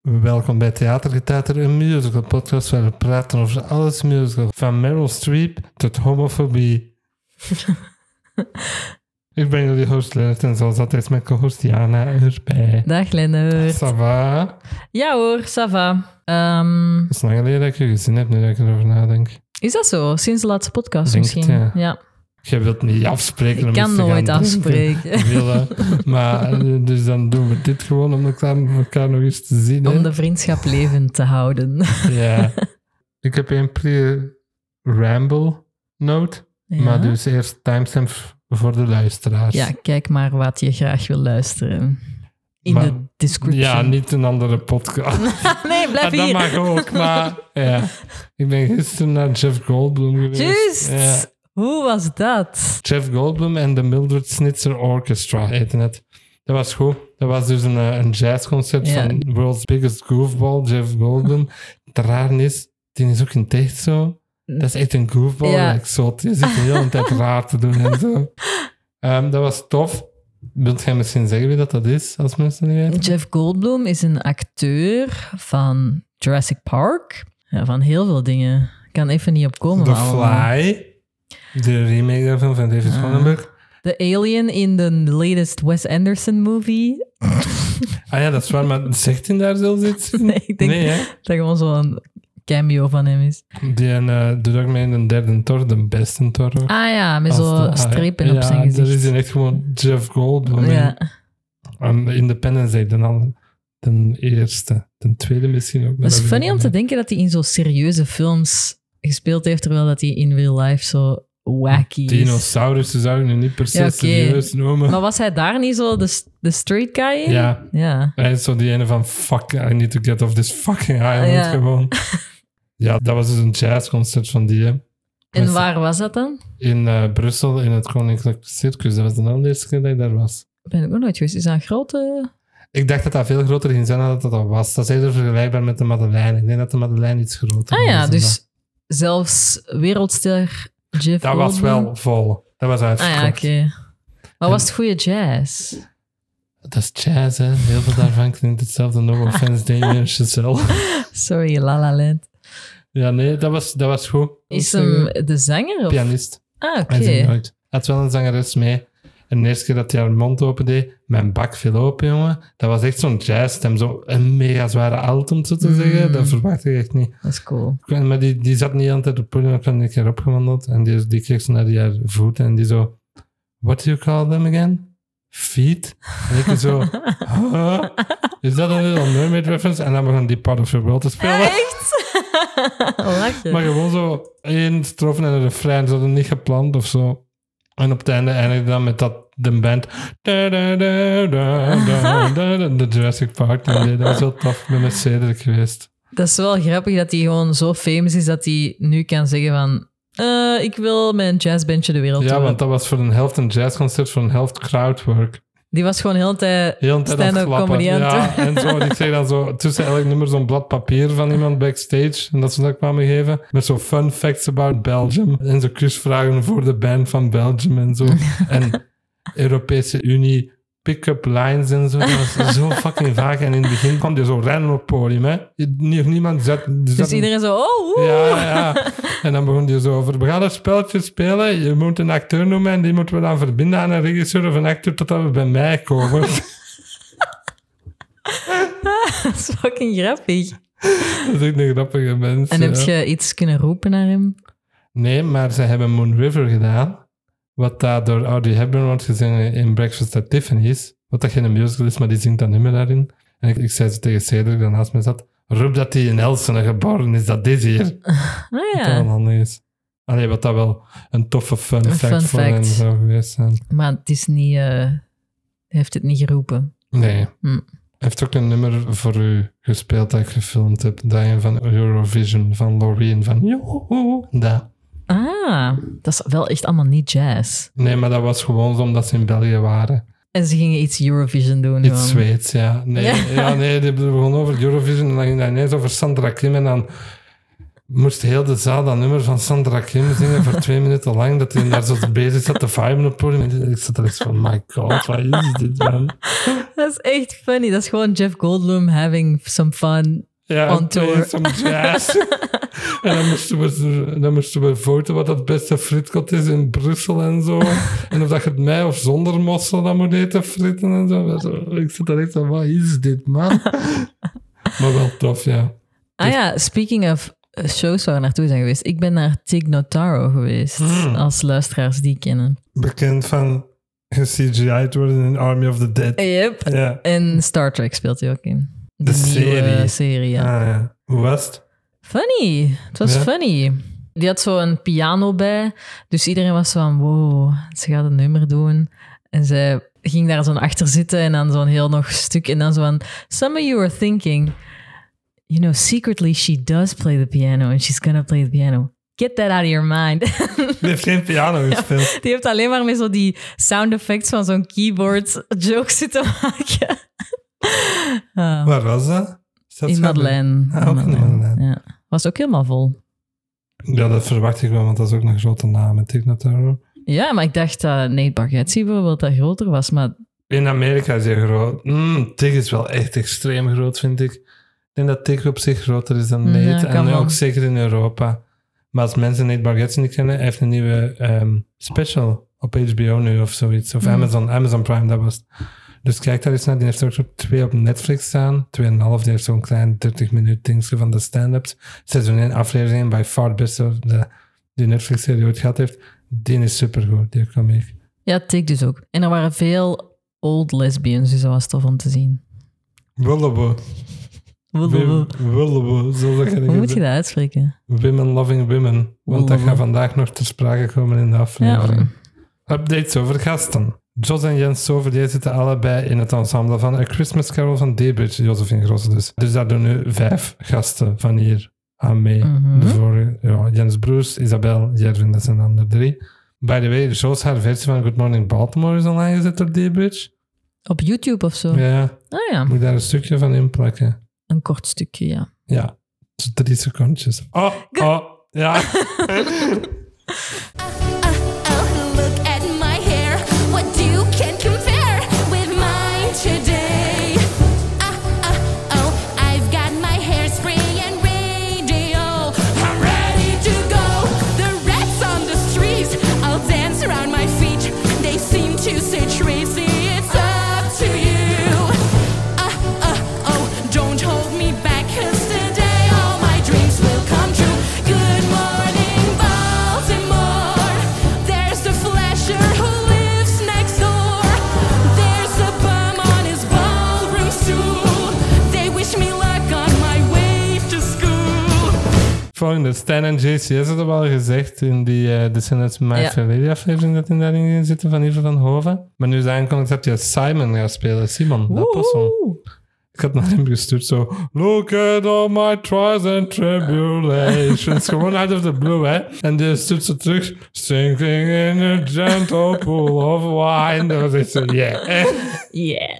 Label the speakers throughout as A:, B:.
A: Welkom bij Theatergetater, een musical podcast waar we praten over alles musical. Van Meryl Streep tot homofobie. ik ben jullie host Lennart en zoals altijd mijn co-host Jana erbij.
B: Dag Lennart.
A: Sava.
B: Ja hoor, ça va. Ehm,
A: Het is lang geleden dat ik je gezien heb, nu dat ik erover nadenk.
B: is dat zo? Sinds de laatste podcast
A: Denk
B: misschien?
A: het, Jij wilt niet dus. afspreken.
B: Ik
A: om
B: kan
A: iets te gaan
B: nooit
A: drinken.
B: afspreken.
A: Willen. Maar eh, dus dan doen we dit gewoon om elkaar, elkaar nog eens te zien. hè.
B: Om de vriendschap levend te houden.
A: Ja. Ik heb een pre-ramble note,
B: Ja.
A: maar dus eerst timestamp voor de luisteraars.
B: ja, kijk maar wat je graag wil luisteren. In
A: Maar-
B: de description.
A: Ja, niet een andere podcast.
B: nee,
A: Ja,
B: blijf
A: dat
B: hier.
A: mag ook, maar ja. Ik ben gisteren naar Jeff Goldblum geweest.
B: Juist.
A: Ja.
B: Hoe was dat?
A: Jeff Goldblum en de Mildred Snitzer Orchestra heette het. Dat was goed. Dat was dus een, eh, een jazzconcept
B: Ja.
A: van World's Biggest Goofball, Jeff Goldblum. Het raar is, die is ook in het echt zo. Dat is echt een goofball.
B: Ja.
A: Like, zot. Je zit de hele tijd raar te doen en zo. Ehm, dat was tof. Wilt jij misschien zeggen wie dat, dat is, als mensen niet weten?
B: Jeff Goldblum is een acteur van Jurassic Park. Ja, van heel veel dingen. Ik kan even niet opkomen.
A: The
B: allemaal. Ah.
A: Fly. De remake daarvan van David Cronenberg.
B: The alien in the latest Wes Anderson movie.
A: Ah ja, dat is waar, maar zegt hij daar zelfs iets?
B: nee, ik denk
A: Nee, hè?
B: dat gewoon zo'n cameo van hem is.
A: Die eh doet ook mee in de derde tor, de beste tor. ook.
B: Ah ja, met
A: Als de-
B: zo'n
A: ah,
B: strepen op
A: ja,
B: zijn
A: dat is
B: gezicht.
A: dan echt gewoon Jeff Goldblum.
B: Ja,
A: En Independence Day, dan al ten eerste. Ten tweede misschien ook. maar
B: het is
A: dat weet
B: funny
A: ik
B: om te
A: niet.
B: denken dat hij in zo serieuze films gespeeld heeft, terwijl dat hij in real life zo wacky is.
A: Dinosaurussen zou ik nu niet per se
B: Ja, oké.
A: serieus noemen.
B: Maar was hij daar niet zo de, de straight guy in?
A: Ja,
B: Ja.
A: hij is zo die ene van fuck, I need to get off this fucking island
B: ja.
A: gewoon. ja, dat was dus een jazzconcert van die. hè. Met-
B: En waar was dat dan?
A: In eh, Brussel, in het Koninklijk Circus. Dat was de allereerste keer dat ik daar was.
B: Ben ik ook nooit geweest. Is dat een grote...
A: Ik dacht dat dat veel groter ging zijn dan dat dat al was. Dat is eerder vergelijkbaar met de Madeleine. Ik denk dat de Madeleine iets groter
B: Ah
A: was
B: ja,
A: dan dat.
B: dus zelfs wereldster Jeff
A: Dat was
B: Goldblum.
A: wel vol. Dat was
B: Ah
A: uitverkocht.
B: ja, oké. Maar was het goede jazz?
A: Dat is jazz, hè. Heel veel daarvan klinkt hetzelfde. No offense, Damien Chazelle.
B: Sorry, La La Land.
A: Ja, nee, dat was, dat was goed.
B: Is hem de zanger? Of?
A: Pianist.
B: Ah, oké.
A: Hij zingt nooit. Hij had wel een zangeres mee. En de eerste keer dat hij haar mond opendeed, mijn bak viel open, jongen. Dat was echt zo'n jazzstem. Zo een mega zware alt, om het zo te
B: Mm.
A: zeggen. Dat verwacht ik echt niet.
B: Dat is cool.
A: Ik weet- Maar die, die zat niet altijd op het podium. Ik ben een keer opgewandeld en die, die keek zo naar die haar voeten en die zo... What do you call them again? Feet? En ik zo... huh? Is dat een Little Mermaid reference? En dan begon die Part of the World te spelen.
B: Ah, Echt? Lach je.
A: Maar gewoon zo één strofe en een refrein. Ze hadden niet gepland of zo. En op het einde eindigde dan met dat de band... Da, da, da, da, da, da, da, de Jurassic Park. En die- dat was heel tof. Ik ben met Cedric geweest.
B: Dat is wel grappig dat hij gewoon zo famous is dat hij nu kan zeggen van... eh, ik wil mijn jazzbandje de wereld
A: Ja,
B: doen.
A: want dat was voor een helft een jazzconcert, voor een helft crowdwork.
B: Die was gewoon heel de tijd...
A: Heel een tijd aan het
B: Stand-up
A: klappen.
B: comediant.
A: Ja, en zo, die kreeg dan zo tussen elk nummer zo'n blad papier van iemand backstage. En dat ze dat kwamen geven. Met zo fun facts about Belgium. En zo quizvragen voor de band van Belgium en zo. En Europese Unie pick-up lines en zo. Dat was zo fucking vaak. En in het begin kwam die zo rennen op het podium. Hè. Nie- Niemand zat... die zat-
B: Dus iedereen zo... Oh, woe.
A: ja, ja. En dan begon hij zo over, we gaan een spelletje spelen. Je moet een acteur noemen en die moeten we dan verbinden aan een regisseur of een acteur totdat we bij mij komen.
B: Dat is fucking grappig.
A: Dat is echt een grappige mens.
B: En heb
A: ja.
B: je iets kunnen roepen naar hem?
A: Nee, maar ze hebben Moon River gedaan. Wat daar door Audrey Hepburn wordt gezongen in Breakfast at Tiffany's. Wat dat geen musical is, maar die zingt dat nummer daarin. En ik, ik zei ze tegen Cedric, die naast me zat. Roep dat hij in Elsene geboren is, dat dit hier.
B: Ah
A: Dat wel
B: ja.
A: handig is. Allee, wat dat wel een toffe fun
B: Een
A: fact
B: fun
A: voor hen
B: fact.
A: zou geweest zijn.
B: Maar het is niet... eh, Hij heeft het niet geroepen.
A: Nee.
B: Hm.
A: Hij heeft ook een nummer voor u gespeeld dat ik gefilmd heb. Dat een van Eurovision, van Loreen, van Joho. Dat.
B: Ah, dat is wel echt allemaal niet jazz.
A: Nee, maar dat was gewoon zo omdat ze in België waren.
B: En ze gingen iets Eurovision doen.
A: Iets
B: gewoon.
A: Zweeds, ja. Nee, ja.
B: Ja.
A: nee, die begon over Eurovision en dan ging dat ineens over Sandra Kim en dan... moest heel de zaal dat nummer van Sandra Kim zingen voor twee minuten lang, dat hij daar zo bezig zat te viben op het podium. En ik zat er echt van, my god, wat is dit, man?
B: Dat is echt funny. Dat is gewoon Jeff Goldblum having some fun.
A: Ja,
B: On tour.
A: play some jazz. en dan moesten, we, dan moesten we voten wat het beste fritkot is in Brussel en zo. en of dat je het mij of zonder mossel dan moet eten fritten en zo. Zo, Ik zat er echt van, wat is dit, man? maar wel tof, ja.
B: Ah ja, speaking of eh, shows waar we naartoe zijn geweest. Ik ben naar Tig Notaro geweest,
A: Hmm.
B: als luisteraars die kennen.
A: Bekend van CGI'd worden in Army of the Dead.
B: Yep.
A: Ja.
B: En Star Trek speelt hij ook in.
A: De serie.
B: serie, ja.
A: Ah, ja. Hoe was het?
B: Funny. Het was
A: Ja.
B: funny. Die had zo een piano bij. Dus iedereen was van, wow, ze gaat een nummer doen. En zij ging daar zo'n achter zitten en dan zo'n heel nog stuk. En dan zo van, some of you are thinking, you know, secretly she does play the piano and she's gonna play the piano. Get that out of your mind.
A: Die heeft geen piano gespeeld.
B: Die heeft alleen maar met zo die sound effects van zo'n keyboard jokes zitten maken. Ah,
A: Waar was dat? Is dat
B: in
A: zo?
B: Madeleine.
A: Ah, ook in Madeleine.
B: Ja. Was ook helemaal vol.
A: Ja, dat verwacht ik wel, want dat is ook een grote naam. hè, Tignataro.
B: Ja, maar ik dacht dat Nate Bargatze bijvoorbeeld dat groter was, maar
A: In Amerika is hij groot. Mm, Tig is wel echt extreem groot, vind ik. Ik denk dat Tig op zich groter is dan
B: Ja,
A: Nate. en
B: kan
A: nu
B: wel.
A: ook zeker in Europa. Maar als mensen Nate Bargatze niet kennen, hij heeft een nieuwe ehm, special op HBO nu of zoiets. Of
B: Mm.
A: Amazon, Amazon Prime, dat was het. Dus kijk daar eens naar. Die heeft er ook zo twee op Netflix staan. Tweeënhalf. Die heeft zo'n klein 30 minuut dingetje van de stand-ups. Seizoen 1, aflevering 1. By far het beste of de, die Netflix-serie ooit gehad heeft. Die is supergoed, die komiek.
B: ja, Tik dus ook. En er waren veel old lesbians, dus dat was tof om te zien.
A: Willebo.
B: Hoe
A: Willebo, zo dat je
B: moet je dat uitspreken?
A: Women loving women. Want dat
B: Willebo.
A: gaat vandaag nog ter sprake komen in de aflevering. Updates over gasten. Jos en Jens Sover, die zitten allebei in het ensemble van A Christmas Carol van Debridge, Josephine Grosse dus. Dus daar doen nu vijf gasten van hier aan mee.
B: Mhm.
A: De vorige, ja, Jens Broers, Isabel, Jervin, dat zijn de andere drie. By the way, Jos, haar versie van Good Morning Baltimore is online gezet door Debridge.
B: Op YouTube of zo.
A: Ja,
B: Ah ja,
A: moet ik daar een stukje van inplakken.
B: een kort stukje, ja.
A: Ja, drie secondjes. Oh, oh, ja.
C: Oh, look at my hair. What you can compare with mine today? Ah, ah, oh, I've got my hairspray and radio. I'm ready to go. The rats on the streets all dance around my feet. They seem to say, Tracy, it's up to you. Ah, ah, oh, don't hold me back, 'cause today all my dreams will come true. Good morning, Baltimore. There's the flasher who lives next door. There's a bum on his ballroom stool. They wish me luck on my way to school.
A: Volgende, Stijn en JCS hadden we al gezegd in die eh Descendants My
B: Ja.
A: Family aflevering dat in daarin in zitten van Ivo van Hoven. Maar nu is aangekondigd dat je Simon gaat spelen. Simon, dat pas wel.
B: Woehoe.
A: Ik had naar hem gestuurd zo. Look at all my trials and tribulations. Gewoon out of the blue, hè. En die stuurt ze terug. Sinking in a gentle pool of wine. Dat was echt zo, yeah. Eh,
B: Yeah.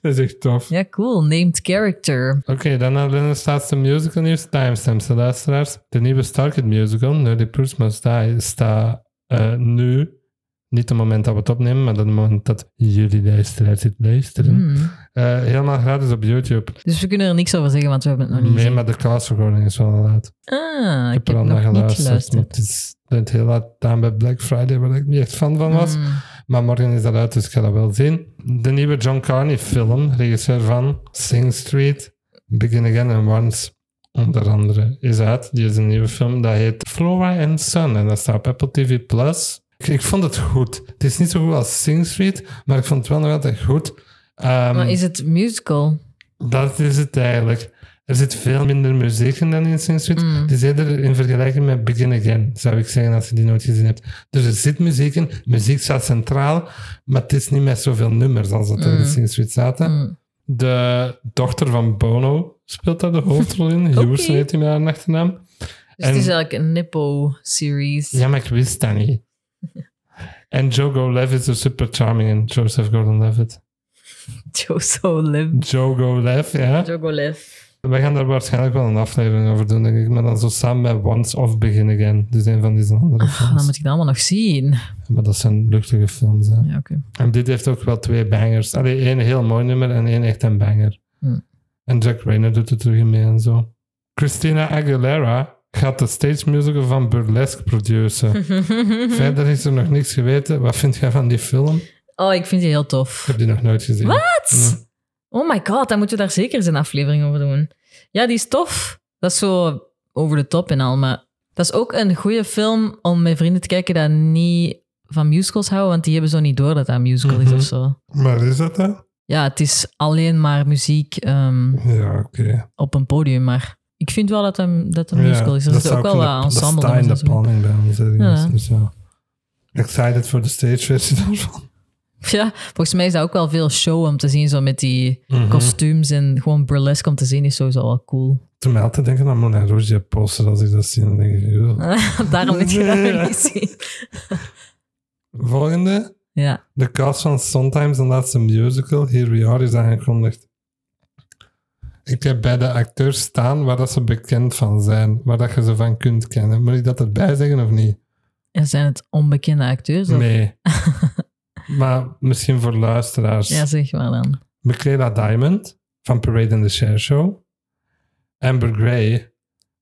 A: Dat is echt tof.
B: Ja, cool. Named character.
A: Oké, dan naar de laatste musical nieuws. Timestamps, de luisteraars. De nieuwe Starkid musical, Nerdy Purse Must Die, staat eh, nu. Niet het moment dat we het opnemen, maar dat het moment dat jullie luisteraars dit luisteren.
B: Hmm.
A: Eh, helemaal gratis op YouTube.
B: Dus we kunnen er niks over zeggen, want we hebben het nog niet
A: Nee,
B: gezien.
A: maar de klasvergoning is wel laat.
B: Ah, Oh, ik heb
A: er al naar
B: nog niet
A: maar
B: geluisterd.
A: Het is net heel laat aan bij Black Friday, waar ik niet echt fan van was.
B: Hmm.
A: Maar morgen is dat uit, dus ik ga dat wel zien. De nieuwe John Carney film, regisseur van Sing Street, Begin Again and Once, onder andere, is uit. Die is een nieuwe film, dat heet Flora and Son en dat staat op Apple TV+. Plus. Ik, ik vond het goed. Het is niet zo goed als Sing Street, maar ik vond het wel nog altijd goed. Ehm,
B: Maar is het musical?
A: dat is het eigenlijk. Er zit veel minder muziek in dan in Sing Street. Het is eerder in vergelijking met Begin Again, zou ik zeggen, als je die nooit gezien hebt. Dus er zit muziek in, muziek staat centraal, maar het is niet met zoveel nummers als dat er in Sing Street zaten.
B: Mm.
A: De dochter van Bono speelt daar de hoofdrol in. Hughes heet hij met haar achternaam.
B: Dus het
A: En-
B: is eigenlijk een nippo-series.
A: Ja, maar ik wist dat niet. En Jogo Levitt is er super charming in, Joseph Gordon-Levitt.
B: Jozo Lev.
A: Jogo Lev, ja.
B: Jogo Lev.
A: We gaan daar waarschijnlijk wel een aflevering over doen, denk ik. Maar dan zo samen met Once Off Begin Again. Dus een van die andere
B: Ah, dan
A: films.
B: moet ik dat allemaal nog zien.
A: Maar dat zijn luchtige films, hè.
B: Ja, oké.
A: En dit heeft ook wel twee bangers. Allee, één heel mooi nummer en één echt een banger.
B: Hm.
A: En Jack Rayner doet er terug in mee en zo. Christina Aguilera gaat de stage musical van Burlesque produceren.
B: Mhm.
A: Verder is er nog niks geweten. Wat vind jij van die film? Ik
B: Oh, ik vind die heel tof.
A: heb die nog nooit gezien.
B: Wat? Oh my god, dan moeten we daar zeker eens een aflevering over doen. Ja, die is tof. Dat is zo over de top en al, maar dat is ook een goede film om met vrienden te kijken die niet van musicals houden, want die hebben zo niet door dat dat een musical
A: Mhm.
B: is of zo.
A: Maar is dat dan?
B: Ja, het is alleen maar muziek ehm,
A: Ja, oké.
B: op een podium, maar ik vind wel dat een, dat een
A: Ja,
B: musical is. Er zitten
A: zou
B: ook
A: in
B: wel
A: de-
B: wat ensemble dus
A: Dat staat in
B: nummers
A: de
B: en zo.
A: planning bij ons. ergens,
B: Ja.
A: dus ja. Excited voor de stage versie daarvan.
B: Ja, volgens mij is dat ook wel veel show om te zien, zo met die
A: Mhm.
B: kostuums en gewoon burlesque om te zien is sowieso wel cool.
A: Toen mij altijd denken aan Moulin Rouge die poster als ik dat zie. Dan denk ik, joh.
B: Daarom moet je dat
A: Nee.
B: nog niet zien.
A: Volgende.
B: Ja.
A: De cast van Sometimes and That's a Musical, Here We Are, is aangekondigd. Ik heb bij de acteurs staan waar dat ze bekend van zijn, waar dat je ze van kunt kennen. Moet ik dat erbij zeggen of niet?
B: Ja, zijn het onbekende acteurs? of-
A: Nee. maar misschien voor luisteraars.
B: Ja, zeg maar dan.
A: Michaela Diamond van Parade and the Share Show. Amber Gray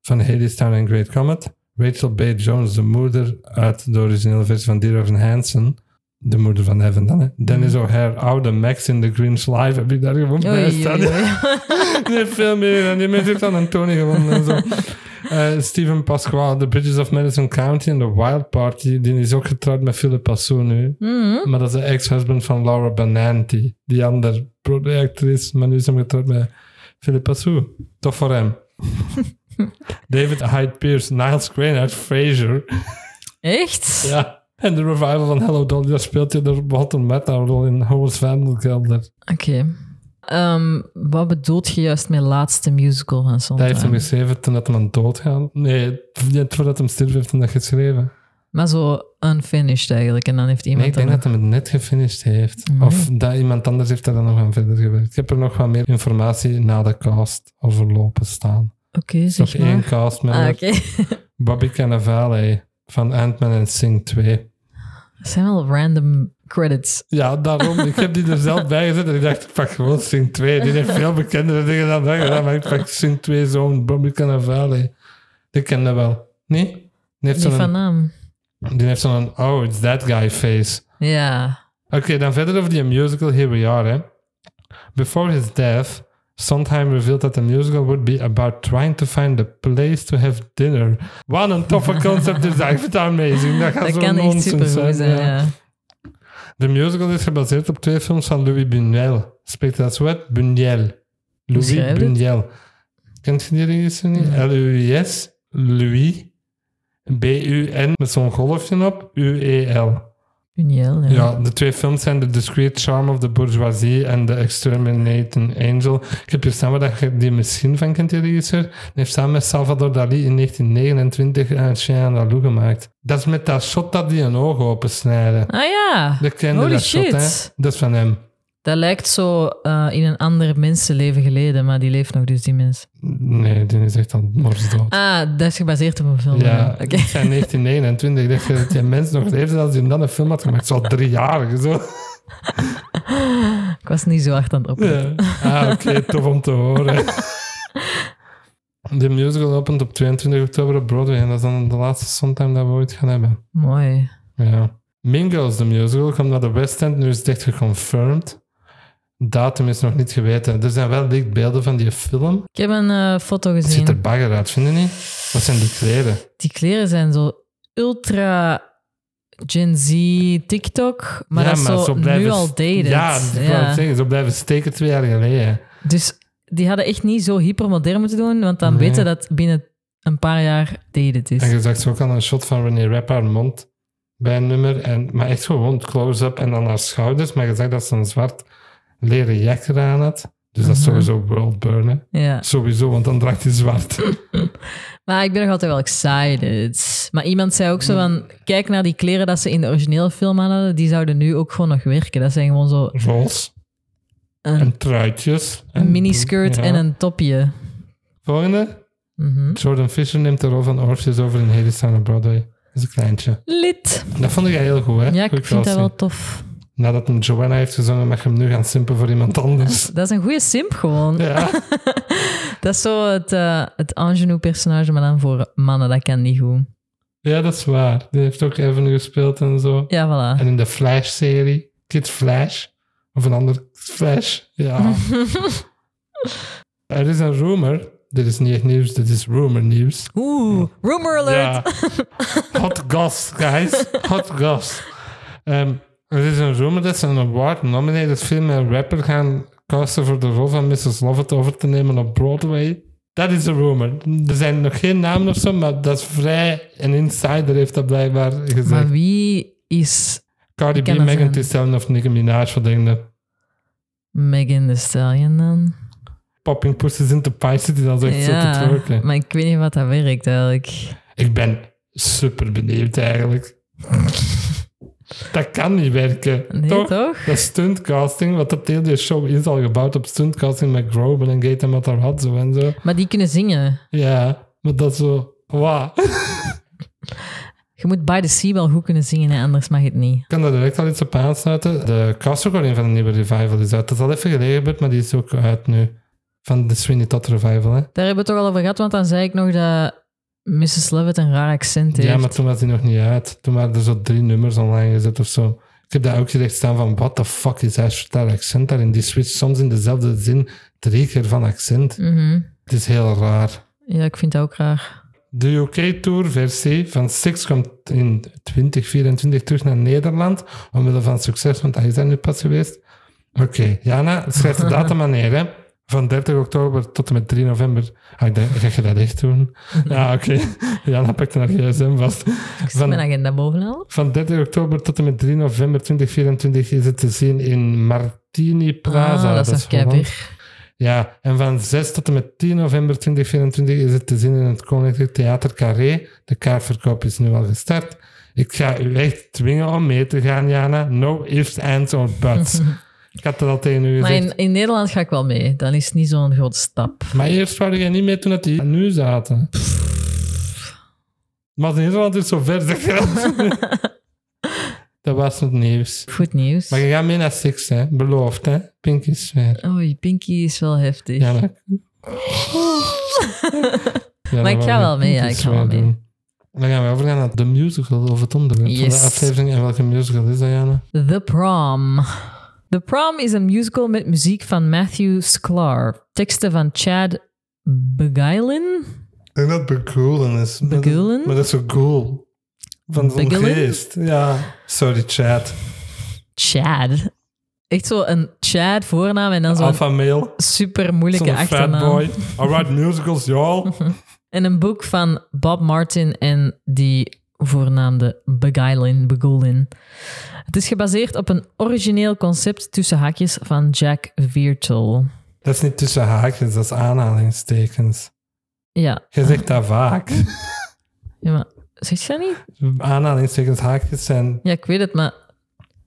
A: van Hadestown and Great Comet. Rachel Bay Jones, de moeder uit de originele versie van Dear Evan Hansen. De moeder van Evan dan, hè. Dennis O'Hare, oude Max in The Grinch Live. Heb ik daar gewoon bij
B: Mhm. Oei,
A: staan?
B: oei, oei.
A: Nee, veel meer. En die mensen heeft dan een Tony gewonnen en zo. Eh, Steven Pasquale, The Bridges of Madison County en The Wild Party. Die is ook getrouwd met Philip Passoen nu.
B: Mhm.
A: Maar dat is de ex-husband van Laura Benanti. Die andere productrice, maar nu is hem getrouwd met Philip Passou. Tof voor hem. David Hyde Pierce, Niles Crane uit Frasier.
B: Echt?
A: Ja. En de revival van Hello Dolly, daar speelt hij de bottom meta rol in Howard's Vandelkelder.
B: Oké. Ehm, wat bedoelt je juist met laatste musical van
A: Dat heeft hem
B: Sondheim?
A: geschreven toen dat hem aan dood gaat. Nee, net voordat hem stierf heeft hij dat geschreven.
B: Maar zo unfinished eigenlijk. En dan heeft
A: Nee, ik
B: iemand...
A: denk
B: dan-
A: dat hij het net gefinished heeft.
B: Mhm.
A: Of dat iemand anders heeft daar dan nog aan verder gewerkt. Ik heb er nog wat meer informatie na de cast overlopen staan.
B: Oké,
A: Nog
B: zeg
A: één
B: maar.
A: cast met
B: Ah, oké.
A: Bobby Cannavale van Ant-Man en Sing 2.
B: Dat zijn wel random credits.
A: Ja, daarom. ik heb die er zelf bij gezet en ik dacht, ik pak gewoon Sing 2. Die heeft veel bekendere dingen dan dat gedaan, maar ik pak Sing 2 zo'n Bobby Cannavale. Die ken dat wel. Nee? Die heeft
B: Die van
A: zo'n,
B: naam.
A: die heeft zo'n oh, it's that guy face.
B: Ja.
A: Oké, dan verder over die musical. Here we are, hè. Before his death, Sondheim revealed that the musical would be about trying to find a place to have dinner. Wat een toffe concept is dat. Ik vind dat amazing. Dat gaat
B: Dat
A: zo
B: kan echt super
A: zijn.
B: goed zijn,
A: ja.
B: ja.
A: De musical is gebaseerd op twee films van Louis Buñuel. Spreekt dat zo uit? Buñuel. Louis
B: schrijf je het?
A: Buñuel. Kent je die regisseur niet? L-U-I-S. Louis. B-U-N met zo'n golfje op. E U-E-L.
B: Puniel, ja.
A: Ja, de twee films zijn The Discreet Charm of the Bourgeoisie en The Exterminating Angel. Ik heb hier samen dat je die misschien van kent, die regisseur. Die heeft samen met Salvador Dali in 1929 een Chien à la Lou gemaakt. Dat is met dat shot dat die een oog opensnijden.
B: Ah ja.
A: De kende
B: Holy
A: dat shot, hè?
B: shit.
A: Dat is van hem.
B: Dat lijkt zo eh, in een ander mensenleven geleden, maar die leeft nog dus, die mens.
A: Nee, die is echt aan het morsdood.
B: Ah, dat is gebaseerd op een film.
A: Ja,
B: Oké.
A: het zijn 1929. Ik dacht dat die mens nog leefde als hij dan een film had gemaakt. Zo driejarig, zo.
B: Ik was niet zo hard aan het opletten.
A: Ja. Ah, oké, tof om te horen. De musical opent op 22 oktober op Broadway en dat is dan de laatste Sondheim dat we ooit gaan hebben.
B: Mooi.
A: Ja. Mean Girls, de musical, komt naar de West End, nu is het echt geconfirmed. Datum is nog niet geweten. Er zijn wel beelden van die film.
B: Ik heb een eh, foto
A: Het ziet er
B: gezien.
A: bagger uit, vind je niet? Wat zijn die kleren?
B: Die kleren zijn zo ultra Gen Z TikTok, maar dat is zo, nu al dated.
A: Ja, ik wou
B: Ja.
A: het zeggen, zo blijven steken twee jaar geleden.
B: Dus die hadden echt niet zo hypermodern moeten doen, want dan
A: Nee.
B: weten dat binnen een paar jaar dated is.
A: En je zag ze ook aan een shot van René Rapp haar mond bij een nummer. En, maar echt gewoon close-up en dan haar schouders. Maar je zag dat ze een zwart leren jak eraan had. Dus dat is
B: Mhm.
A: sowieso world burnen.
B: Ja.
A: Sowieso, want dan draagt hij zwart.
B: Maar ik ben nog altijd wel excited. Maar iemand zei ook zo
A: Hmm.
B: van, kijk naar die kleren dat ze in de originele film aan hadden, die zouden nu ook gewoon nog werken. Dat zijn gewoon zo
A: Roze
B: een
A: en truitjes.
B: Een miniskirt
A: ja.
B: en een topje.
A: Volgende.
B: Mhm.
A: Jordan Fisher neemt de rol van Orpheus over in Hades aan de Broadway. Dat is een kleintje.
B: Lid.
A: Dat vond ik heel goed, hè?
B: Ja,
A: Goed
B: ik vind dat
A: casting.
B: wel tof.
A: Nadat hem Joanna heeft gezongen, mag je hem nu gaan simpen voor iemand anders.
B: Dat is een goede simp gewoon.
A: Ja,
B: Dat is zo het, eh het ingenue-personage, maar dan voor mannen. Dat kan niet goed.
A: ja dat is waar. Die heeft ook Evan gespeeld en zo.
B: Ja, voilà.
A: En in de Flash-serie, Kid Flash, of een ander Flash, ja. er is een rumor, dit is niet echt nieuws, dit is rumor nieuws.
B: Oeh, rumor alert.
A: Ja. Hot goss, guys. Hot goss. Ehm, er is een rumor dat ze een award-nominated film en rapper gaan casten voor de rol van Mrs. Lovett over te nemen op Broadway. Dat is een rumor. Er zijn nog geen namen of zo, maar dat is vrij... Een insider heeft dat blijkbaar gezegd.
B: Maar wie is
A: Cardi B,
B: kan dat
A: Megan
B: zijn?
A: Thee Stallion of Nicki Minaj, wat denk je?
B: Megan Thee Stallion dan?
A: Popping Pussies into Pies City, dat is echt zo te
B: Ja,
A: twerken.
B: maar ik weet niet wat dat werkt eigenlijk.
A: Ik ben super benieuwd eigenlijk. dat kan niet werken.
B: Nee,
A: toch?
B: toch?
A: Dat stuntcasting, wat dat hele show is al gebouwd op stuntcasting met Groban en Gaten wat daar had zo en zo.
B: Maar die kunnen zingen.
A: Ja, maar dat zo. Wauw.
B: Je moet By the Sea wel goed kunnen zingen, hè, anders mag het niet.
A: Ik kan daar direct al iets op aansluiten. De cast recording van de nieuwe revival is uit. Dat is al even geleden gebeurd, maar die is ook uit nu. Van de Sweeney Todd revival, hè?
B: Daar hebben we het toch al over gehad, want dan zei ik nog dat Mrs. Lovett een raar accent heeft.
A: Ja, maar toen was die nog niet uit. Toen waren er zo drie nummers online gezet of zo. Ik heb daar ook direct staan van, what the fuck is hij voor dat accent daarin? Die switcht soms in dezelfde zin drie keer van accent.
B: Mhm.
A: Het is heel raar.
B: Ja, ik vind dat ook raar.
A: De UK-tour-versie van Six komt in 2024 terug naar Nederland. Omwille van succes, want hij is daar nu pas geweest. Oké, Jana, schrijf de datum maar neer, hè. Van 30 oktober tot en met 3 november. Ah, ik denk, ga je dat echt doen? Ja, oké. Jana pakte haar gsm vast.
B: Ik zet
A: Van-
B: mijn agenda bovenal.
A: Van 30 oktober tot en met 3 november 2024 is het te zien in Martini Plaza.
B: ah, dat is
A: Holland.
B: afkijper.
A: Ja, en van 6 tot en met 10 november 2024 is het te zien in het Koninklijk Theater Carré. De kaartverkoop is nu al gestart. Ik ga u echt dwingen om mee te gaan, Jana. No ifs, ands or buts. Ik had dat al tegen u
B: Maar
A: gezegd.
B: in, in Nederland ga ik wel mee. Dan is het niet zo'n grote stap.
A: Maar eerst wou jij niet mee toen dat die nu zaten. Maar in Nederland is zo ver, zeg je dat. Dat was het nieuws.
B: Goed nieuws.
A: Maar je gaat mee naar Six, hè? Beloofd, hè? Pink is ver.
B: Oei, Pinky is wel heftig.
A: Ja, maar... Ja,
B: Maar
A: dan gaan
B: ik ga
A: we
B: wel mee, ja,
A: Pink
B: ik
A: is
B: ga wel
A: ver
B: mee.
A: doen. Dan gaan we overgaan naar de musical of het onderwerp van de
B: Yes.
A: aflevering. En welke musical is dat, Jana?
B: The Prom. The Prom is een musical met muziek van Matthew Sklar. Teksten van Chad Beguilin.
A: En dat Begulen is.
B: Begulen?
A: Maar dat is zo cool. Van zo'n
B: Begulen?
A: geest. Ja. Sorry, chat.
B: Chad. Echt zo een Chad voornaam en dan zo'n
A: Alpha male.
B: super moeilijke
A: Zo'n fat
B: achternaam.
A: boy. I write musicals, y'all.
B: En een boek van Bob Martin en die voornaamde Beguilin. Beguilin. Het is gebaseerd op een origineel concept tussen haakjes van Jack Viertel.
A: Dat is niet tussen haakjes, dat is aanhalingstekens.
B: Ja,
A: Je zegt dat vaak.
B: ja maar zeg je dat niet?
A: Aanhalingstekens, haakjes zijn
B: Ja, ik weet het, maar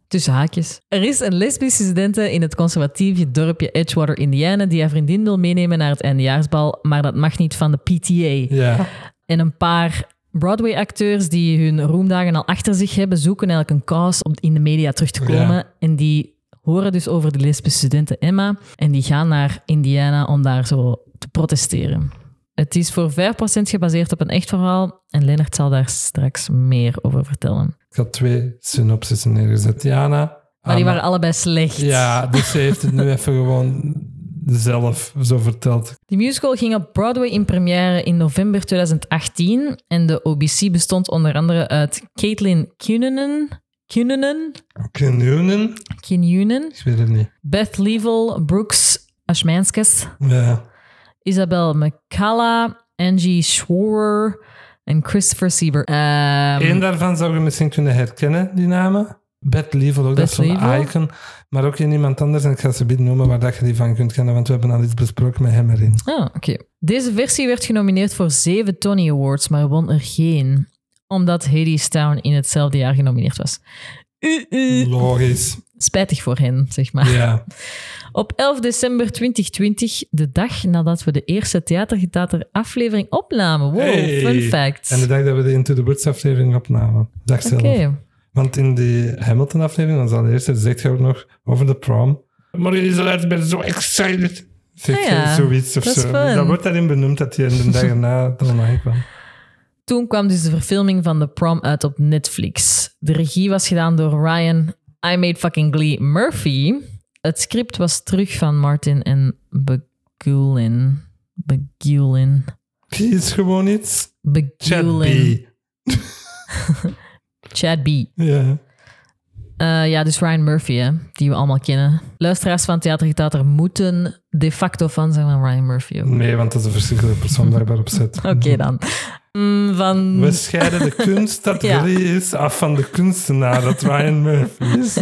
B: tussen haakjes. Er is een lesbische studente in het conservatieve dorpje Edgewater, Indiana, die haar vriendin wil meenemen naar het eindejaarsbal, maar dat mag niet van de PTA.
A: Ja,
B: En een paar Broadway-acteurs die hun roemdagen al achter zich hebben, zoeken eigenlijk een cause om in de media terug te komen.
A: Ja.
B: En die horen dus over de lesbische studente Emma en die gaan naar Indiana om daar zo te protesteren. Het is voor 5% gebaseerd op een echt verhaal en Lennart zal daar straks meer over vertellen.
A: ik had twee synopsissen neergezet. Jana.
B: Maar die
A: Anna.
B: waren allebei slecht.
A: Ah, Ja, dus ze heeft het nu even gewoon zelf zo verteld.
B: Die musical ging op Broadway in première in november 2018. En de OBC bestond onder andere uit Caitlin Cunanan, Cunanan,
A: Kanoenen?
B: Cunanan
A: Ik weet het niet.
B: Beth Level, Brooks Ashmanskas,
A: Ja.
B: Isabel McCalla, Angie Schwarer en Christopher Sieber. Ehm,
A: Eén daarvan zou je misschien kunnen herkennen, die namen. Beth Level, ook dat
B: Beth
A: is zo'n
B: Level?
A: icon. Maar ook in iemand anders, en ik ga ze bieden noemen waar dat je die van kunt kennen, want we hebben al iets besproken met hem erin.
B: Ah, oké. Deze versie werd genomineerd voor zeven Tony Awards, maar won er geen. Omdat Hades Town in hetzelfde jaar genomineerd was. Uh, uh.
A: Logisch.
B: Spijtig voor hen, zeg maar.
A: Ja.
B: Op 11 december 2020, de dag nadat we de eerste Theatergetater aflevering opnamen. Wow,
A: Hey.
B: fun fact.
A: En de dag dat we de Into the Woods aflevering opnamen. De dag zelf.
B: Oké.
A: Want in die Hamilton aflevering, als allereerste, zegt hij ook nog over de prom. Maar jullie zijn uit, ik ben zo excited. Zegt
B: Ah
A: hij
B: ja,
A: zoiets of
B: dat is
A: zo.
B: fun.
A: Dat wordt daarin benoemd dat hij de dag erna er online kwam.
B: Toen kwam dus de verfilming van The Prom uit op Netflix. De regie was gedaan door Ryan I Made Fucking Glee Murphy. Het script was terug van Martin en Begulin. Begulin.
A: Kies gewoon iets. Chad B.
B: Begulin. Chad B.
A: Ja.
B: Eh, ja, dus Ryan Murphy, hè, die we allemaal kennen. Luisteraars van Theater Getater moeten de facto fan zijn van Ryan Murphy. ook.
A: Nee, want dat is een verschrikkelijke persoon waar ik daarop zet.
B: Oké dan. Mm, van...
A: We scheiden de kunstcategorie is af van de kunstenaar, dat Ryan Murphy is.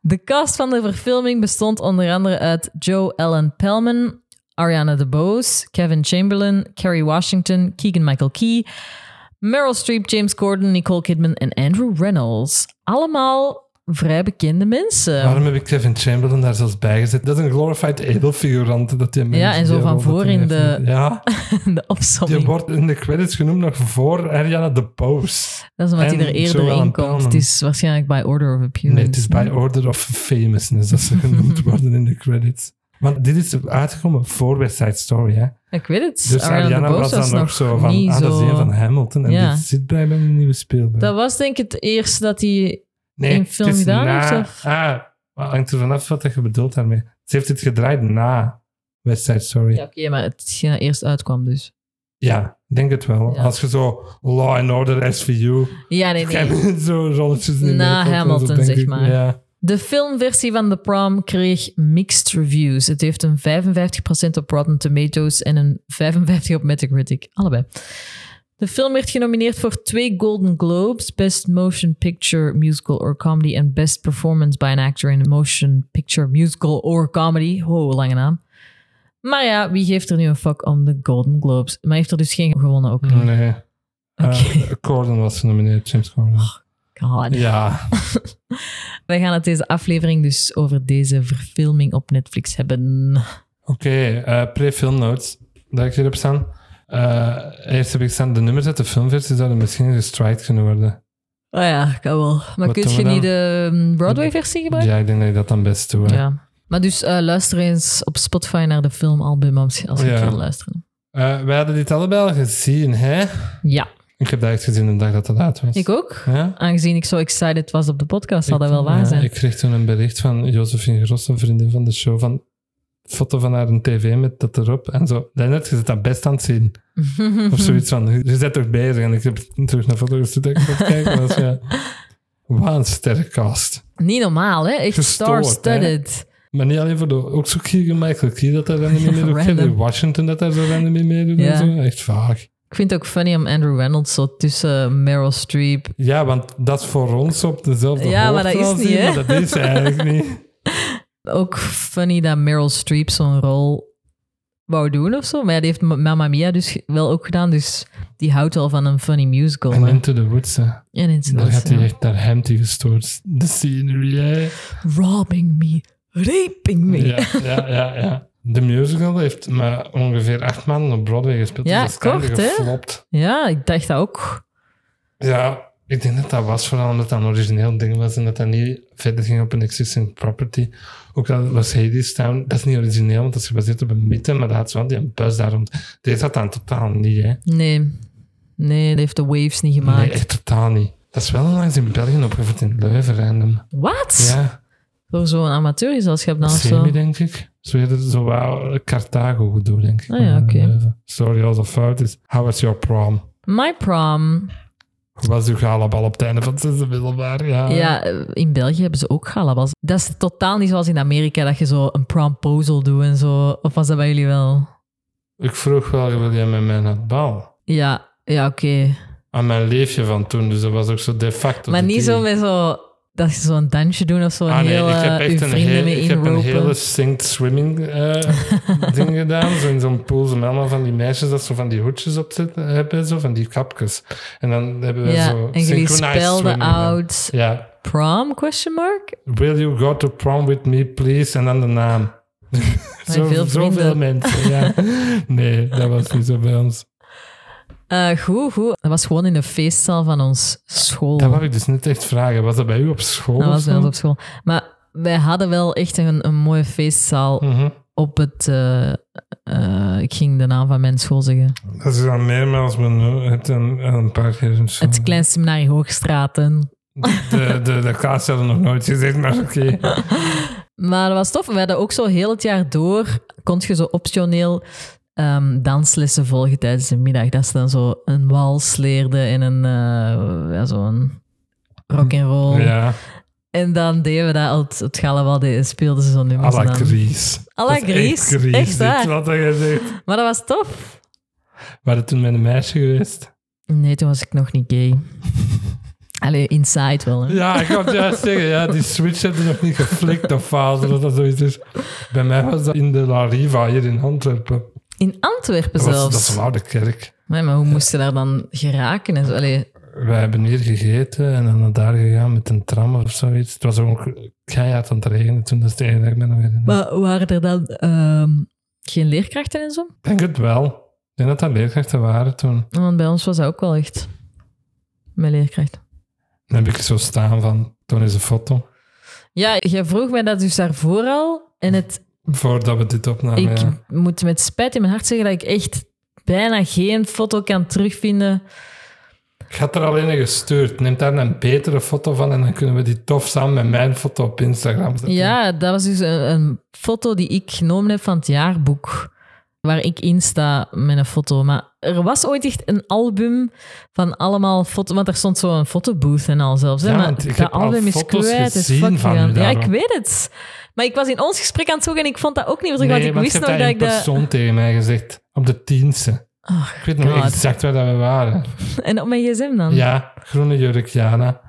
B: De cast van de verfilming bestond onder andere uit Joe Ellen Pellman, Ariana DeBose, Kevin Chamberlain, Kerry Washington, Keegan-Michael Key, Meryl Streep, James Corden, Nicole Kidman en Andrew Reynolds. Allemaal vrij bekende mensen.
A: Waarom heb ik Kevin Chamberlain daar zelfs bij gezet? Dat is een glorified edelfigurant. Dat die
B: Ja, en zo van voor in de-
A: Ja,
B: de
A: die
B: opzomming.
A: wordt in de credits genoemd nog voor Ariana DeBose.
B: Dat is omdat hij
A: en
B: er eerder
A: Joel
B: in komt.
A: Pellman.
B: Het is waarschijnlijk by order of appearance.
A: Nee, het is by order of famousness dat ze genoemd worden in de credits. Want dit is uitgekomen voor West Side Story, hè?
B: Ik weet het.
A: Dus
B: Ariana
A: Ariana
B: DeBose
A: was dan
B: nog
A: nog zo van,
B: niet
A: ah, dat is
B: zo-
A: een van Hamilton. En
B: Ja.
A: dit zit bij bij een nieuwe speelbeeld.
B: Dat was denk ik het eerste dat hij...
A: Nee,
B: In film
A: het is
B: gedaan
A: na,
B: heeft, of?
A: Ah, maar hangt er vanaf wat je bedoelt daarmee. Ze heeft het gedraaid na West Side Story.
B: Ja,
A: Ja,
B: oké, maar het ja, eerst uitkwam dus.
A: ik denk het wel.
B: Ja.
A: Als je zo Law and Order, SVU,
B: Ja, nee, nee.
A: zo rolletjes in Nederland
B: Na
A: en zo,
B: Hamilton,
A: denk
B: zeg
A: ik.
B: maar.
A: Ja.
B: De filmversie van The Prom kreeg mixed reviews. Het heeft een 55% op Rotten Tomatoes en een 55% op Metacritic. Allebei. De film werd genomineerd voor twee Golden Globes: Best Motion Picture, Musical or Comedy en Best Performance by an Actor in a Motion Picture, Musical or Comedy. Ho, lange naam. Maar ja, wie geeft er nu een fuck om de Golden Globes? Maar heeft er dus geen gewonnen ook. niet.
A: Nee.
B: Oké. Oh,
A: Eh, Corden was genomineerd, James Corden.
B: God.
A: Ja,
B: Wij gaan het deze aflevering dus over deze verfilming op Netflix hebben.
A: oké. eh Pre-film notes, dat ik hier heb staan. Eh, eerst heb ik staan, de nummers uit de filmversie zouden misschien gestrikt kunnen worden.
B: Oh ja, kan wel. Maar
A: Wat
B: kun
A: doen we
B: je niet
A: dan?
B: de mm, Broadway-versie gebruiken?
A: Ja, ik denk dat ik dat dan best doe. hè.
B: Ja. Maar dus eh, luister eens op Spotify naar de filmalbum als als je
A: Ja.
B: wilt luisteren.
A: Eh, wij hadden dit allebei al gezien, hè?
B: Ja,
A: Ik heb dat echt gezien de dag dat het laat was.
B: ik ook.
A: Ja?
B: Aangezien ik zo excited was op de podcast, zal dat wel waar
A: Ja,
B: zijn.
A: Ik kreeg toen een bericht van Josephine Gross, een vriendin van de show, van foto van haar een tv met dat erop en zo. Lennart, je zit dat best aan het zien. Of zoiets van, je zit toch bezig? En ik heb terug naar foto gestuurd dat ik aan het kijken was. Ja. Wat een sterke cast.
B: Niet normaal, hè? Echt
A: Gestoord,
B: star-studded.
A: Maar niet alleen voor de... Ook zo Keegan Michael Key dat daar random in meedoet. Ook
B: Random.
A: Kerry Washington dat daar zo random in meedoet.
B: Ja.
A: en zo. Echt vaag.
B: Ik vind het ook funny om Andrew Reynolds zo tussen Meryl Streep...
A: Ja, want dat is voor ons op dezelfde
B: Ja, maar
A: hoogte
B: dat is
A: als
B: niet,
A: die,
B: hè?
A: maar dat is eigenlijk niet.
B: Ook funny dat Meryl Streep zo'n rol wou doen of zo. Maar ja, die heeft Ma- Mamma Mia dus ge- wel ook gedaan. Dus die houdt wel van een funny musical.
A: En
B: maar-
A: Into the Woods, hè.
B: En iets
A: Daar
B: anders,
A: gaat hij
B: ja.
A: echt, daar hemt hij gestoord. De scenery, hè.
B: robbing me, raping me.
A: Ja, ja, ja, ja. De musical heeft maar ongeveer acht maanden op Broadway gespeeld.
B: Ja,
A: dus dat is kort,
B: kort, hè?
A: geflopt.
B: Ja, ik dacht dat ook.
A: Ja, ik denk dat dat was vooral omdat dat een origineel ding was en dat dat niet verder ging op een existing property. Ook al was Hades Town, dat is niet origineel, want dat is gebaseerd op een mythe, maar dat had zo wel die bus daar rond. Deze had dat totaal niet, hè.
B: Nee, nee, dat heeft de Waves niet
A: Nee,
B: gemaakt.
A: echt totaal niet. Dat is wel onlangs in België opgevoerd in Leuven, random.
B: Wat?
A: Ja.
B: Door zo'n amateurgezelschap dan of zo?
A: Semi, denk ik. Zo heet het zo wel eh, Carthago goed doen, denk ik.
B: Ah ja, oké.
A: Leuven. Sorry als dat fout is. How was your prom?
B: My Prom.
A: Hoe was uw galabal op het einde van het zesde middelbaar? Ah, Ja.
B: Ja, eh, in België hebben ze ook galabas. Dat is totaal niet zoals in Amerika, dat je zo een promposal doet en zo. Of was dat bij jullie wel?
A: Ik vroeg wel, wil jij met mij naar het bal?
B: Ja, ja oké.
A: Aan mijn leefje van toen, dus dat was ook zo de facto.
B: Maar
A: de
B: niet
A: deal.
B: zo met zo... Dat je zo'n dansje doet of zo.
A: Ah
B: een
A: nee,
B: heel,
A: ik heb
B: eh,
A: echt
B: uw
A: een,
B: vrienden
A: heel,
B: mee
A: ik heb een
B: inropen.
A: hele synced swimming eh, ding gedaan. Zo in zo'n pool zijn allemaal van die meisjes dat zo van die hoedjes op zitten hebben, zo van die kapjes. En dan hebben we
B: Ja,
A: zo
B: en jullie
A: synchronized
B: spelden
A: swimming gedaan.
B: oud.
A: Ja,
B: prom? Question mark.
A: Will you go to prom with me, please? En dan de naam. Zo,
B: veel
A: zoveel
B: vrienden.
A: mensen, ja. Nee, dat was niet zo bij ons.
B: Eh, goed, goed. Dat was gewoon in de feestzaal van ons school.
A: Dat wou ik dus niet echt vragen. Was dat bij u op school?
B: Dat
A: of
B: was bij
A: zo?
B: ons op school. Maar wij hadden wel echt een, een mooie feestzaal
A: Mhm.
B: op het... eh, eh, ik ging de naam van mijn school zeggen.
A: Dat is dan meermaals benoemd en en eh, een paar keer in zo.
B: Het Klein Seminarie Hoogstraten.
A: De, de, de Klaas had het nog nooit gezegd, maar oké.
B: Maar dat was tof. We hadden ook zo heel het jaar door... Kon je zo optioneel ehm, danslessen volgen tijdens de middag. Dat ze dan zo een wals leerden en een... eh, ja, zo'n rock'n'roll.
A: Ja,
B: En dan deden we dat. al Het, het Galawal deed- speelden ze zo'n
A: à
B: nummers.
A: la
B: en dan-
A: Gries.
B: À la
A: Dat is
B: Gries.
A: Echt, Gries,
B: Echt
A: dit
B: waar.
A: wat dat jij zegt.
B: Maar dat was tof.
A: Waren toen met een meisje geweest?
B: Nee, toen was ik nog niet gay. Allee, inside wel. Hè?
A: Ja, ik had juist zeggen, ja, die switch hebben nog niet geflikt of fase of dat zoiets is. Bij mij was dat in de La Riva hier in Antwerpen.
B: In Antwerpen
A: Dat, was, dat
B: zelfs.
A: is een oude kerk.
B: nee, maar hoe moest je daar dan geraken? En zo? Allee,
A: Wij hebben hier gegeten en dan naar daar gegaan met een tram of zoiets. Het was ook keihard aan het regenen toen, dat is het enige dat ik me nog herinner.
B: maar waren er dan ehm, geen leerkrachten en zo?
A: Ik denk het wel. Ik denk dat dat leerkrachten waren toen.
B: Want bij ons was dat ook wel echt. Mijn leerkracht.
A: Dan heb ik zo staan van, toen is een foto.
B: Ja, jij vroeg mij dat dus daarvoor al. En het,
A: Voordat we dit opnamen,
B: ik
A: Ah, ja.
B: moet met spijt in mijn hart zeggen dat ik echt bijna geen foto kan terugvinden
A: Ik had er alleen een gestuurd. Neem daar een betere foto van en dan kunnen we die tof samen met mijn foto op Instagram zetten.
B: Ja, dat was dus een, een foto die ik genomen heb van het jaarboek. Waar ik in sta met een foto. Maar er was ooit echt een album van allemaal foto's. Want er stond zo'n fotobooth en al zelfs. hè.
A: Ja,
B: maar
A: want ik
B: dat
A: heb al
B: album is
A: foto's
B: kwijt. is
A: gezien
B: fuck
A: van u
B: gegaan. Ja,
A: daarom.
B: ik weet het. Maar ik was in ons gesprek aan het zoeken en ik vond dat ook niet meer terug.
A: Nee,
B: want ik
A: want
B: wist
A: je
B: nog
A: hebt
B: dat
A: dat
B: ik
A: in
B: dat...
A: persoon tegen mij gezegd. Op de tienste.
B: Oh,
A: Ik weet nog
B: God. Mm.
A: exact waar dat we waren.
B: En op mijn gsm dan?
A: Ja, groene jurk, Jana.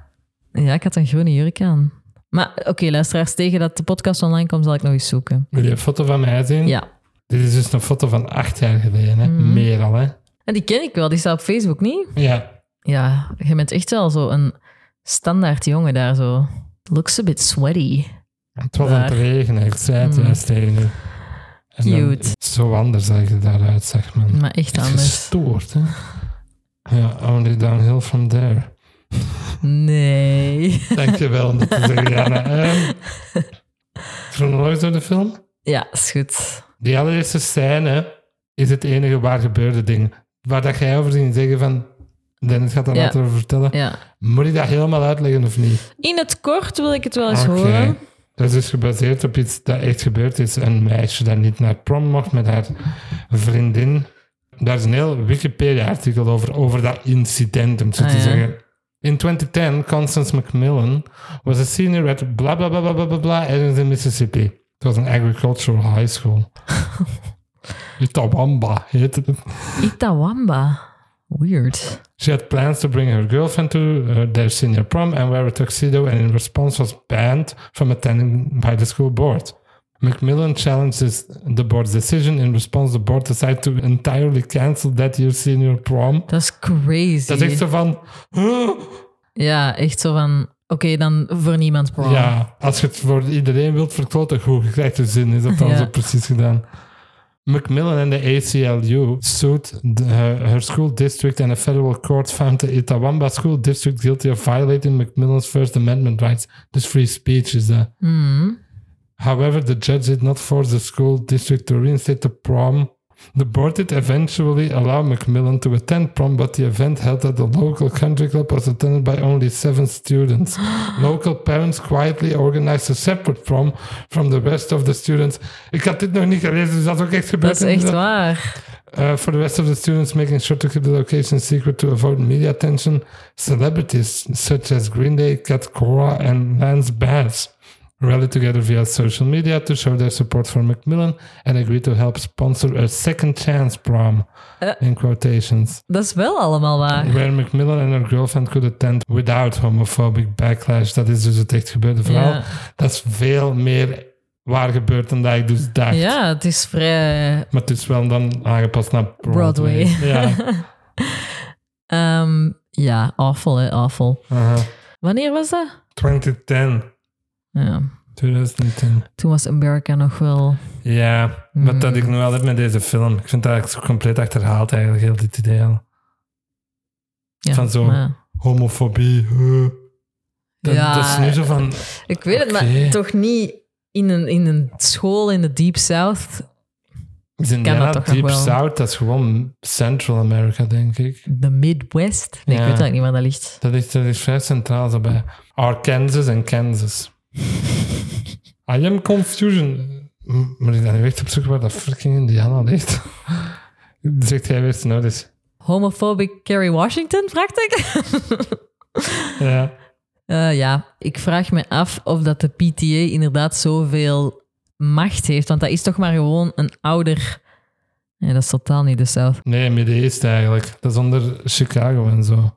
B: Ja, ik had een groene jurk aan. Maar oké, luisteraars, tegen dat de podcast online komt, zal ik nog eens zoeken.
A: Wil je een foto van mij zien?
B: Ja. Mm.
A: Dit is dus een foto van acht jaar geleden. Hè? Meer al, hè?
B: En die ken ik wel. Die staat op Facebook, niet?
A: Ja.
B: Ja, je bent echt wel zo een standaard jongen daar zo. Looks a bit sweaty.
A: Het was
B: Daar.
A: aan het regenen. Ik zei het
B: Mm.
A: juist tegen u. En dan-
B: Cute.
A: Zo anders zag je daaruit, zeg man.
B: Maar echt
A: Echt
B: anders.
A: Gestoord, hè? Ja, only downhill from there.
B: Nee.
A: Dankjewel om dat te zeggen, Jana. Ehm, Chronologisch door de film?
B: Ja, is goed.
A: Die allereerste scène is het enige waar gebeurde ding. Waar dat jij over ging zeggen van... Dennis gaat daar
B: Ja.
A: later over vertellen.
B: Ja.
A: Moet ik dat helemaal uitleggen of niet?
B: In het kort wil ik het wel eens
A: Oké.
B: horen.
A: Dat is dus gebaseerd op iets dat echt gebeurd is. Een meisje dat niet naar prom mocht met haar vriendin. Daar is een heel Wikipedia-artikel over, over dat incident, om zo
B: Ah,
A: te
B: ja.
A: zeggen. In 2010, Constance Macmillan was a senior at bla bla bla bla bla bla bla ergens in Mississippi. Het was een agricultural high school. Itawamba heette het.
B: Itawamba. Weird.
A: She had plans to bring her girlfriend to uh, their senior prom and wear a tuxedo, and in response, was banned from attending by the school board. Macmillan challenged this, the board's decision. In response, the board decided to entirely cancel that year's senior prom.
B: Dat is crazy.
A: Dat is echt zo van. huh?
B: Ja, echt zo van... Oké, dan voor niemand prom.
A: Ja, als je het voor iedereen wilt verkloten, goed, je krijgt er zin. in. Is dat dan
B: Ja.
A: zo precies gedaan? Macmillan en de ACLU sued the, her, eh, her school district and a federal court found the Itawamba school district guilty of violating Macmillan's First Amendment rights. Dus free speech is dat.
B: Hmm.
A: However, the judge did not force the school district to reinstate the prom. The board did eventually allow Macmillan to attend prom, but the event held at the local country club was attended by only seven students. local parents quietly organized a separate prom from the rest of the students. Ik had dit nog niet gelezen, dus dat is ook echt
B: Dat
A: gebeurd.
B: is echt
A: inderdaad.
B: waar.
A: Uh, for the rest of the students, making sure to keep the location secret to avoid media attention, celebrities such as Green Day, Cat Cora, and Lance Bass rallied together via social media to show their support for Macmillan and agree to help sponsor a second chance prom,
B: Eh.
A: in quotations,
B: Dat is wel allemaal waar.
A: where Macmillan and her girlfriend could attend without homophobic backlash. Dat is dus het echt gebeurde verhaal.
B: Ja.
A: Dat is veel meer waar gebeurd dan dat ik dus dacht.
B: Ja, het is vrij...
A: Maar het is wel dan aangepast naar Broadway.
B: Broadway.
A: Ja.
B: ehm, ja, awful hè, awful.
A: aha.
B: Wanneer was dat?
A: 2010.
B: Ja.
A: 2010.
B: Toen was America nog wel...
A: Ja,
B: Hmm.
A: wat dat ik nu altijd met deze film. Ik vind dat eigenlijk compleet achterhaald eigenlijk, heel dit idee al.
B: Ja,
A: Van zo-
B: maar-
A: Homofobie. huh. Dat,
B: Ja.
A: dat is nu zo van...
B: ik weet het,
A: Oké.
B: maar toch niet in een, in een school in de Deep South.
A: Is
B: dat
A: Indiana
B: toch nog
A: Deep
B: wel.
A: South, dat is gewoon Central America, denk ik.
B: De Midwest? Nee, ik weet
A: Ja.
B: eigenlijk niet waar dat ligt.
A: Dat is, dat is vrij centraal zo bij Arkansas en Kansas. I am confusion. M- Moet ik dan nu echt op zoek waar dat fucking Indiana ligt? Zegt jij weer nou, dus, snel is.
B: Homophobic Kerry Washington, vraagteken?
A: Ja.
B: Eh ja, ik vraag me af of dat de PTA inderdaad zoveel macht heeft. Want dat is toch maar gewoon een ouder... Nee, dat is totaal niet de South.
A: Nee, Midden-East eigenlijk. Dat is onder Chicago en zo.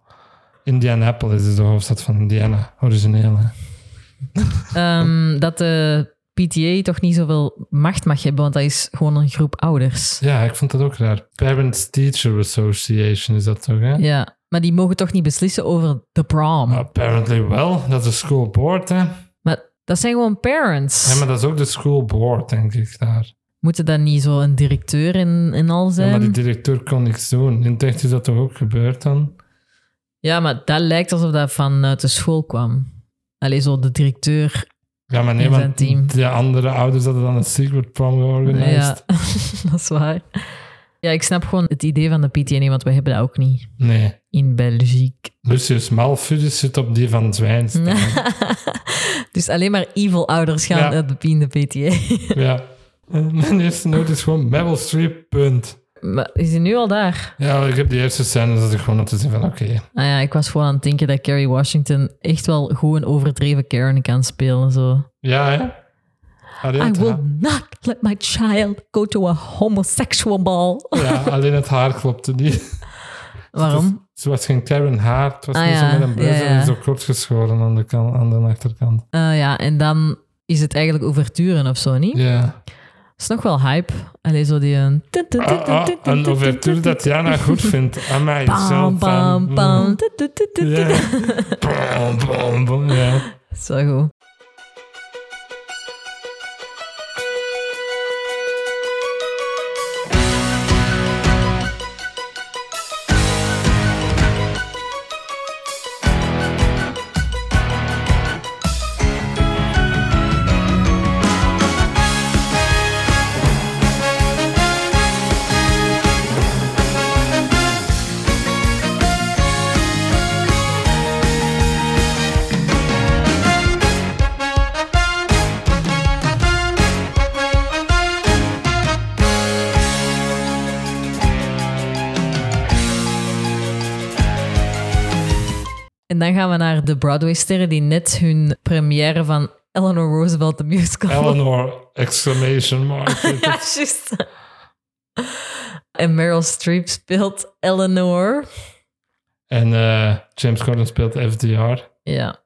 A: Indianapolis is de hoofdstad van Indiana, origineel. hè.
B: Ehm, dat de PTA toch niet zoveel macht mag hebben, want dat is gewoon een groep ouders.
A: Ja, ik vond dat ook raar. Parents Teacher Association is dat toch, hè?
B: Ja, maar die mogen toch niet beslissen over de
A: Oh,
B: prom.
A: Apparently wel. Dat is de school board, hè?
B: Maar dat zijn gewoon parents.
A: Ja, maar dat is ook de school board, denk ik, daar.
B: Moeten dan niet zo een directeur in, in al zijn?
A: Ja, maar die directeur kon niks doen. In het echt is dat toch ook gebeurd dan?
B: dat lijkt alsof dat vanuit de school kwam. Alleen zo de directeur.
A: Ja, maar nee,
B: In zijn
A: want
B: team.
A: de andere ouders hadden dan een secret prom
B: Ja,
A: georganiseerd.
B: dat is waar. Ja, ik snap gewoon het idee van de PTA niet, E, want we hebben dat ook niet
A: Nee.
B: in België.
A: Lucius Malfoy zit op die van Zwijns.
B: dus alleen maar evil ouders gaan
A: Ja.
B: uit de- in de PTA.
A: ja. En Mijn eerste noot is gewoon Meryl Streep, punt.
B: Maar is hij nu al daar?
A: Ja, ik heb die eerste scène dat ik gewoon om te zien van, oké,
B: Nou ja, ik was gewoon aan het denken dat Kerry Washington echt wel gewoon een overdreven Karen kan spelen. Zo.
A: ja, hè? Alleen
B: I
A: het,
B: will
A: haar,
B: not let my child go to a homosexual ball.
A: ja, alleen het haar klopte niet.
B: Waarom?
A: Ze was geen Karen haar, het was
B: Ah,
A: niet
B: ja.
A: zo met een buzzer,
B: Ja, ja.
A: zo kort geschoren aan de, kan- aan de achterkant.
B: Eh, ja, en dan is het eigenlijk overturen of zo, niet?
A: Ja.
B: Dat is nog wel hype. Allee, zo die eh, een...
A: Ah, ah, een overture dat Jana goed vindt. Amai, zo
B: Bam, bam,
A: van-
B: bam. Tu, tu, tu, tu, tu.
A: Ja. Bam, bam, bam, ja.
B: Dat is wel goed. En dan gaan we naar de Broadway-sterren die net hun première van Eleanor Roosevelt, de musical...
A: Eleanor, exclamation mark.
B: Ja, juist. En Meryl Streep speelt Eleanor.
A: En eh, James Corden speelt FDR.
B: Ja.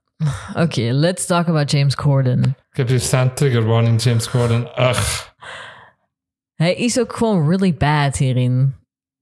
B: Oké, let's talk about James Corden.
A: Ik heb hier staan trigger warning, James Corden. Ugh.
B: Hij is ook gewoon really bad hierin.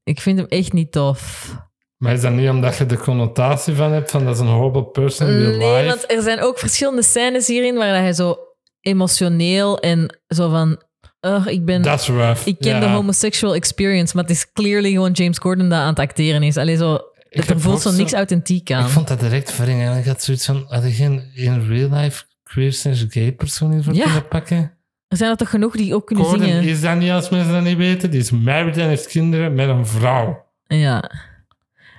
B: Ik vind hem echt niet tof.
A: Maar is dat niet omdat je de connotatie van hebt, van dat is een horrible person in real
B: Nee,
A: life?
B: want er zijn ook verschillende scènes hierin waar hij zo emotioneel en zo van... "Ugh, ik ben...
A: Dat is rough.
B: ik ken
A: Ja.
B: de homosexual experience, maar het is clearly gewoon James Corden dat aan het acteren is. Alleen zo...
A: Ik
B: er
A: heb
B: voelt
A: ook
B: zo
A: zo-
B: niks authentiek aan.
A: Ik vond dat direct verring. En ik had zoiets van, had je geen in real life queer slash gay persoon hiervoor
B: Ja.
A: kunnen pakken?
B: Er zijn er toch genoeg die ook kunnen
A: Corden
B: zingen?
A: is dat niet, als mensen dat niet weten. Die is married en heeft kinderen met een vrouw.
B: Ja.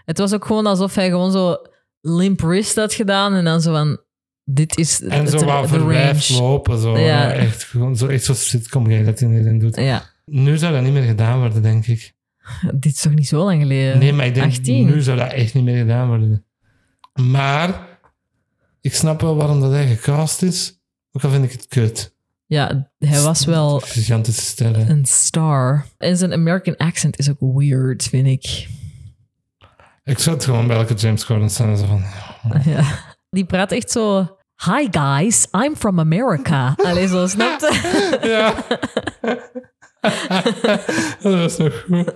B: Het was ook gewoon alsof hij gewoon zo limp wrist had gedaan en dan zo van... Dit is
A: En
B: het-
A: zo wat
B: de
A: verwijfd
B: range.
A: lopen. Zo.
B: Ja.
A: Ja, echt gewoon zo, echt zo sitcom gay dat hij hierin doet.
B: Ja,
A: Nu zou dat niet meer gedaan worden, denk ik.
B: dit is toch niet zo lang geleden?
A: Nee, maar ik denk,
B: 18.
A: nu zou dat echt niet meer gedaan worden. Maar ik snap wel waarom dat hij gecast is. Ook al vind ik het kut.
B: Ja, hij was wel
A: Gigantische sterren.
B: een star. En zijn American accent is ook weird, vind ik.
A: Ik zou het gewoon bij elke James Corden staan. Zo van,
B: Ja. Die praat echt zo... Hi guys, I'm from America. Allee, zo Ah, snapte.
A: ja. dat was nog goed.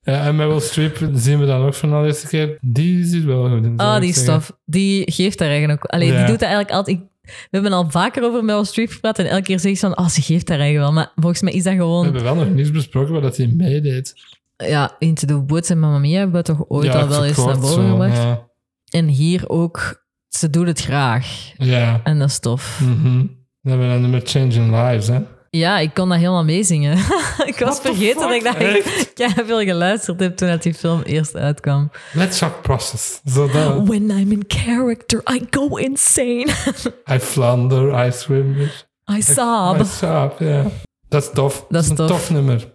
A: Ja, en Meryl Streep zien we dan ook van de eerste keer. Die zit wel goed in. zou
B: Ah,
A: ik
B: die
A: zeggen.
B: stof. Die geeft daar eigenlijk ook. Allee,
A: Ja.
B: die doet dat eigenlijk altijd. ik- we hebben al vaker over Meryl Streep gepraat en elke keer zeg je van, ah, ze geeft daar eigenlijk wel. Maar volgens mij is dat
A: We
B: gewoon,
A: hebben wel nog niets besproken waar dat hij meedeed.
B: ja, in te doen boots en Mamma Mia hebben we toch ooit
A: Ja,
B: al wel eens naar
A: verkort
B: boven
A: zo,
B: gebracht.
A: Ja.
B: En hier ook, ze doet het graag.
A: ja.
B: En dat is tof.
A: Mhm. Dan hebben we dan nummer Changing Lives, hè?
B: Ja, ik kon dat helemaal meezingen. ik was
A: What the
B: vergeten dat ik
A: fuck?
B: daar eigenlijk veel geluisterd heb toen dat die film eerst uitkwam.
A: Let's shock process. Zo dat.
B: When I'm in character, I go insane.
A: I flounder, I swim.
B: I sob.
A: I sob, ja. Dat is tof.
B: Ah, Dat is
A: een
B: tof.
A: tof nummer.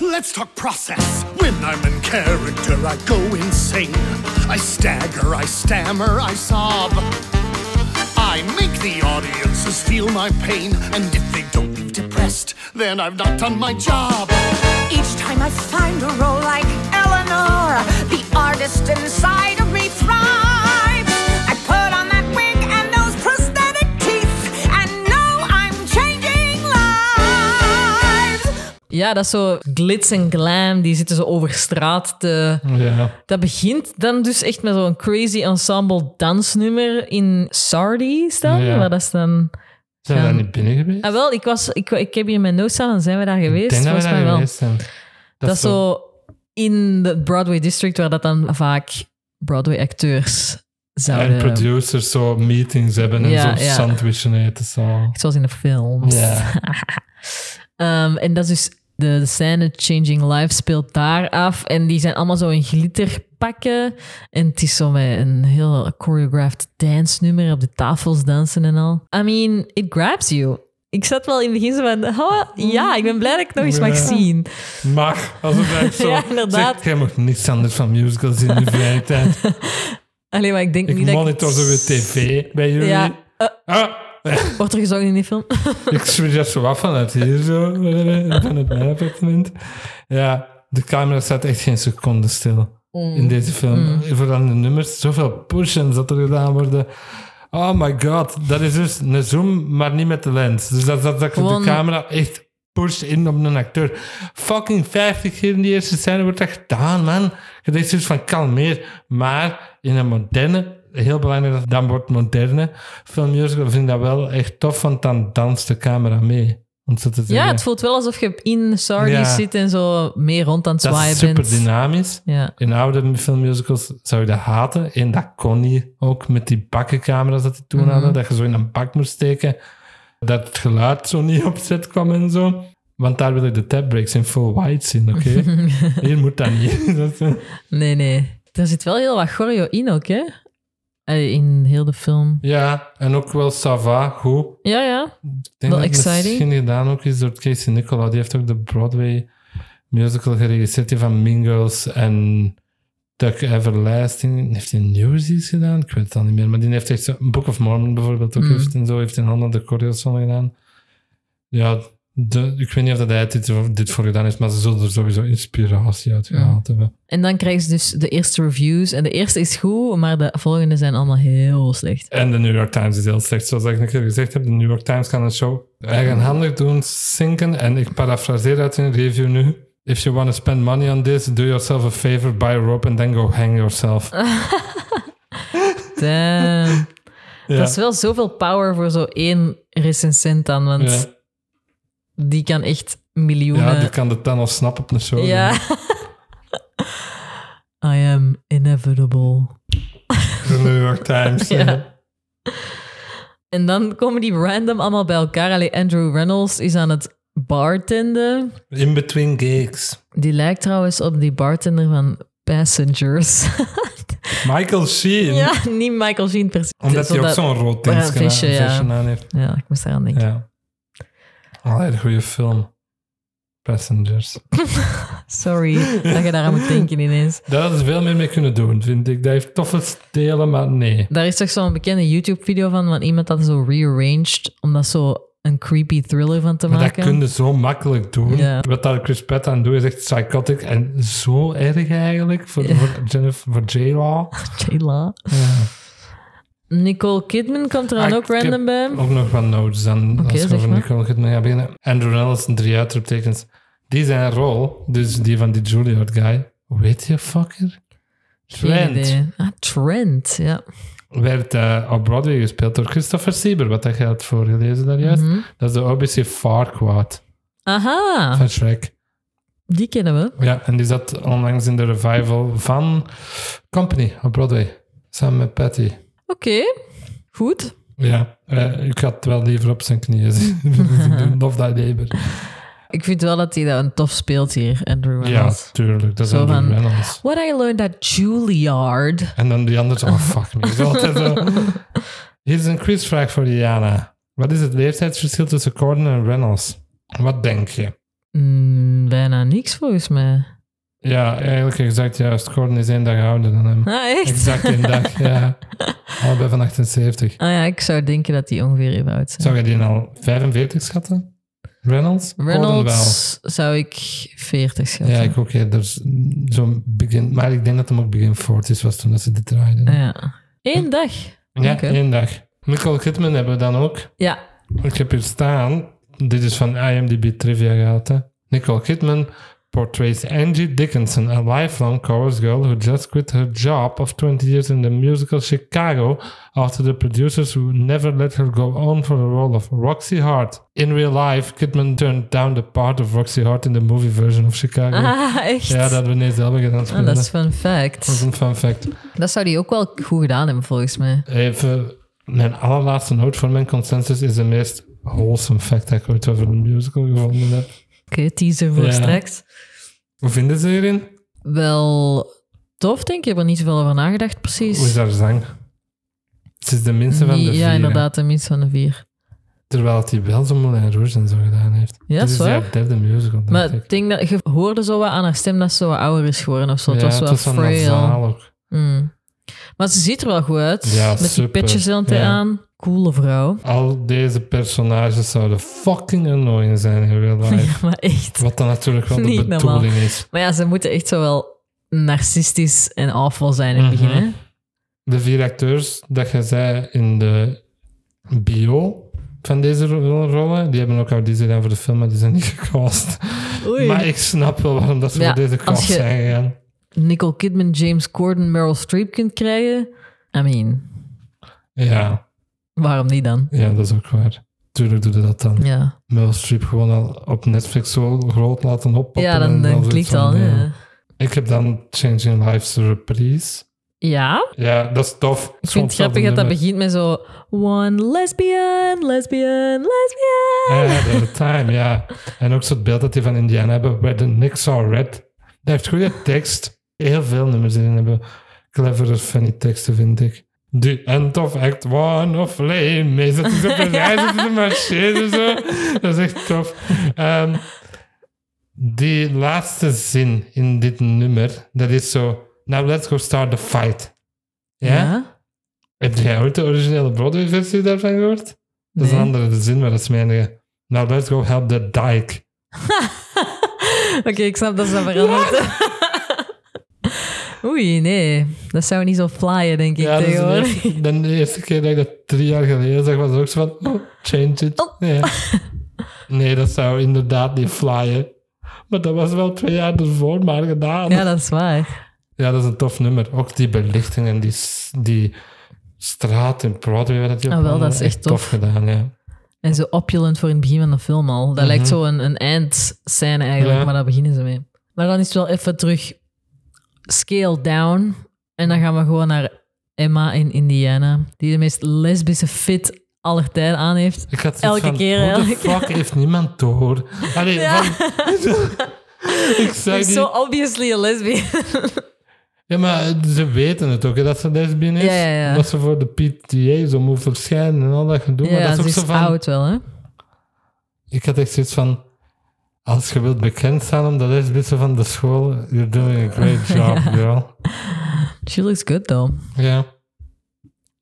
D: Let's talk process. When I'm in character, I go insane. I stagger, I stammer, I sob. I make the audiences feel my pain, and if they don't leave depressed, then I've not done my job.
E: Each time I find a role like Eleanor, the artist inside of me thrives. I put on that wig and those prosthetic teeth, and know I'm changing lives.
B: Ja, dat is zo glitz en glam. Die zitten zo over straat te...
A: Ja.
B: Dat begint dan dus echt met zo'n crazy ensemble dansnummer in Sardi's dan.
A: Ja.
B: Waar dat is dan...
A: Zijn we
B: Ja.
A: daar niet binnen geweest?
B: Ah, wel, ik, was, ik, ik heb hier mijn notes staan en zijn we daar
A: Ik
B: geweest?
A: denk dat we
B: Volgens
A: daar
B: mij wel.
A: geweest zijn.
B: Dat, is zo in het Broadway District, waar dat dan vaak Broadway-acteurs
A: En
B: zouden...
A: producers zo meetings hebben en
B: Ja,
A: zo
B: ja.
A: sandwichen eten. Zo.
B: Zoals in de films.
A: Ja.
B: Ehm, en dat is dus de, de scène Changing Life speelt daar af. En die zijn allemaal zo in glitterpakken. En het is zo met een heel choreographed dance nummer op de tafels dansen en al. I mean, it grabs you. Ik zat wel in de gist van, oh, ja, ik ben blij dat ik het nog eens mag
A: Ja.
B: zien.
A: Maar, alsof ik zo...
B: Ja, inderdaad.
A: Zeg, jij mag niks anders van musicals in de vrije tijd.
B: Alleen maar ik denk
A: Ik
B: niet
A: monitor
B: dat
A: zo
B: ik...
A: weer tv bij jullie.
B: Ja, eh,
A: Ah,
B: wordt er gezongen in die film?
A: Ik zweer dat zo af vanuit hier, zo, van het mijn appartement. Ja, de camera staat echt geen seconde stil
B: Mm.
A: in deze film. Vooral de nummers, zoveel push-ins dat er gedaan worden. Oh my god, dat is dus een zoom, maar niet met de lens. Dus dat, dat, dat
B: Gewoon-
A: de camera echt pusht in op een acteur. Fucking 50 keer in die eerste scène wordt dat gedaan, man. Je denkt zoiets van kalmeer. Maar in een moderne, heel belangrijk dat het dan wordt moderne filmmusical, vind ik dat wel echt tof, want dan danst de camera mee. Om zo te zeggen.
B: Ja, het voelt wel alsof je in Sardi's
A: Ja.
B: zit en zo meer rond aan het
A: dat
B: zwaaien
A: is super
B: bent.
A: dynamisch.
B: Ja.
A: In oude filmmusicals zou je dat haten. En dat kon niet. Ook met die bakkencamera's dat die toen hadden. Dat je zo in een bak moest steken. Dat het geluid zo niet op zet kwam en zo. Want daar wil ik de tap breaks in full white zien, oké? Hier moet dat niet. Dat is-
B: Nee, nee. Er zit wel heel wat choreo in ook, hè? Eh, In heel de film.
A: ja, en ook wel Sava, goed.
B: Ja, ja.
A: Ik denk
B: Wel
A: dat het
B: exciting.
A: misschien gedaan ook is door Casey Nicola. Die heeft ook de Broadway musical geregisseerd die van Mean Girls en Tuck Everlasting. Heeft hij Newsies gedaan? Ik weet het al niet meer. Maar die heeft echt zo- Book of Mormon bijvoorbeeld ook
B: Mm.
A: heeft en zo. Heeft in handen de choreo's van gedaan. Ja, de, ik weet niet of dat hij dit, dit voor gedaan heeft, maar ze zullen er sowieso inspiratie uit gehaald hebben.
B: En dan krijgen ze dus de eerste reviews. En de eerste is goed, maar de volgende zijn allemaal heel slecht.
A: En de New York Times is heel slecht. Zoals ik een keer gezegd heb, de New York Times kan een show eigenhandig doen zinken. En ik parafraseer uit hun review nu. If you want to spend money on this, do yourself a favor, buy a rope and then go hang yourself.
B: Ah, Damn.
A: ja.
B: Dat is wel zoveel power voor zo één recensent dan, want
A: Ja.
B: die kan echt
A: Ja, die
B: miljoenen...
A: kan de dan al snappen op een show.
B: Ja. I am inevitable.
A: De New York Times.
B: Ja.
A: ja.
B: En dan komen die random allemaal bij elkaar. Allee, Andrew Reynolds is aan het bartenden.
A: In between gigs.
B: Die lijkt trouwens op die bartender van Passengers.
A: Michael Sheen.
B: ja, niet Michael Sheen precies.
A: Omdat hij ook
B: Zodat-
A: zo'n rood
B: Ja,
A: ding
B: een visje, ja.
A: aan heeft.
B: Ja, ik moest eraan denken.
A: Ja. Allee, een goede film. Passengers.
B: Sorry dat je daaraan moet denken ineens.
A: Daar hadden ze veel meer mee kunnen doen, vind ik. Dat heeft toffe stelen, maar nee.
B: Daar is toch zo'n bekende YouTube-video van, van iemand dat zo rearranged om dat zo een creepy thriller van te
A: Maar dat
B: maken.
A: kun je zo makkelijk doen.
B: Ja.
A: Wat daar Chris Pratt aan doet, is echt psychotic en zo erg eigenlijk voor, voor Jennifer voor J-Law.
B: Jayla. Nicole Kidman komt er dan
A: Ah,
B: ook
A: ik heb
B: random bij.
A: Ook nog wat notes dan als
B: zeg
A: je over
B: maar.
A: Nicole Kidman gaat beginnen. Andrew Reynolds, drie uitroeptekens. Die zijn rol, dus die van die Juilliard guy, weet je fucker?
B: Geen
A: Trent
B: idee. Ah, Trent, ja.
A: werd eh, op Broadway gespeeld door Christopher Sieber, wat dat je had voorgelezen daar juist.
B: Mhm.
A: Dat is de OBC Farquaad
B: Aha,
A: van Shrek.
B: die kennen we.
A: Ja, en die zat onlangs in de revival van Company op Broadway, samen met Patty.
B: Oké, goed.
A: Ja, eh, ik had wel liever op zijn knieën zien doen, of dat Labour.
B: Ik vind wel dat hij dat een tof speelt hier, Andrew
A: Ja,
B: Reynolds.
A: tuurlijk, dat is
B: Zo
A: Andrew
B: van-
A: Reynolds.
B: What I learned at Juilliard.
A: En dan die anders, oh fuck me. Is altijd zo. Hier is een quizvraag voor Diana. Wat is het leeftijdsverschil tussen Corden en Reynolds? Wat denk je?
B: Mm, bijna niks volgens mij.
A: Ja, eigenlijk exact juist. Corden is één dag ouder dan hem.
B: Ah, echt?
A: Exact één dag, ja. Allebei van 78.
B: Ah ja, ik zou denken dat die ongeveer even oud zijn.
A: Zou je die al 45 schatten? Reynolds? Corden wel.
B: Reynolds zou ik 40 schatten.
A: Ja, ik ook eerder zo'n begin. Maar ik denk dat hem ook begin 40 was toen dat ze dit draaiden.
B: Ah, ja. Eén dag.
A: Ja,
B: Oké.
A: één dag. Michael Kidman hebben we dan ook.
B: Ja.
A: Ik heb hier staan, dit is van IMDb Trivia gehaald. hè. Nicole Kidman portrays Angie Dickinson, a lifelong chorus girl who just quit her job of 20 years in the musical Chicago after the producers who never let her go on for the role of Roxy Hart. In real life, Kidman turned down the part of Roxy Hart in the movie version of Chicago.
B: Ah, echt?
A: Ja, dat hebben we niet zelf gedaan.
B: Ah, dat is
A: dat
B: fun fact.
A: is een fun fact.
B: Dat zou die ook wel goed gedaan hebben, volgens mij.
A: Even, mijn allerlaatste noot voor mijn consensus is de meest wholesome fact dat ik ooit over een musical gevonden heb.
B: Oké, teaser voor
A: Ja.
B: straks.
A: Hoe vinden ze hierin?
B: Wel tof, denk ik. Ik heb er niet zoveel over nagedacht, precies.
A: Hoe is haar zang? Het is de minste van de
B: ja,
A: vier. hè.
B: inderdaad, de minst van de vier.
A: Terwijl het die wel zo'n Moulin Rouge en zo gedaan heeft.
B: Ja,
A: Dit
B: is
A: is
B: waar.
A: haar derde musical, dacht
B: Maar ik
A: ik.
B: denk dat je hoorde zo wat aan haar stem dat ze wat ouder is geworden of zo. het
A: ja,
B: was wel
A: het was een
B: frail.
A: nasaal ook.
B: Mm. Maar ze ziet er wel goed uit.
A: Ja,
B: met
A: super.
B: die petjes aan
A: Ja. Al deze personages zouden fucking annoying zijn in real life.
B: Ja, maar echt.
A: Wat dan natuurlijk wel de
B: Niet
A: bedoeling
B: normaal.
A: is.
B: Maar ja, ze moeten echt zo wel narcistisch en awful zijn in het
A: Mhm.
B: begin. Hè?
A: De vier acteurs dat je zei in de bio van deze ro- rollen, die hebben ook auditie gedaan voor de film, maar die zijn niet gekost.
B: Oei.
A: Maar ik snap wel waarom dat ze
B: Ja,
A: voor deze
B: als
A: kast
B: je-
A: zijn gegaan.
B: Nicole Kidman, James Corden, Meryl Streep kunt krijgen. I mean,
A: Ja,
B: waarom niet dan?
A: ja, dat is ook waar. Tuurlijk doe je dat dan.
B: Ja,
A: Meryl Streep gewoon al op Netflix zo groot laten oppoppen.
B: ja
A: en
B: dan, dan
A: zoiets
B: klikt
A: van,
B: al.
A: ja.
B: Ja,
A: Ik heb dan Changing Lives Reprise.
B: ja?
A: Ja, dat is tof.
B: ik vind het grappig dat dat begint met zo... One lesbian, lesbian, lesbian.
A: At the time, ja. En ook zo het beeld dat die van Indiana hebben, where the Knicks are red. Dat heeft goede tekst. Heel veel nummers in hebben. Clevere, funny teksten, vind ik. The end of act one of flame. Is dat is op een reis op de machine en zo. Dat is echt tof. Ehm, die laatste zin in dit nummer, dat is zo... Now let's go start the fight. Ja? Heb jij ooit de originele Broadway-versie daarvan gehoord? Dat is
B: Nee.
A: een andere zin, maar dat is mijn eh, enige. Now let's go help the dike.
B: Oké, ik snap dat ze dat veranderd. Oei, nee. Dat zou niet zo flyen, denk ik,
A: Ja, dat is de
B: tegenwoordig.
A: eerste, de eerste keer dat ik dat drie jaar geleden zag, was het ook zo van, oh, change it. Ja. Nee, dat zou inderdaad niet flyen. Maar dat was wel twee jaar ervoor maar gedaan.
B: Ja, dat is waar.
A: Ja, dat is een tof nummer. Ook die belichting en die, s- die straat in Broadway. waar Dat die
B: Ah,
A: op
B: wel, dat
A: hangen,
B: is echt tof.
A: gedaan, ja.
B: En zo opulent voor in het begin van de film al. Dat lijkt zo een, een eindscène eigenlijk,
A: Mhm. Ja.
B: maar daar beginnen ze mee. Maar dan is het wel even terug scale down. En dan gaan we gewoon naar Emma in Indiana, die de meest lesbische fit aller tijden aan heeft.
A: Ik had
B: Elke
A: zoiets van,
B: keer,
A: hoe de
B: elke keer.
A: fuck heeft niemand door? Allee, van- ik zei
B: Zo
A: die...
B: obviously a lesbian.
A: Ja, maar ze weten het ook, hè, dat ze lesbien is.
B: Ja, ja, ja.
A: Dat ze voor de PTA zo moet verschijnen en al dat gedoe. maar
B: ja,
A: dat
B: ze
A: is ook zo
B: is
A: van...
B: oud wel, hè?
A: Ik had echt zoiets van... Als je wilt bekend staan om de lesbische van de school, you're doing a great job, girl.
B: She looks good, though.
A: Ja.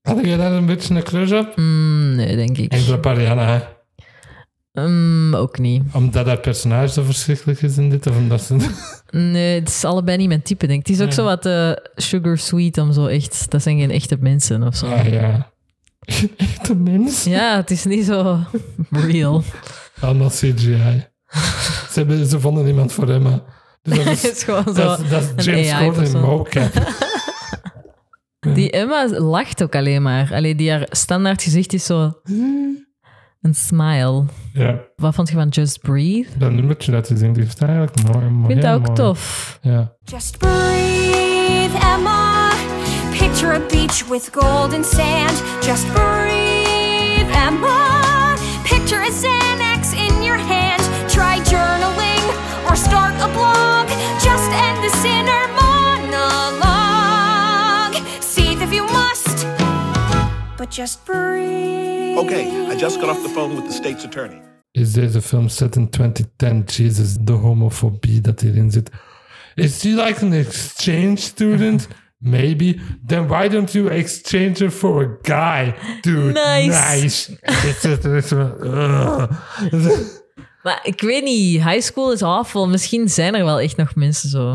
A: Had je daar een beetje een crush op?
B: Mm, nee, denk ik.
A: Enkel op Ariana, hè.
B: Mm, ook niet.
A: Omdat haar personage zo verschrikkelijk is in dit, of omdat ze...
B: Nee, het is allebei niet mijn type, denk ik. Het is ook zo wat eh, sugar sweet om zo echt... Dat zijn geen echte mensen of zo.
A: Ja, Ah, ja. Echte mens.
B: Ja, het is niet zo real.
A: Allemaal CGI. ze, hebben, ze vonden iemand voor Emma. Dus dat is,
B: Het is gewoon zo
A: dat is, dat is
B: een
A: James
B: AI
A: Corden in
B: persoon.
A: mocap.
B: Die Emma lacht ook alleen maar. Allee, die haar standaard gezicht is zo...
A: Hmm.
B: Een smile.
A: ja,
B: Wat vond je van Just Breathe? Ik
A: dat nummertje dat je zingt, die is eigenlijk mooi. Ik
B: vind dat ook tof.
A: Ja.
E: Just breathe, Emma. Picture a beach with golden sand. Just breathe, Emma. Picture a Xanax in your hand. Try journaling or start a blog. Just end the inner monologue. Seethe if you must, but just breathe.
F: Okay, I just got off the phone with the state's attorney.
A: Is deze film set in 2010? Jesus, de homofobie dat hierin zit. Is she like an exchange student? Maybe. Then why don't you exchange her for a guy? Dude,
B: Nice.
A: nice. Dit is- dit is- ugh.
B: Maar ik weet niet, high school is awful. Misschien zijn er wel echt nog mensen zo.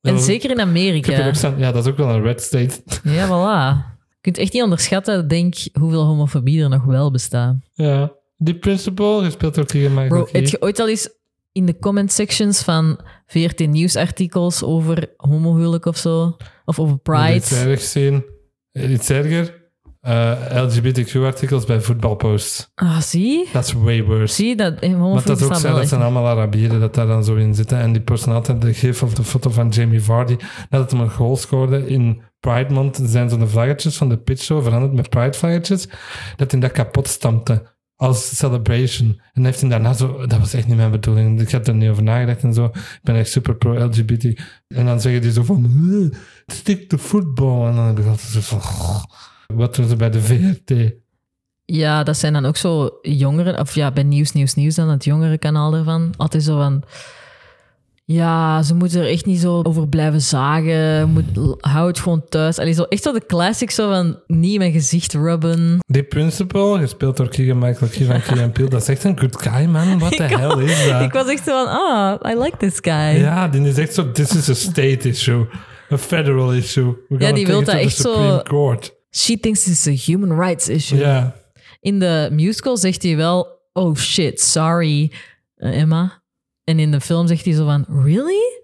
B: En
A: dat-
B: zeker in
A: Ik heb er
B: Amerika.
A: ook staan- ja, dat is ook wel een red state.
B: Ja, voilà. Je kunt echt niet onderschatten, denk hoeveel homofobie er nog wel bestaat.
A: Ja. Die principal, gespeeld door Keegan Michael
B: Bro, heb
A: Key.
B: je ooit al eens in de comment sections van 14 nieuwsartikels over homohuwelijk of zo? Of over
A: Iets
B: pride?
A: erger zien. Iets erger. Eh, LGBTQ-artikels bij voetbalposts.
B: Ah, zie?
A: Dat is way worse.
B: Zie, dat
A: Want
B: homofobie
A: dat ook
B: staat
A: zijn,
B: wel
A: dat
B: echt.
A: zijn allemaal Arabieren dat daar dan zo in zitten. En die persoon had de gif of de foto van Jamie Vardy. Nadat hij een goal scoorde in Pride Month, zijn zo'n vlaggetjes van de pitchshow veranderd met Pride vlaggetjes. Dat hij dat kapot stampte als celebration. En heeft hij daarna zo, dat was echt niet mijn bedoeling. Ik heb er niet over nagedacht en zo. Ik ben echt super pro-LGBT. En dan zeggen die zo van, "Eh, stick to football. En dan heb ik altijd zo van, "Goh." wat doen ze bij de VRT?
B: Ja, dat zijn dan ook zo jongeren, of ja, bij Nieuws, Nieuws, Nieuws dan, het jongere kanaal ervan. Altijd zo van, ja, ze moeten er echt niet zo over blijven zagen, moet, hou het gewoon thuis. Allee, zo, echt zo de classic zo van, niet in mijn gezicht rubben.
A: Die principal, gespeeld door Keegan Michael Key van Key and Peele, dat is echt een good guy, man. What the hell is dat?
B: Ik was echt zo van, ah, I like this guy. Ja,
A: Ja, die is echt zo, this is a state issue. A federal issue. We gonna
B: die
A: take
B: wil
A: it to
B: dat
A: the
B: echt zo-
A: Supreme Court.
B: She thinks it's a human rights issue.
A: Ja.
B: In de musical zegt hij wel, oh shit, sorry, eh, Emma. En in de film zegt hij zo van, really?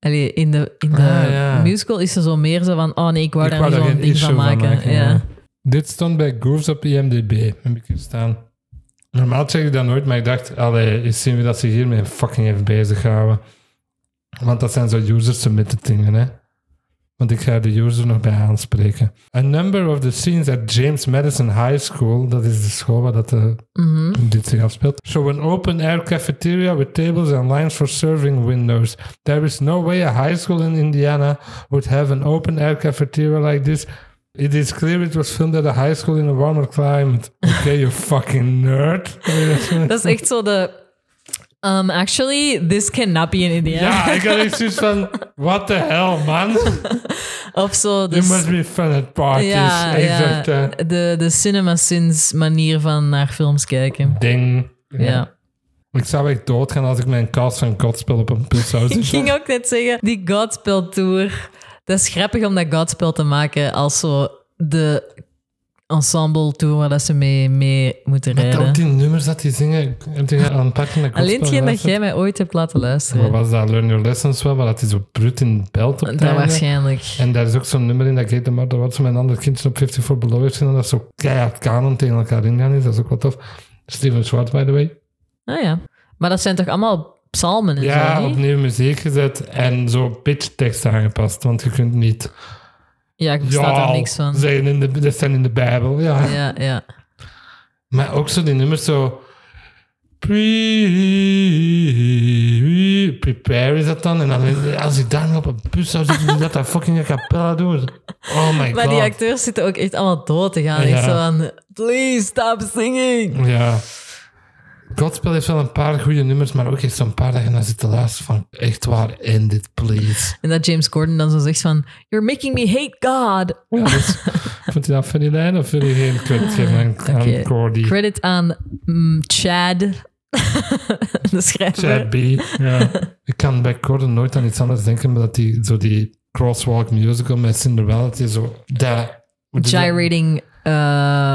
B: Allee, in de, in de
A: Ah, ja.
B: musical is er zo meer zo van, oh nee, ik wou
A: Ik
B: daar
A: wou
B: niet
A: daar
B: zo'n
A: geen
B: ding
A: issue
B: van maken. ja.
A: ja. Dit stond bij Grooves op IMDb, heb ik hier staan. Normaal check ik dat nooit, maar ik dacht, allee, eens zien we dat ze hiermee fucking even bezighouden. Want dat zijn zo user-submitted dingen, hè. Want ik ga de user nog bij aanspreken. A number of the scenes at James Madison High School, dat is de school waar dat de
B: Mhm.
A: dit zich afspeelt. Show an open air cafeteria with tables and lines for serving windows. There is no way a high school in Indiana would have an open air cafeteria like this. It is clear it was filmed at a high school in a warmer climate. Okay, you fucking nerd.
B: Dat is echt zo de, um, actually, this cannot be in Indiana.
A: ja, ik had echt zoiets van, what the hell, man?
B: Of zo,
A: You
B: dus,
A: must be fun at parties.
B: ja,
A: Ik
B: ja,
A: dacht, eh,
B: de, de CinemaSins manier van naar films kijken.
A: ding.
B: ja.
A: Ik zou echt doodgaan als ik mijn cast van Godspel op een pil zou
B: Ik
A: zien.
B: ging ook net zeggen, die Godspell Tour. Dat is grappig om dat Godspell te maken als zo de ensemble tour waar dat ze mee, mee moeten
A: Ook
B: rijden.
A: die nummers dat die zingen, heb je aan het pakken? dat
B: Alleen
A: Godspel
B: hetgeen dat
A: luistert?
B: jij mij ooit hebt laten
A: Maar
B: luisteren.
A: was dat Learn Your Lessons wel, maar dat is zo brut in belt op het
B: Dat
A: einde.
B: waarschijnlijk.
A: En daar is ook zo'n nummer in dat ik heet, maar dat wat ze met een ander kindje op 54 Below heeft gedaan, dat zo keihard kanon tegen elkaar ingaan is. Dat is ook wel tof. Steven Schwartz, by the way.
B: Ah ja. Maar dat zijn toch allemaal psalmen en
A: Ja,
B: zo, niet?
A: opnieuw muziek gezet en zo pitch tekst aangepast, want je kunt niet...
B: Ja, ik versta
A: Ja,
B: daar niks van.
A: Zeggen in de, dat zijn in de Bijbel, ja.
B: Ja, ja.
A: Maar ook zo die nummers zo... Pre- Prepare is dat dan. En dan, als ik daar nog op een bus zou zitten, die dat dat fucking a cappella doet. Oh my
B: Maar
A: god.
B: die acteurs zitten ook echt allemaal dood te gaan.
A: Ja.
B: Echt zo van, please stop singing.
A: Ja. Godspel heeft wel een paar goede nummers, maar ook echt zo'n paar dat je naar zit te luisteren van echt waar, end it please.
B: En dat James Corden dan zo zegt van, you're making me hate God.
A: Ja, dus, vond je dat funny lijn of vind je geen kut geven aan, aan
B: Oké.
A: Cordy?
B: Credit aan mm, Chad, de schrijver.
A: Chad B. Ja. Ik kan bij Corden nooit aan iets anders denken, maar dat die, zo die crosswalk musical met Cinderella, dat die zo... Dat,
B: Gyrating eh,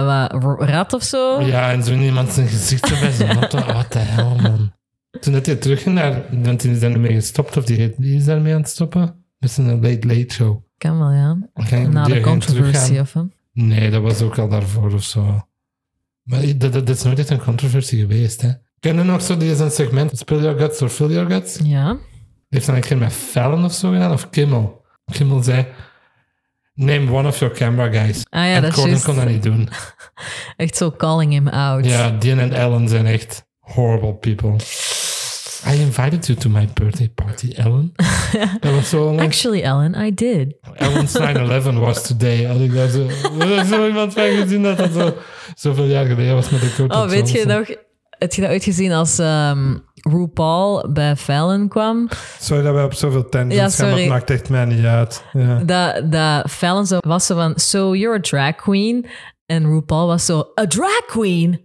B: wat, r- rat of zo.
A: "Oh, Ja, en zo in iemand zijn gezicht erbij, zo wat de- wat de hel, man. Toen dat hij terugging naar... Want die is daarmee gestopt of die, die is daarmee aan het stoppen. Dat is een late late show.
B: Kan wel, ja.
A: Okay,
B: Na de controversie of hem.
A: Nee, dat was ook al daarvoor of zo. Maar i- dat, dat, dat is nooit echt een controversie geweest, hè. Ken je nog zo, die is een segment, Spill Your Guts or Fill Your Guts?
B: Ja.
A: Heeft dan een keer met Fallon of zo gedaan, of Kimmel? Kimmel zei, name one of your camera guys.
B: Ah ja,
A: en
B: dat is
A: Corden
B: juist.
A: kon dat niet doen.
B: Echt zo calling him out.
A: Ja, Dean en Ellen zijn echt horrible people. I invited you to my birthday party, Ellen. dat was zo onlangs.
B: Actually, Ellen, I did.
A: Ellen's 9-11 was today. Had ik daar zo, er is zo iemand van gezien dat dat zo, zoveel jaar geleden was met de coach.
B: Oh, weet je nog... Heb je dat ooit gezien als ehm, RuPaul bij Fallon kwam?
G: Sorry dat wij op zoveel tangents
B: Ja,
G: gaan, maar
B: sorry.
G: het maakt echt mij niet uit. Ja.
B: Dat, dat Fallon zo was zo van... So, you're a drag queen. En RuPaul was zo... A drag queen?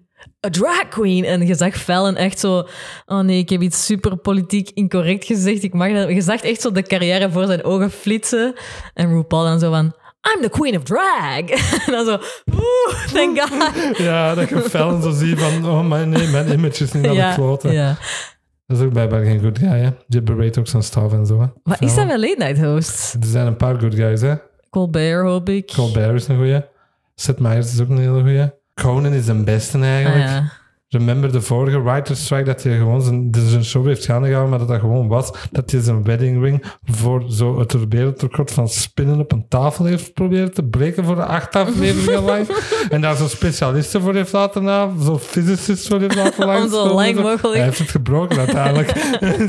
B: A drag queen? En je zag Fallon echt zo... Oh nee, ik heb iets super politiek incorrect gezegd. Ik mag dat... Je zag echt zo de carrière voor zijn ogen flitsen. En RuPaul dan zo van... I'm the queen of drag. en dan zo... Oeh, thank God.
A: Ja, dat je Fallon zo ziet van, oh mijn, nee, mijn image is niet aan de kloten.
B: ja.
A: Dat is ook blijkbaar geen good guy, hè. Je berate ook zijn staf en zo, hè.
B: Wat is dat wel late night host?
A: Er zijn een paar good guys, hè.
B: Colbert, hoop ik.
A: Colbert is een goeie. Seth Meyers is ook een hele goeie. Conan is de beste
B: Ah,
A: eigenlijk.
B: ja.
A: Remember de vorige writer's strike dat hij gewoon zijn, dus zijn show heeft gaande gehouden, maar dat dat gewoon was dat hij zijn wedding ring voor zo het wereldrecord van spinnen op een tafel heeft proberen te breken voor de acht afleveringen lang. En daar zo'n specialisten voor heeft laten na, zo'n physicist voor heeft laten lang.
B: zo lang mogelijk.
A: Hij heeft het gebroken uiteindelijk.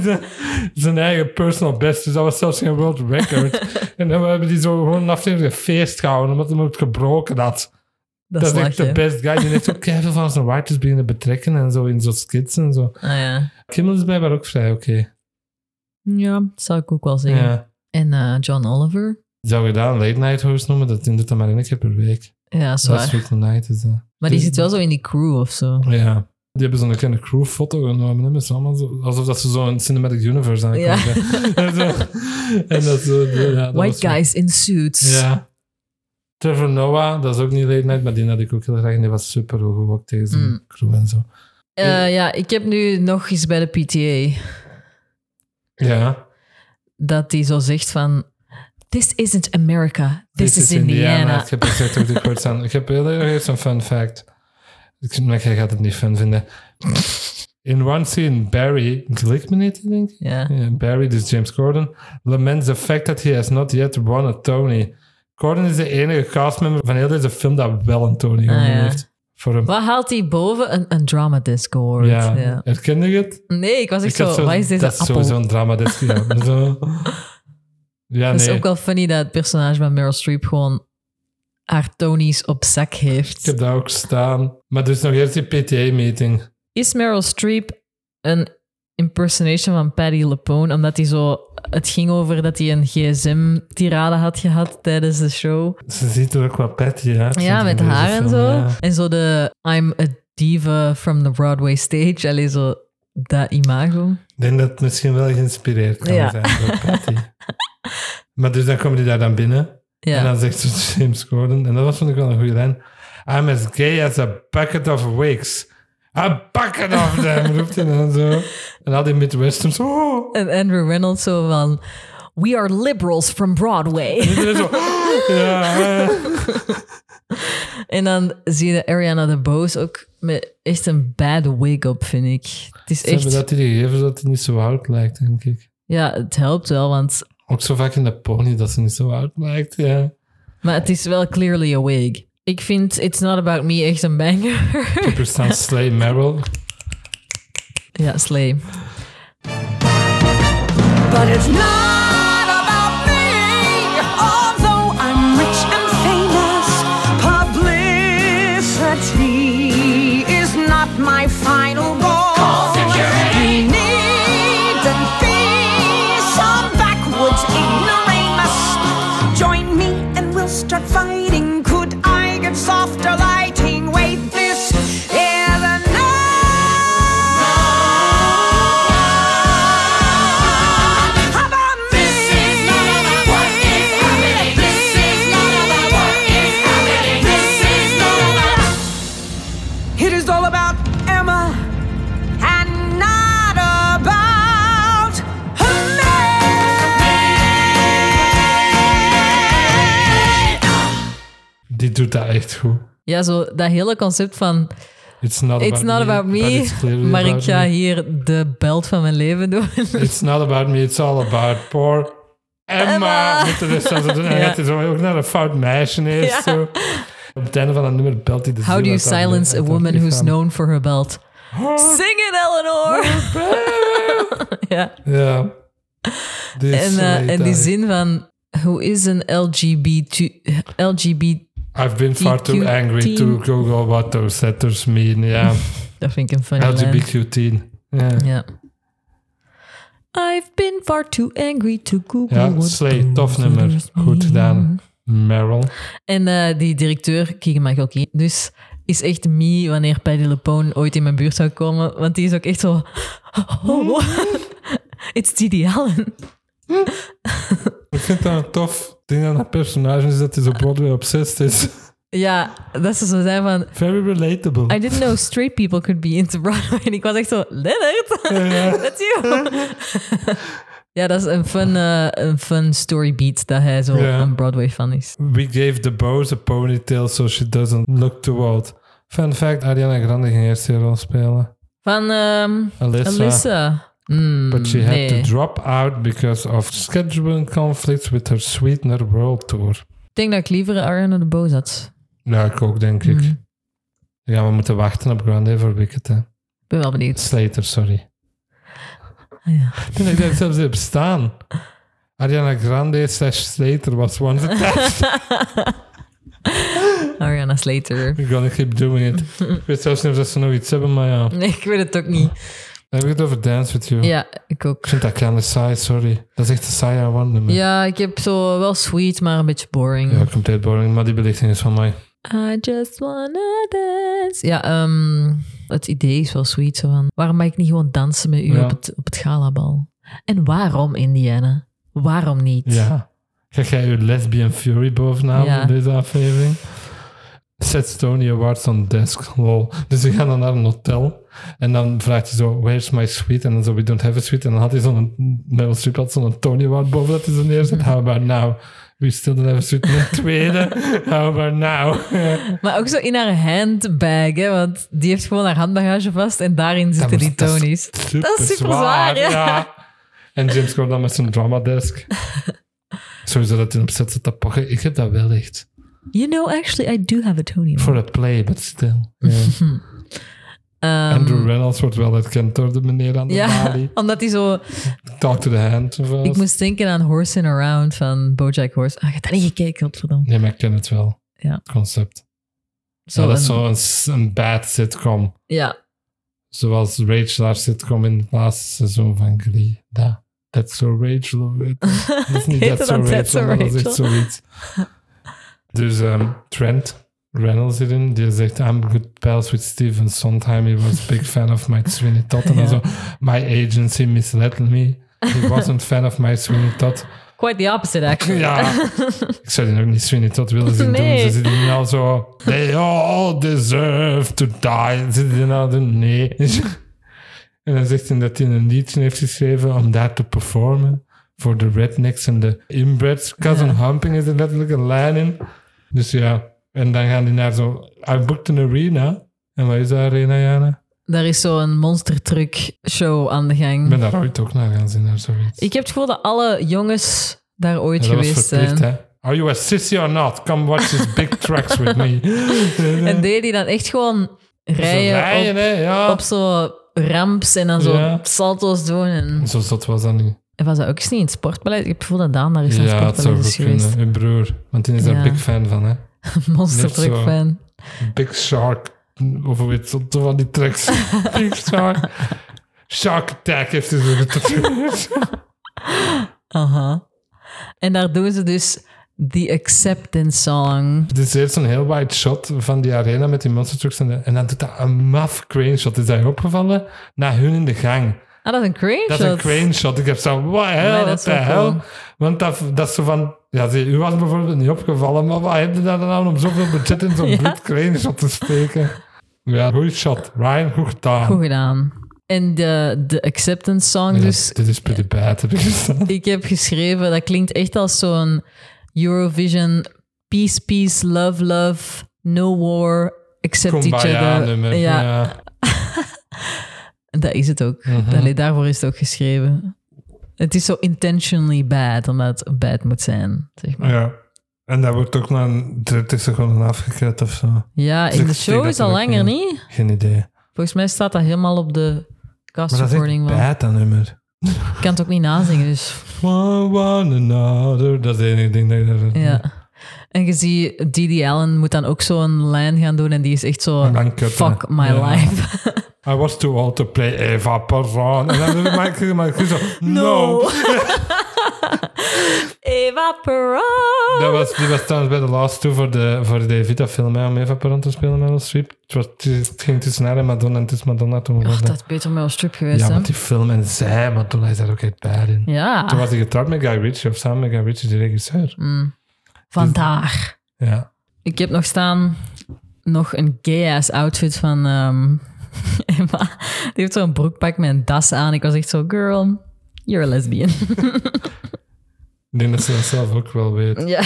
A: zijn eigen personal best, dus dat was zelfs geen world record. en dan hebben die zo gewoon een aflevering feest gehouden omdat hij het gebroken had.
B: Dat,
A: Dat is
B: slag
A: echt de
B: je.
A: best guy. Die heeft ook keihard van zijn writers beginnen betrekken en zo in zo'n skits en zo.
B: Ah, ja.
A: Kimmel is blijkbaar ook vrij oké.
B: ja, dat zou ik ook wel zeggen.
A: Ja.
B: En eh, John Oliver.
A: Zou je daar een late night host noemen? Dat doet dat maar één keer per week.
B: Ja,
A: Dat is
B: zwaar.
A: Weekly Night. Is dat.
B: Maar die zit wel zo in die crew of zo.
A: Ja. Die hebben zo'n kleine crewfoto genomen. hè, met z'n allemaal zo, alsof dat ze zo'n Cinematic Universe aan
B: Ja.
A: en, zo- en dat zo... Ja, dat was
B: White
A: wel-
B: guys in suits.
A: Ja. Trevor Noah, dat is ook niet late night, maar die had ik ook heel graag. En die was super hoog ook tegen zijn
B: Mm.
A: crew en zo.
B: Eh, ja, ik heb nu nog eens bij de PTA
A: Ja.
B: dat die zo zegt van... This isn't America, this, is, Indiana.
A: Ik heb exact ook de quotes aan. Ik heb heel erg zo'n fun fact. Ik, maar jij gaat het niet fun vinden. In one scene, Barry, Glickman heet hij, denk ik?
B: Ja.
A: Yeah, Barry, dus James Corden, laments the fact that he has not yet won a Tony. Corden is de enige castmember van heel deze film dat wel een Tony gewonnen
B: Ah, ja.
A: heeft. Voor hem.
B: Wat haalt die boven? Een, een drama discord.
A: Ja.
B: Ja.
A: herkende je het?
B: Nee, ik was echt
A: had
B: zo... Wat is deze
A: dat is
B: appel?
A: sowieso een drama. Dat is, ja, maar zo. ja,
B: Het is
A: nee.
B: ook wel funny dat het personage van Meryl Streep gewoon haar Tony's op zak heeft.
A: Ik heb daar ook staan. Maar dus nog eerst die PTA-meeting.
B: Is Meryl Streep een impersonation van Patty LuPone? Omdat hij zo... Het ging over dat hij een gsm-tirade had gehad tijdens de show.
A: Ze ziet er ook wel petty uit. vind
B: Ja,
A: ik,
B: met
A: in deze
B: haar en
A: film,
B: zo.
A: ja.
B: En zo de I'm a diva from the Broadway stage. Allee, zo dat imago.
A: Ik denk dat het misschien wel geïnspireerd kan
B: Ja.
A: zijn door Patty. maar dus dan komen die daar dan binnen. En
B: Ja.
A: dan zegt ze James Corden. En dat was vond ik wel een goede lijn. I'm as gay as a bucket of wigs. A bucket of them, roept hij dan zo. En al die Midwesterns. Oh.
B: En Andrew Reynolds zo van... We are liberals from Broadway.
A: Iedereen zo. "Oh." Ja, eh.
B: En dan zie je Ariana DeBose ook met echt een bad wig op, vind ik. Het is
A: Ze hebben
B: echt...
A: dat die gegeven zodat hij niet zo oud lijkt, denk ik.
B: Ja, het helpt wel, want...
A: Ook zo vaak in de pony dat ze niet zo oud lijkt, ja.
B: Maar het is wel clearly a wig. Ik vind It's Not About Me echt een banger.
A: Er staan Slay Merrill.
B: ja, slay.
E: But it's not about me. Although I'm rich and famous, publicity is not my final goal. We needn't be so backwards ignoramus. Join me and we'll start fighting. Could I get softer lighting? Wait, this is enough. How about me?
A: doet dat echt goed.
B: Ja, zo dat hele concept van
A: It's not,
B: it's
A: about,
B: not
A: me,
B: about
A: but
B: me,
A: it's clearly
B: maar ik
A: about
B: ga
A: me.
B: hier de belt van mijn leven doen.
A: It's not about me, it's all about poor Emma.
B: Emma.
A: Met de rest van zijn doen. Hij
B: Ja.
A: gaat hier zo ook naar een fout meisje heeft.
B: Ja.
A: Zo. Op het einde van dat nummer belt hij de
B: How
A: ziel
B: do you
A: uit haar-
B: silence a
A: uit haar
B: woman who's
A: lichaam.
B: known for her belt? Sing it, Eleanor! ja.
A: Ja. Dit
B: En,
A: is
B: eh,
A: echt
B: en die
A: eigenlijk-
B: zin van... Who is an LGBT... LGBT...
A: I've been far too
B: TQ
A: angry to
B: teen.
A: Google what those letters mean. Ja.
B: Dat vind ik een funny lijn.
A: LGBTQ teen. Ja.
B: Ja. I've been far too angry to Google.
A: Ja,
B: what
A: Slay,
B: those
A: tof nummer.
B: letters mean.
A: Goed gedaan. Meryl.
B: En eh, die directeur, Keegan Michael Key, dus is echt me wanneer Paddy LePone ooit in mijn buurt zou komen. Want die is ook echt zo... Oh, it's Didi Allen.
A: Ik vind dat een tof ding aan dat personage is dat hij zo Broadway obsessed is.
B: Ja, dat ze zo zijn van...
A: Very relatable.
B: I didn't know straight people could be into Broadway. En ik was echt zo, Leonard, that's you. ja, dat is een fun, eh, een fun story beat dat hij zo
A: Ja.
B: een Broadway fan is.
A: We gave the bows a ponytail so she doesn't look too old. Fun fact, Ariana Grande ging eerst die rol spelen.
B: Van ehm
A: Alyssa.
B: Alyssa. Mm,
A: But she had
B: nee.
A: to drop out because of scheduling conflicts with her Sweetener World Tour.
B: Ik denk dat ik liever Ariana de Boos had.
A: Ja, ik ook, denk ik.
B: Mm-hmm.
A: Ja, we moeten wachten op Grande voor Wicked, hè.
B: Ik ben wel benieuwd.
A: Slater, sorry.
B: Ah, ja.
A: Ik denk dat ik daar zelfs heb staan. Ariana Grande slash Slater was once a time.
B: Ariana Slater.
A: We're gonna keep doing it. Ik weet zelfs niet of dat ze nog iets hebben, maar ja.
B: Nee, ik weet het ook niet.
A: Dan heb ik het over Dance With You.
B: Ja, ik ook.
A: Ik vind dat kind saai, sorry. Dat is echt een saai aan wandelen. man.
B: Ja, ik heb zo wel sweet, maar een beetje boring.
A: Ja, compleet boring, maar die belichting is van mij.
B: I just wanna dance. Ja, ehm, het idee is wel sweet. Zo van, waarom mag ik niet gewoon dansen met u
A: Ja.
B: op, het, op het galabal? En waarom, Indiana? Waarom niet?
A: Ja. Krijg jij je Lesbian Fury bovenaan
B: Ja.
A: in deze aflevering? Set Stony Awards on desk, lol. Dus we gaan dan naar een hotel. En dan vraagt hij zo, where's my suite? En dan zo, we don't have a suite. En dan had hij zo'n, Meryl Streep had zo'n Tony Award boven dat hij zo neerzet. How about now? We still don't have a suite. En een tweede, how about now?
B: Maar ook zo in haar handbag, hè, want die heeft gewoon haar handbagage vast en daarin zitten
A: was-
B: die
A: dat is
B: Tony's. Dat is super zwaar, ja.
A: En James kwam dan met zijn dramadesk. Sowieso dat hij op zet zit te pakken. Ik heb dat wel echt.
B: You know, actually, I do have a Tony.
A: Voor het play, but still.
B: Ehm,
A: Andrew Reynolds wordt wel herkend door de meneer aan de
B: ja,
A: balie.
B: omdat hij zo...
A: Talk to the hand. of
B: Ik
A: alles.
B: moest denken aan Horse in Around van Bojack Horse. Ah, ik heb dat niet gekeken, godverdomme.
A: Nee, maar ik ken het wel.
B: Ja.
A: Het concept.
B: Zo
A: ja, dat is
B: een-
A: zo'n s- een bad sitcom.
B: Ja,
A: Zoals Rachel haar sitcom in het laatste seizoen van Glee. Da. That's so Rachel. of it. Dat is niet
B: Heette
A: That's so
B: dat
A: Rachel,
B: That's So
A: maar dat is echt
B: Rachel?
A: zoiets. Dus ehm, Trent Reynolds hierin, die zegt... I'm good pals with Steven Sondheim. He was a big fan of my Sweeney Todd. En dan zo... My agency misled me. He wasn't fan of my Sweeney Todd.
B: quite the opposite, actually.
A: Ja. Ik zou die ook niet Sweeney Todd willen zien
B: Nee.
A: doen. Ze zitten hier al zo... They all deserve to die. Zitten die nou doen? Nee. en dan zegt hij dat hij een liedje heeft geschreven om daar te performen. Voor de rednecks en de inbreds. Cousin Humping is er letterlijk een lijn in. Dus ja. En dan gaan die naar zo... I booked an arena. En waar is de arena, Jana?
B: Daar is zo'n monster truck show aan de gang.
A: Ik ben daar ooit ook naar gaan zien, naar zoiets.
B: Ik heb het gevoel dat alle jongens daar ooit
A: Ja, dat was
B: geweest eh.
A: verplicht,
B: zijn.
A: hè. Are you a sissy or not? Come watch these big tracks with me.
B: En deden die dan echt gewoon rijden,
A: Zo rijden,
B: op,
A: hè? Ja.
B: op zo ramps en dan zo
A: Ja.
B: salto's doen. En
A: Zo zot was dat nu.
B: en was dat ook eens niet in het sportbeleid? Ik heb het gevoel dat Daan daar eens aan
A: ja, het zou
B: sportbeleid
A: goed
B: is geweest.
A: kunnen. Uw broer. Want die is daar
B: Ja.
A: big fan van, hè?
B: Monster
A: Net
B: truck
A: zo.
B: fan.
A: Big Shark. Of hoe heet het? Van die tracks. big Shark. Shark Attack heeft hij zo getatoeëerd.
B: Aha. En daar doen ze dus The Acceptance Song.
A: Dus eerst een heel wide shot van die arena met die monster trucks. En, de- en dan doet dat een maf crane shot. Is dat je opgevallen? Naar hun in de gang.
B: Ah, dat is een crane
A: Dat is
B: shot.
A: een crane shot. Ik heb zo, wat
B: Nee,
A: hel,
B: dat
A: wat
B: is
A: de
B: wel
A: hel.
B: cool.
A: Want dat, dat is zo van... Ja, zie, u was bijvoorbeeld niet opgevallen, maar wat heb je daar dan aan om zoveel budget in zo'n
B: Ja.
A: goed crane shot te steken? Ja, goeie shot. Ryan, goed gedaan.
B: Goed gedaan. En de, de Acceptance Song
A: Ja,
B: dus...
A: dit is pretty bad, heb ik gestaan.
B: Ik heb geschreven, dat klinkt echt als zo'n Eurovision peace, peace, love, love, no war, accept each
A: Kumbaya
B: other.
A: nummer.
B: ja,
A: Ja.
B: dat is het ook.
A: Mhm.
B: Allee, daarvoor is het ook geschreven. Het is zo intentionally bad, omdat het bad moet zijn, zeg maar.
A: ja. En dat wordt ook na een 30 seconden afgekut of zo.
B: Ja,
A: Dus
B: in de
A: ik denk
B: show
A: dat
B: is al
A: er ook
B: langer,
A: niet-
B: niet?
A: Geen idee.
B: Volgens mij staat dat helemaal op de cast
A: Maar dat is echt
B: recording. wel.
A: bad, dat nummer.
B: Ik kan het ook niet nazingen, dus...
A: One, one another. Dat is het enige ding dat ik daar...
B: Ja. En je ziet, Didi Allen moet dan ook zo'n lijn gaan doen en die is echt zo...
A: En dan kutten.
B: Fuck my
A: Ja.
B: life.
A: I was too old to play Eva Peron. En dan maak ik maar zo... No!
B: Eva Peron.
A: Dat was, die was trouwens bij de laatste toe voor de, voor de Vita-film, hè, om Eva Peron te spelen met ons Streep. Het, was, het ging tussen haar en Madonna en het is Madonna toen
B: Och,
A: geworden.
B: dat is beter met een strip geweest,
A: Ja,
B: hè?
A: want die film en zij, Madonna is daar ook echt bij in. Toen
B: Ja,
A: was hij getrouwd met Guy Ritchie, of samen met Guy Ritchie, de regisseur.
B: Mm. vandaar.
A: Ja.
B: Ik heb nog staan nog een gay-ass outfit van ehm, Emma. Die heeft zo'n broekpak met een das aan. Ik was echt zo, girl, you're a lesbian.
A: Ik denk dat ze dat zelf ook wel weet.
B: ja.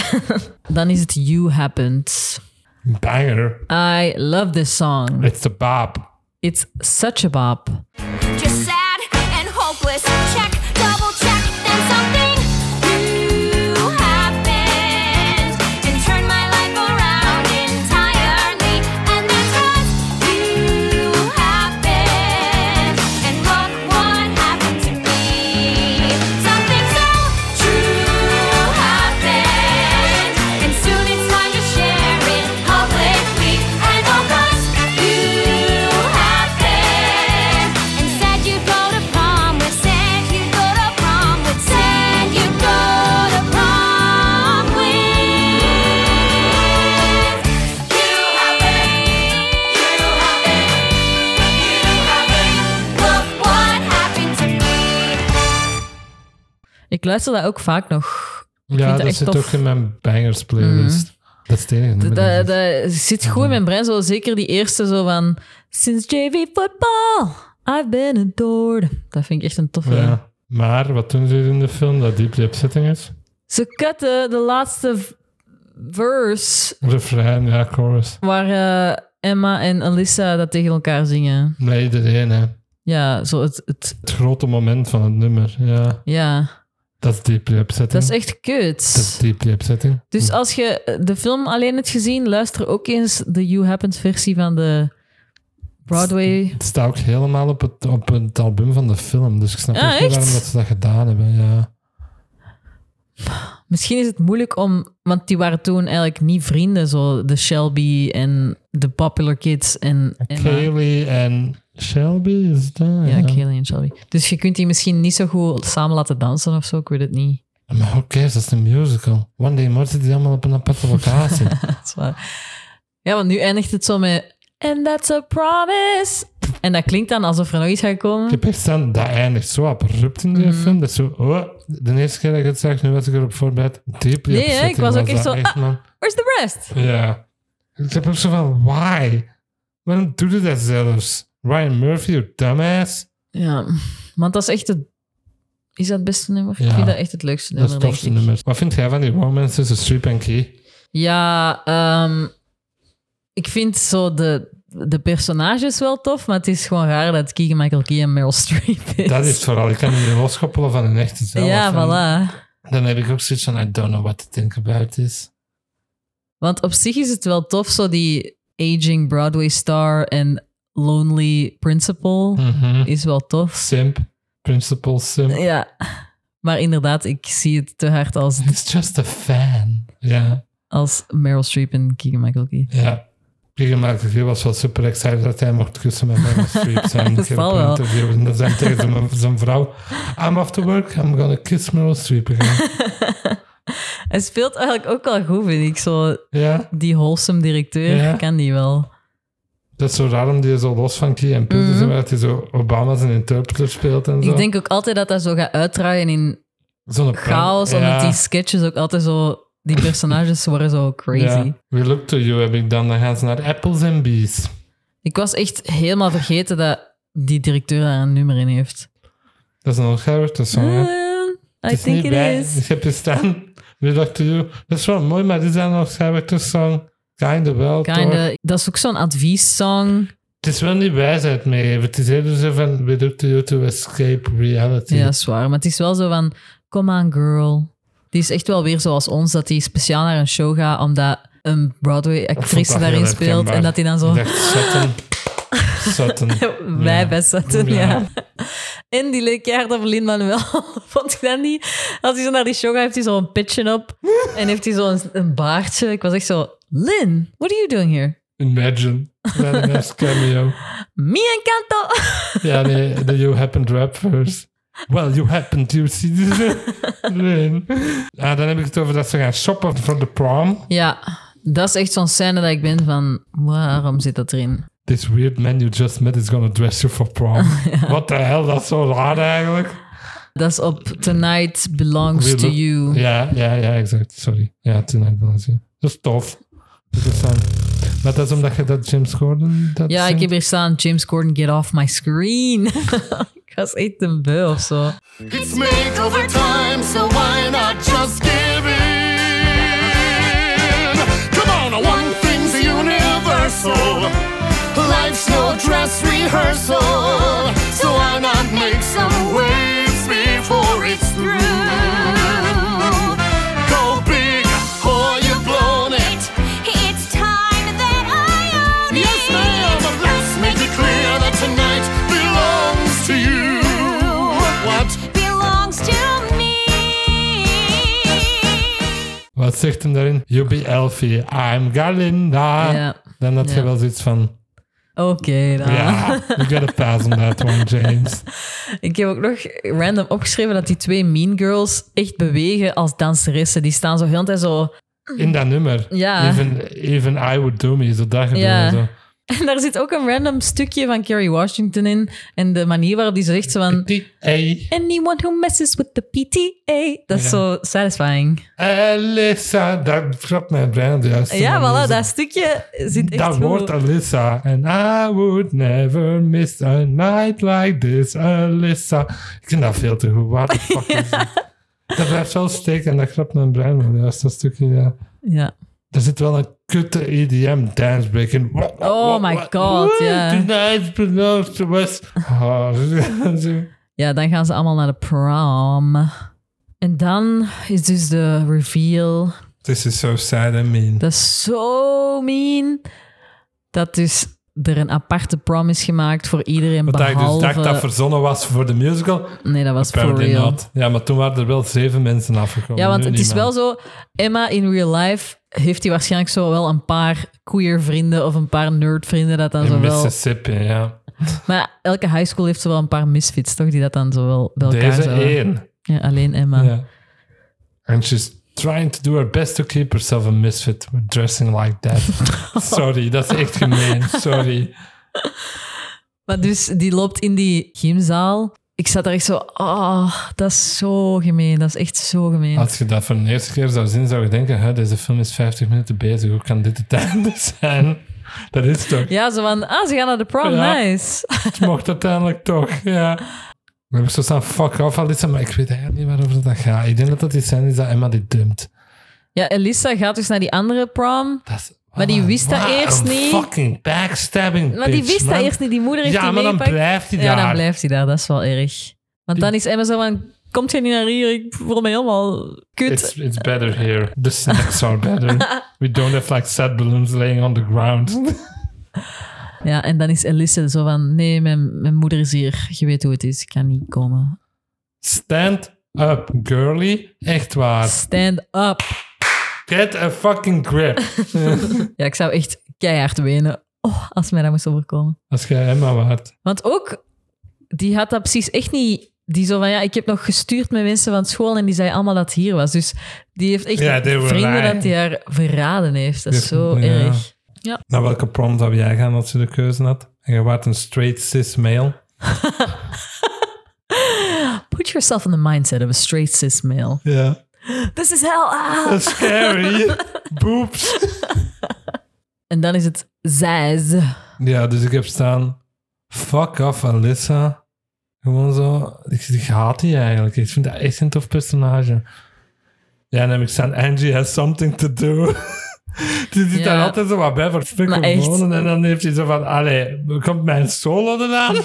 B: Dan is het You Happens.
A: Banger.
B: I love this song.
A: It's the Bob.
B: It's such a bop.
H: You're sad and hopeless. Check, double check, then something new happened and turned my life around entirely. And that's what you happened. And look what happened to me. Something so true happened, and soon it's time to share it publicly. And oh, 'cause you happened, and said you'd go to prom with, said you'd go to prom with, said you'd go to prom with. You happened, you happened, you happened. Look what happened to me.
B: Ik luister dat ook vaak nog. vind
A: Ja,
B: dat
A: dat
B: echt
A: zit
B: tof. Mm.
A: ook in mijn bangers playlist. Dat is het enige nummer dat
B: Dat,
A: ik-
B: dat zit goed in mijn brein. Zo, zeker die eerste zo van... Since JV football, I've been adored. Dat vind ik echt een toffe.
A: Ja. Maar wat doen ze in de film dat deeply upsetting is?
B: Ze cutten de laatste v- verse
A: Refrein, ja, chorus.
B: waar eh, Emma en Alyssa dat tegen elkaar zingen.
A: Nee, iedereen, hè.
B: Ja, zo het... het
A: Het grote moment van het nummer, ja.
B: ja,
A: Dat is deeply upsetting.
B: dat is echt
A: Dat is
B: kut.
A: deeply upsetting.
B: Dus als je de film alleen hebt gezien, luister ook eens de You Happens versie van de Broadway.
A: Het staat ook helemaal op het, op het album van de film. Dus ik snap
B: Ah,
A: echt niet
B: echt?
A: waarom dat ze dat gedaan hebben. Ja.
B: Misschien is het moeilijk om, want die waren toen eigenlijk niet vrienden, zo de Shelby en de Popular Kids en Emma.
A: Kaylee en Shelby is dat?
B: Ja, Kaylee en Shelby. Dus je kunt die misschien niet zo goed samen laten dansen of zo, ik weet het niet.
A: Maar who cares? Dat is een musical. One Day More zit die allemaal op een aparte locatie.
B: Dat is waar. Ja, want nu eindigt het zo met... And that's a promise. En dat klinkt dan alsof er nog iets gaat komen.
A: Ik heb echt staan, dat eindigt zo abrupt in die
B: Mhm.
A: film. Dat is zo, oh, de eerste keer dat ik het zag, nu was ik erop voorbereid. Deeply
B: Nee, hè, ik
A: upsetting
B: was ook echt
A: dat
B: zo, ah.
A: man.
B: Where's the rest?
A: Ja. Ik heb ook zo van, why? Waarom doe je dat zelfs? Ryan Murphy, you dumbass.
B: Ja, want dat is echt het... Is dat het beste nummer?
A: Ja.
B: Ik vind dat echt het leukste
A: Dat is
B: nummer,
A: het
B: denk
A: tofste
B: ik.
A: nummer. Wat vind jij van die romance tussen Streep en Key?
B: Ja, ehm, ik vind zo de, de personages wel tof, maar het is gewoon raar dat Keegan Michael Key en Meryl Streep is.
A: Dat is het vooral. Ik kan niet meer loskoppelen van hun echte zelf.
B: Ja,
A: En
B: voilà.
A: Dan heb ik ook zoiets van, I don't know what to think about this.
B: Want op zich is het wel tof, zo die aging Broadway star en lonely principal
A: Mhm.
B: is wel tof.
A: Simp. Principal simp.
B: Ja, maar inderdaad, ik zie het te hard als,
A: It's just a fan. Ja.
B: als Meryl Streep en Keegan Michael Key.
A: Ja. Peter Michael was wel super excited dat hij mocht kussen met Meryl Streep. Zijn
B: Dat
A: ik heb
B: zal
A: een
B: wel.
A: interview en dan zei hij tegen zijn, zijn vrouw... I'm off to work, I'm gonna kiss Meryl Streep again.
B: Hij speelt eigenlijk ook wel goed, vind ik. Zo
A: ja,
B: die wholesome directeur
A: Ja.
B: kan die wel.
A: dat is zo raar om die zo los van Key en Peter te zijn, maar dat hij zo Obama zijn interpreter speelt en zo.
B: Mhm. Ik denk ook altijd dat dat zo gaat uitdraaien in
A: Zo'n pen-
B: chaos, omdat die sketches ook altijd zo... Die personages worden zo crazy.
A: ja. We look to you heb ik dan. Dan gaan ze naar Apples and Bees.
B: Ik was echt helemaal vergeten dat die directeur daar een nummer in heeft.
A: Dat is een Oscar-witte song, hè?
B: Eh, I think it is.
A: Ik heb je staan. We dacht to Dat is wel mooi, maar die zijn nog character song. Kinda wel, toch?
B: Kinda. eh, Dat is ook zo'n adviessong.
A: Het is wel niet wijsheid meegeven. Het is eerder zo van, we look to you to escape reality.
B: Ja, zwaar. Maar het is wel zo van, come on girl. Die is echt wel weer zoals ons, dat die speciaal naar een show gaat, omdat een
A: Vond dat
B: Broadway-actrice
A: heel
B: daarin speelt.
A: herkenbaar.
B: En dat die dan zo...
A: Ik dacht, Sutton. Sutton.
B: Wij
A: Ja.
B: best zetten, ja.
A: Ja.
B: En die leek keihard op Lin-Manuel. Vond ik dat niet? Als hij zo naar die show gaat, heeft hij zo'n pitchen op. en heeft hij zo'n een baardje. Ik was echt zo... Lin, what are you doing here?
A: Imagine. Met een nice cameo.
B: Me en Kanto!
A: Ja, nee, de You Happened rap first. Well, you happened, you see this. Nee. Ah, dan heb ik het over dat ze gaan shoppen voor de prom.
B: ja, dat is echt zo'n scène dat ik ben van... Waarom zit dat erin?
A: This weird man you just met is gonna dress you for prom. What the hell, dat is zo raar eigenlijk.
B: Dat is op Tonight Belongs
A: Weird,
B: to
A: hè?
B: You.
A: Ja, ja, ja, exact. Sorry. Ja, tonight was je. Dat is tof. Interessant. Maar dat is omdat je dat James Gordon... Dat
B: Ja, ik
A: zingt?
B: heb hier staan James Corden, get off my screen. ik was echt een beu of zo.
D: It's makeover time, so why not just give in? Come on, one thing's universal. Life's no dress rehearsal, so why not make some waves before it's through? Go big or you've blown it.
C: It's time that I own it.
D: Yes, ma'am, but let's make it clear that tonight belongs to you. What?
C: Belongs to me.
A: Wat zegt hem daarin? You be Elfie, I'm Galinda.
B: Ja.
A: Dan had je
B: Ja.
A: wel zoiets van...
B: Oké, dan.
A: Ja, you got a pass on that one, James.
B: Ik heb ook nog random opgeschreven dat die twee Mean Girls echt bewegen als danseressen. Die staan zo heel de tijd zo...
A: In dat nummer.
B: Ja.
A: Even, even I Would Do Me, zo dat gebeurde.
B: Ja.
A: Zo.
B: En daar zit ook een random stukje van Kerry Washington in. En de manier waarop die zo zegt zo van...
A: Die, hey,
B: Anyone who messes with the PTA. Dat is
A: Ja.
B: zo satisfying.
A: Alyssa, dat trapt mijn brein op de juiste
B: ja,
A: manier.
B: voilà, dat stukje zit echt
A: Dat
B: goed.
A: wordt Alyssa. And I would never miss a night like this, Alyssa. Ik vind dat veel te goed. What the fuck is dit? Dat blijft wel steken en dat grapt mijn brein wel juist dat stukje. Ja.
B: Ja.
A: Er zit wel een kutte E EDM dancebreak in. Wa- wa-
B: Oh
A: wa-
B: my
A: wa-
B: God,
A: Woo,
B: ja.
A: Tonight belongs to us. Ah, zo.
B: ja, dan gaan ze allemaal naar de prom. En dan is dus de reveal...
G: This is so sad and mean.
B: Dat is zo mean. Dat dus er een aparte prom is gemaakt voor iedereen
G: Dat ik dus
B: behalve...
G: dacht dat verzonnen was voor de musical.
B: nee, dat was for
G: Apparently
B: real.
G: not. Ja, maar toen waren er wel zeven mensen afgekomen.
B: Ja, want
G: nu
B: het is
G: niemand.
B: wel zo... Emma in real life heeft hij waarschijnlijk zo wel een paar queer vrienden of een paar nerd vrienden dat dan
A: In
B: zo wel...
A: Mississippi, ja.
B: Maar elke high school heeft zo wel een paar misfits, toch? Die dat dan zo wel bij elkaar
A: Deze
B: zouden-
A: één.
B: Ja, alleen Emma.
A: Ja. And she's trying to do her best to keep herself a misfit with dressing like that. Sorry, dat is echt gemeen. Sorry.
B: Maar dus die loopt in die gymzaal. Ik zat daar echt zo... Ah, dat is zo gemeen. Dat is echt zo gemeen.
A: Als je dat voor de eerste keer zou zien, zou je denken: hè, deze film is 50 minuten bezig. Hoe kan dit het einde zijn? Dat is toch?
B: Ja, zo van, ah, ze gaan naar de prom,
A: Ja.
B: nice.
A: Het mocht uiteindelijk toch, ja. Dan heb ik zo staan: fuck off, Alissa, maar ik weet eigenlijk niet waarover dat gaat. Ik denk dat dat die scène is dat Emma die dumpt.
B: Ja, Elisa gaat dus naar die andere prom.
A: Dat is-
B: Maar die wist dat
A: Wat
B: eerst
A: een
B: niet.
A: Fucking backstabbing.
B: Maar die
A: bitch,
B: wist dat
A: man.
B: eerst niet, die moeder heeft
A: Ja,
B: die
A: maar dan
B: meegepakt.
A: blijft hij
B: Ja,
A: daar.
B: dan blijft hij daar, dat is wel erg. Want dan is Emma zo van, komt jij niet naar hier? Ik voel me helemaal kut.
A: It's, it's better here. The snacks are better. We don't have like sad balloons laying on the ground.
B: Ja, en dan is Elisa zo van, nee, mijn, mijn moeder is hier. Je weet hoe het is, ik kan niet komen.
A: Stand up, girly. Echt waar.
B: Stand up.
A: Get a fucking grip.
B: Ja, ik zou echt keihard wenen. Oh, als mij dat moest overkomen.
A: Als jij Emma waard.
B: Want ook, die had dat precies echt niet... Die zo van, ja, ik heb nog gestuurd met mensen van school en die zei allemaal dat het hier was. Dus die heeft echt
G: Ja, they were
B: vrienden
G: lying.
B: dat die haar verraden heeft. Dat is
G: Ja,
B: zo
G: ja.
B: erg.
G: Naar welke prom zou jij gaan als je de keuze had? En je waart een straight cis male.
B: Put yourself in the mindset of a straight cis male.
G: Ja.
B: This is hell! ah!
G: Scary. Boeps.
B: En dan is het zes.
G: Ja, dus ik heb staan... Fuck off, Alyssa.
A: Gewoon zo. Ik, ik haat die eigenlijk. Ik vind dat echt een tof personage. Ja, dan heb ik staan. Angie has something to do. Die zit
B: Ja.
A: daar altijd zo wat bij voor
B: Maar echt.
A: spikkelbonen. En dan heeft hij zo van, allee, komt mijn solo eraan?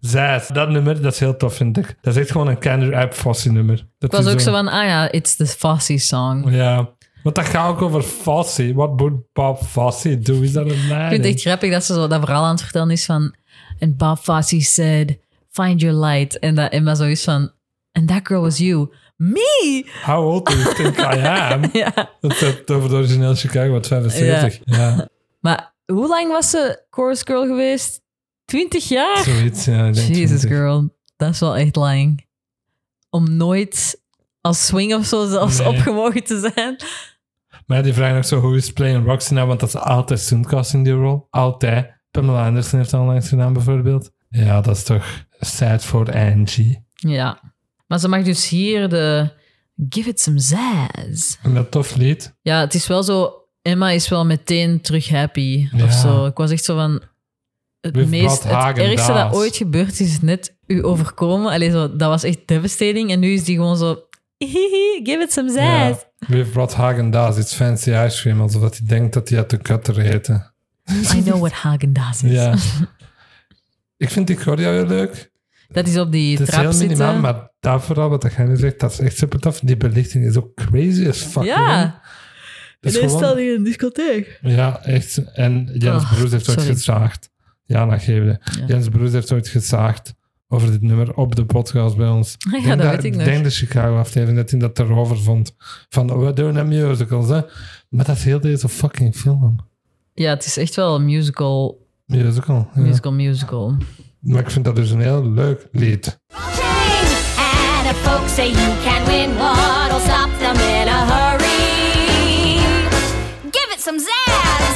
A: Zes. Dat nummer, dat is heel tof, vind ik. Dat is echt gewoon een Kendrick App Fossy nummer. Dat
B: Ik was
A: is
B: ook zo van, ah ja, it's the Fosse song.
A: Ja. Want dat gaat ook over Fossy. Wat moet Bob Fossy doen? Is dat een
B: Ik vind het
A: leiding?
B: echt grappig dat ze zo dat verhaal aan het vertellen is van... En Bob Fosse said, find your light. En dat Emma zo is van... And that girl was you. Me!
A: How old do you think I am?
B: Ja.
A: Dat is over het origineel Chicago, wat 75. ja.
B: Maar hoe lang was ze chorus girl geweest? Twintig jaar?
A: Zoiets, ja. ik denk
B: Jesus
A: 20.
B: girl, dat is wel echt lang. Om nooit als swing of zo zelfs
A: Nee.
B: opgemogen te zijn.
A: Maar die vraagt nog zo, hoe is playing Roxy nou? Want dat is altijd Zoomcast in die rol. Altijd. Pamela Anderson heeft dat onlangs gedaan, bijvoorbeeld. Ja, dat is toch sad voor Angie.
B: Ja. Maar ze mag dus hier de Give It Some Zazz.
A: En dat tof lied.
B: Ja, het is wel zo... Emma is wel meteen terug happy
A: Ja.
B: of zo. Ik was echt zo van... Het,
A: We've
B: meest,
A: brought
B: het ergste
A: Häagen-Dazs.
B: dat ooit gebeurd is, is net u overkomen. Allee, zo, dat was echt devastating. En nu is die gewoon zo... "Hihihi, give it some
A: Ja.
B: zazz.
A: We've brought Hagen-Dazs, iets fancy ice cream. Alsof dat hij denkt dat hij uit de cutter eten.
B: I know what Hagen-Dazs is.
A: Ja. Ik vind die choreo heel leuk.
B: Dat is op die
A: Het is
B: trap
A: heel
B: zitten.
A: minimaal, maar dat vooral, wat jij nu zegt, dat is echt super tof. Die belichting is ook crazy as fuck. man.
B: Ja,
A: Dat is
B: ineens
A: gewoon-
B: staat hij in een discotheek.
A: Ja, echt. En Jens
B: Ah,
A: Broers heeft ooit
B: sorry.
A: gezaagd. Ja, dat geef je.
B: Ja.
A: Jens Broers heeft ooit gezaagd over dit nummer op de podcast bij ons.
B: Ah ja,
A: denk
B: dat weet ik nog.
A: denk de Chicago-aflevering dat hij dat erover vond. Van, oh, we doen een musicals, hè. Maar dat is heel deze fucking film.
B: Ja, het is echt wel een musical,
A: Musical, ja.
B: musical, musical.
A: Maar ik vind dat dus een heel leuk lied.
C: And if folks say you can win, what'll stop them in a hurry? Give it some zazz.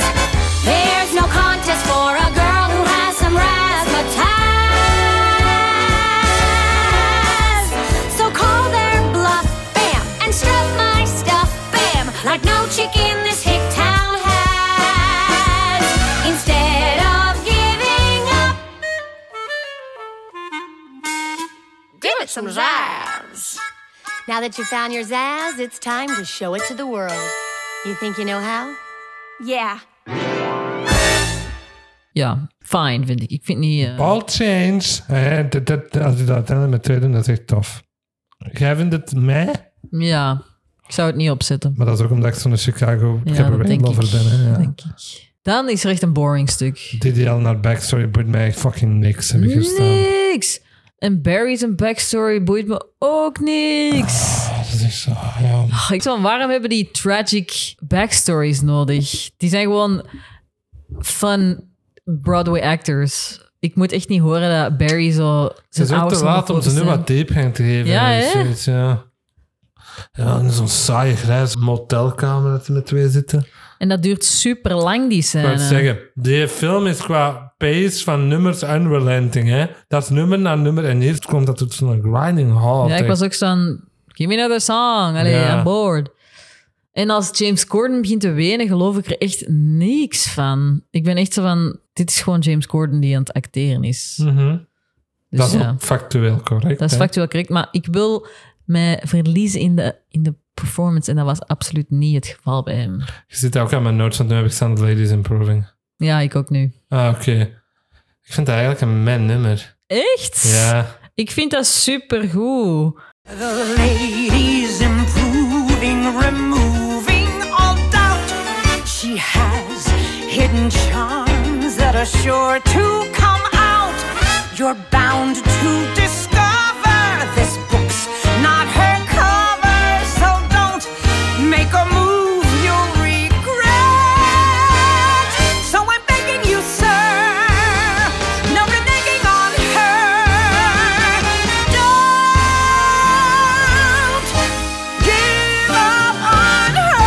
C: There's no contest for a girl who has some razzmatazz. So call their bluff, bam, and strut my stuff, bam, like no chick in this hick town has. Instead of giving up, Give it some zazz.
H: Now that you've found your zazz, it's time to show it to the world. You think you know how?
C: Yeah.
B: Ja, fijn vind ik. Ik vind niet... eh,
A: All Change. Hè, dat, dat, als je dat dan met twee doet, dat is echt tof. Jij vindt het meh,
B: ja, ik zou het niet opzetten.
A: maar dat is ook omdat ik zo'n Chicago
B: Ja, dat
A: cabaret
B: denk ik.
A: lover ben. Hè, ja.
B: denk ik. Dan is er echt een boring stuk.
A: DDL naar backstory boeit mij echt fucking niks, heb ik hier staan.
B: Niks! En Barry's een backstory boeit me ook niks.
A: Ah, dat is zo, ja.
B: Ach, Oh, Ik van, waarom hebben die tragic backstories nodig? Die zijn gewoon fun Broadway actors. Ik moet echt niet horen dat Barry zo
A: Het
B: zijn
A: is ook
B: ouders
A: te laat om
B: homofobisch
A: ze nu
B: zijn.
A: wat diepgang te geven.
B: Ja,
A: of
B: hè?
A: zoiets, ja. Ja, en zo'n saaie grijze motelkamer dat er met twee zitten. Ik
B: En dat duurt super lang, die
A: wou
B: scène.
A: zeggen, die film is qua pace van nummers unrelenting, hè. Dat is nummer na nummer en hier komt dat tot zo'n grinding halt.
B: Ja, ik
A: echt.
B: was ook zo'n... Give me another song. Allee,
A: Ja.
B: I'm bored. En als James Corden begint te wenen, geloof ik er echt niks van. Ik ben echt zo van... Dit is gewoon James Corden die aan het acteren is.
A: Mhm.
B: Dus
A: dat is
B: ja,
A: ook factueel correct.
B: dat is
A: hè.
B: factueel correct. Maar ik wil mij verliezen in de, in de performance. En dat was absoluut niet het geval bij hem.
A: Je zit ook aan mijn notes, want nu heb ik staan The Ladies Improving.
B: Ja, ik ook nu.
A: Ah, oké. Ik vind dat eigenlijk een mijn nummer.
B: Echt?
A: Ja.
B: Ik vind dat supergoed.
E: The lady's improving, removing all doubt. She has hidden charms that are sure to come out. You're bound to discover this book's not her cover, so don't make a move you'll regret. So I'm begging you, sir, no reneging on her. Don't give up on her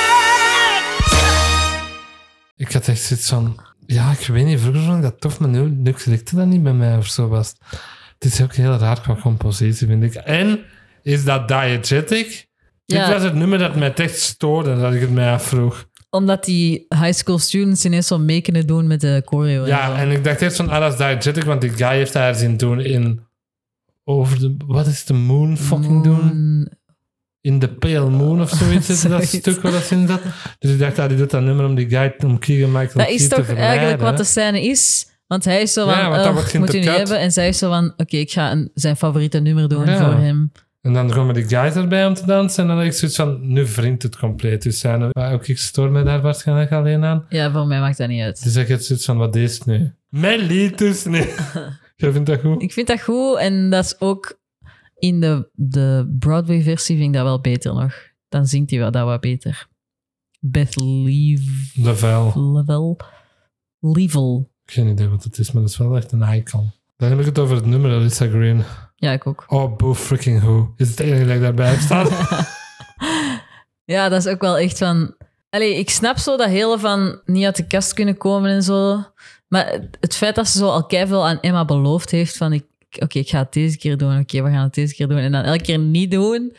E: yet.
A: Ik had echt zoiets van... Ja, ik weet niet, vroeger vond ik dat tof, maar nu, nu klikte dat niet bij mij of zo was. het. Het is ook heel raar qua compositie, vind ik. En is dat diegetic? Dit
B: Ja.
A: was het nummer dat mij het echt stoorde, dat ik het mij afvroeg.
B: Omdat die high school students ineens zo mee kunnen doen met de choreo.
A: Ja,
B: en...
A: en ik dacht echt van, ah, dat is diegetic, want die guy heeft haar zien doen in... Over de... Wat is de moon fucking doen? In de Pale Moon of zoiets is dat
B: Zoiets.
A: stuk waar dat ze in zat. Dus ik dacht, ah, die doet dat nummer om die guy, om Keegan Michael
B: Dat
A: Key te
B: is toch eigenlijk
A: verleiden,
B: wat de
A: hè?
B: scène is? Want hij is zo van,
A: Ja, want dat
B: "Ugh,
A: wordt
B: moet u niet
A: geïntercut.
B: hebben. En zij is zo van, oké, ik ga een, zijn favoriete nummer doen
A: Ja.
B: voor hem.
A: En dan komen die guys erbij om te dansen. En dan had ik zoiets van, nu wringt het compleet. Dus zijn er- ook ik stoor me daar waarschijnlijk alleen aan.
B: Ja, voor mij maakt dat niet uit.
A: Dus ik had zoiets van, wat is het nu? Mijn lied dus nu. Jij vindt dat goed?
B: Ik vind dat goed en dat is ook in de, de Broadway-versie vind ik dat wel beter nog. Dan zingt hij wel dat wat beter. Beth Level.
A: De vuil.
B: Level.
A: Geen idee wat het is, maar dat is wel echt een icon. Dan heb ik het over het nummer Alyssa Green.
B: Ja, ik ook.
A: Oh, boo freaking who. Is het enige dat ik daarbij heb staan?
B: Ja, dat is ook wel echt van. Allee, ik snap zo dat hele van niet uit de kast kunnen komen en zo. Maar het- het feit dat ze zo al veel aan Emma beloofd heeft: van ik- oké, ik ga het deze keer doen, oké, we gaan het deze keer doen. En dan elke keer niet doen,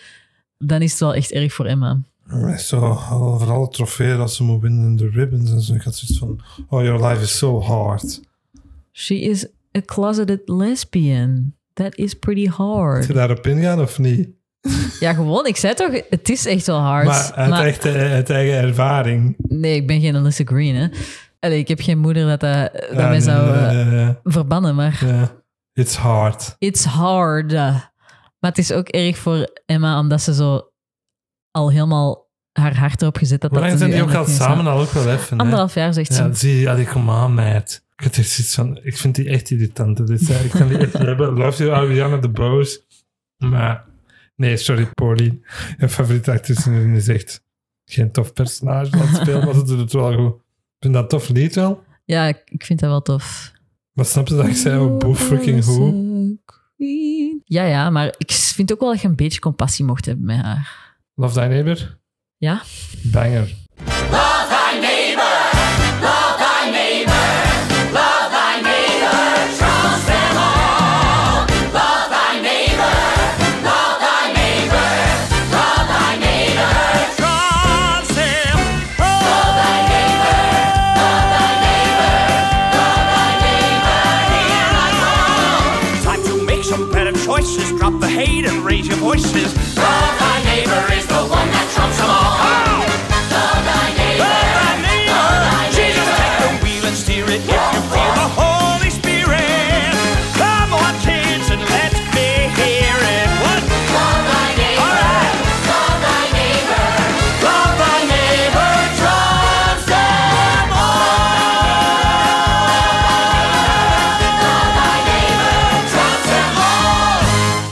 B: dan is het wel echt erg voor Emma.
G: Maar Zo, overal trofee dat ze moet winnen in de ribbons en zo. Ik had zoiets van, oh, your life is so hard.
B: She is a closeted lesbian. That is pretty
G: Moet je
B: hard.
G: daarop ingaan of niet?
B: Ja, gewoon, ik zei toch, het is echt wel hard.
G: Maar uit, echte, uit eigen ervaring.
B: nee, ik ben geen Alyssa Green, hè. Allee, ik heb geen moeder dat, dat, dat
G: Ja,
B: mij
G: nee,
B: zou eh,
G: nee, nee,
B: verbannen, maar...
G: nee, nee. It's hard.
B: It's hard. Maar het is ook erg voor Emma, omdat ze zo al helemaal haar hart erop gezet had.
A: Hoe
B: dat
A: lang
B: ze
A: zijn die
B: nu
A: ook al
B: eindelijk ging
A: samen?
B: slapen.
A: Al ook wel even. hè?
B: Anderhalf jaar, zegt ze.
A: Ja, zie je, allee, kom aan, meid. Ik had echt zoiets van, ik vind die echt irritant. Dus, ik kan die echt niet hebben. Love you, Ariana de Boos. Maar, nee, sorry, Pauline. Je favoriete actrice in is echt geen tof personage dat speelt, maar ze doet het wel goed. Ik vind dat een tof lied wel.
B: Ja, ik, ik vind dat wel tof.
A: Maar snap je dat ik zei, oh, boe, freaking hoe?
B: Ja, ja, maar ik vind ook wel dat je een beetje compassie mocht hebben met haar.
A: Love Thy Neighbor?
B: Ja?
A: Banger.
D: Time to make some better choices. Drop the hate and raise your voices. Love thy neighbor is the one that trumps them all. Love thy neighbor. Jesus, take the wheel and steer it. If you feel the Holy Spirit, come on, kids, and let me hear it. What? Love thy neighbor. All right. Love thy neighbor. Love thy neighbor trumps them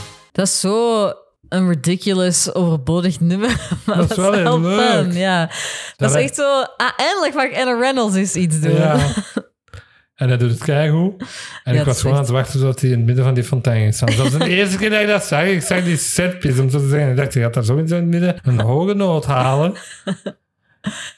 D: all.
B: Dat is zo een ridiculous, overbodig nummer. Maar
A: Dat is wel heel leuk.
B: fun, ja. Dat,
A: wij-
B: is echt zo... Ah, eindelijk mag Anna Reynolds eens iets doen.
A: Ja. En hij doet het keigoed. En
B: eh, Ja,
A: ik
B: dat
A: was
B: is
A: gewoon aan
B: echt-
A: het wachten tot hij in het midden van die fontein ging staan. Dat was de eerste keer dat ik dat zag. Ik zag die setpiece, om zo te zeggen. Ik dacht, je gaat daar zo in het midden een hoge noot halen.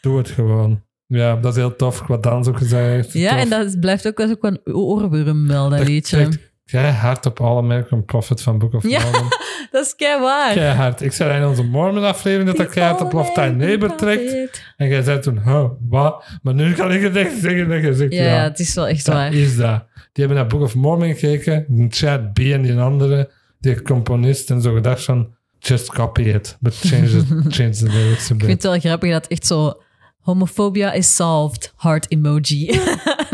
A: Doe het gewoon. Ja, dat is heel tof. Wat Dans ook gezegd heeft.
B: Ja,
A: Tof.
B: en dat blijft ook, dat is ook wel een oorworm wel, dat,
A: Dat
B: liedje.
A: trekt Keihard op All American Profit van Book of
B: Ja.
A: Mormon.
B: Dat is kei waar.
A: Keihard. Ik zei in onze Mormon aflevering dat dat keihard op Love Thy Neighbor trekt. En jij zei toen, huh, wat? Maar nu kan ik het echt zeggen dat je zegt,
B: Ja, ja, het is wel echt
A: Dat
B: waar.
A: is dat. Die hebben naar Book of Mormon gekeken. die Chad B en die andere, die componist, en zo gedacht van... Just copy it, but change, it, change the lyrics a
B: Ik vind
A: bit.
B: het wel grappig dat echt zo... Homofobia is solved, heart emoji.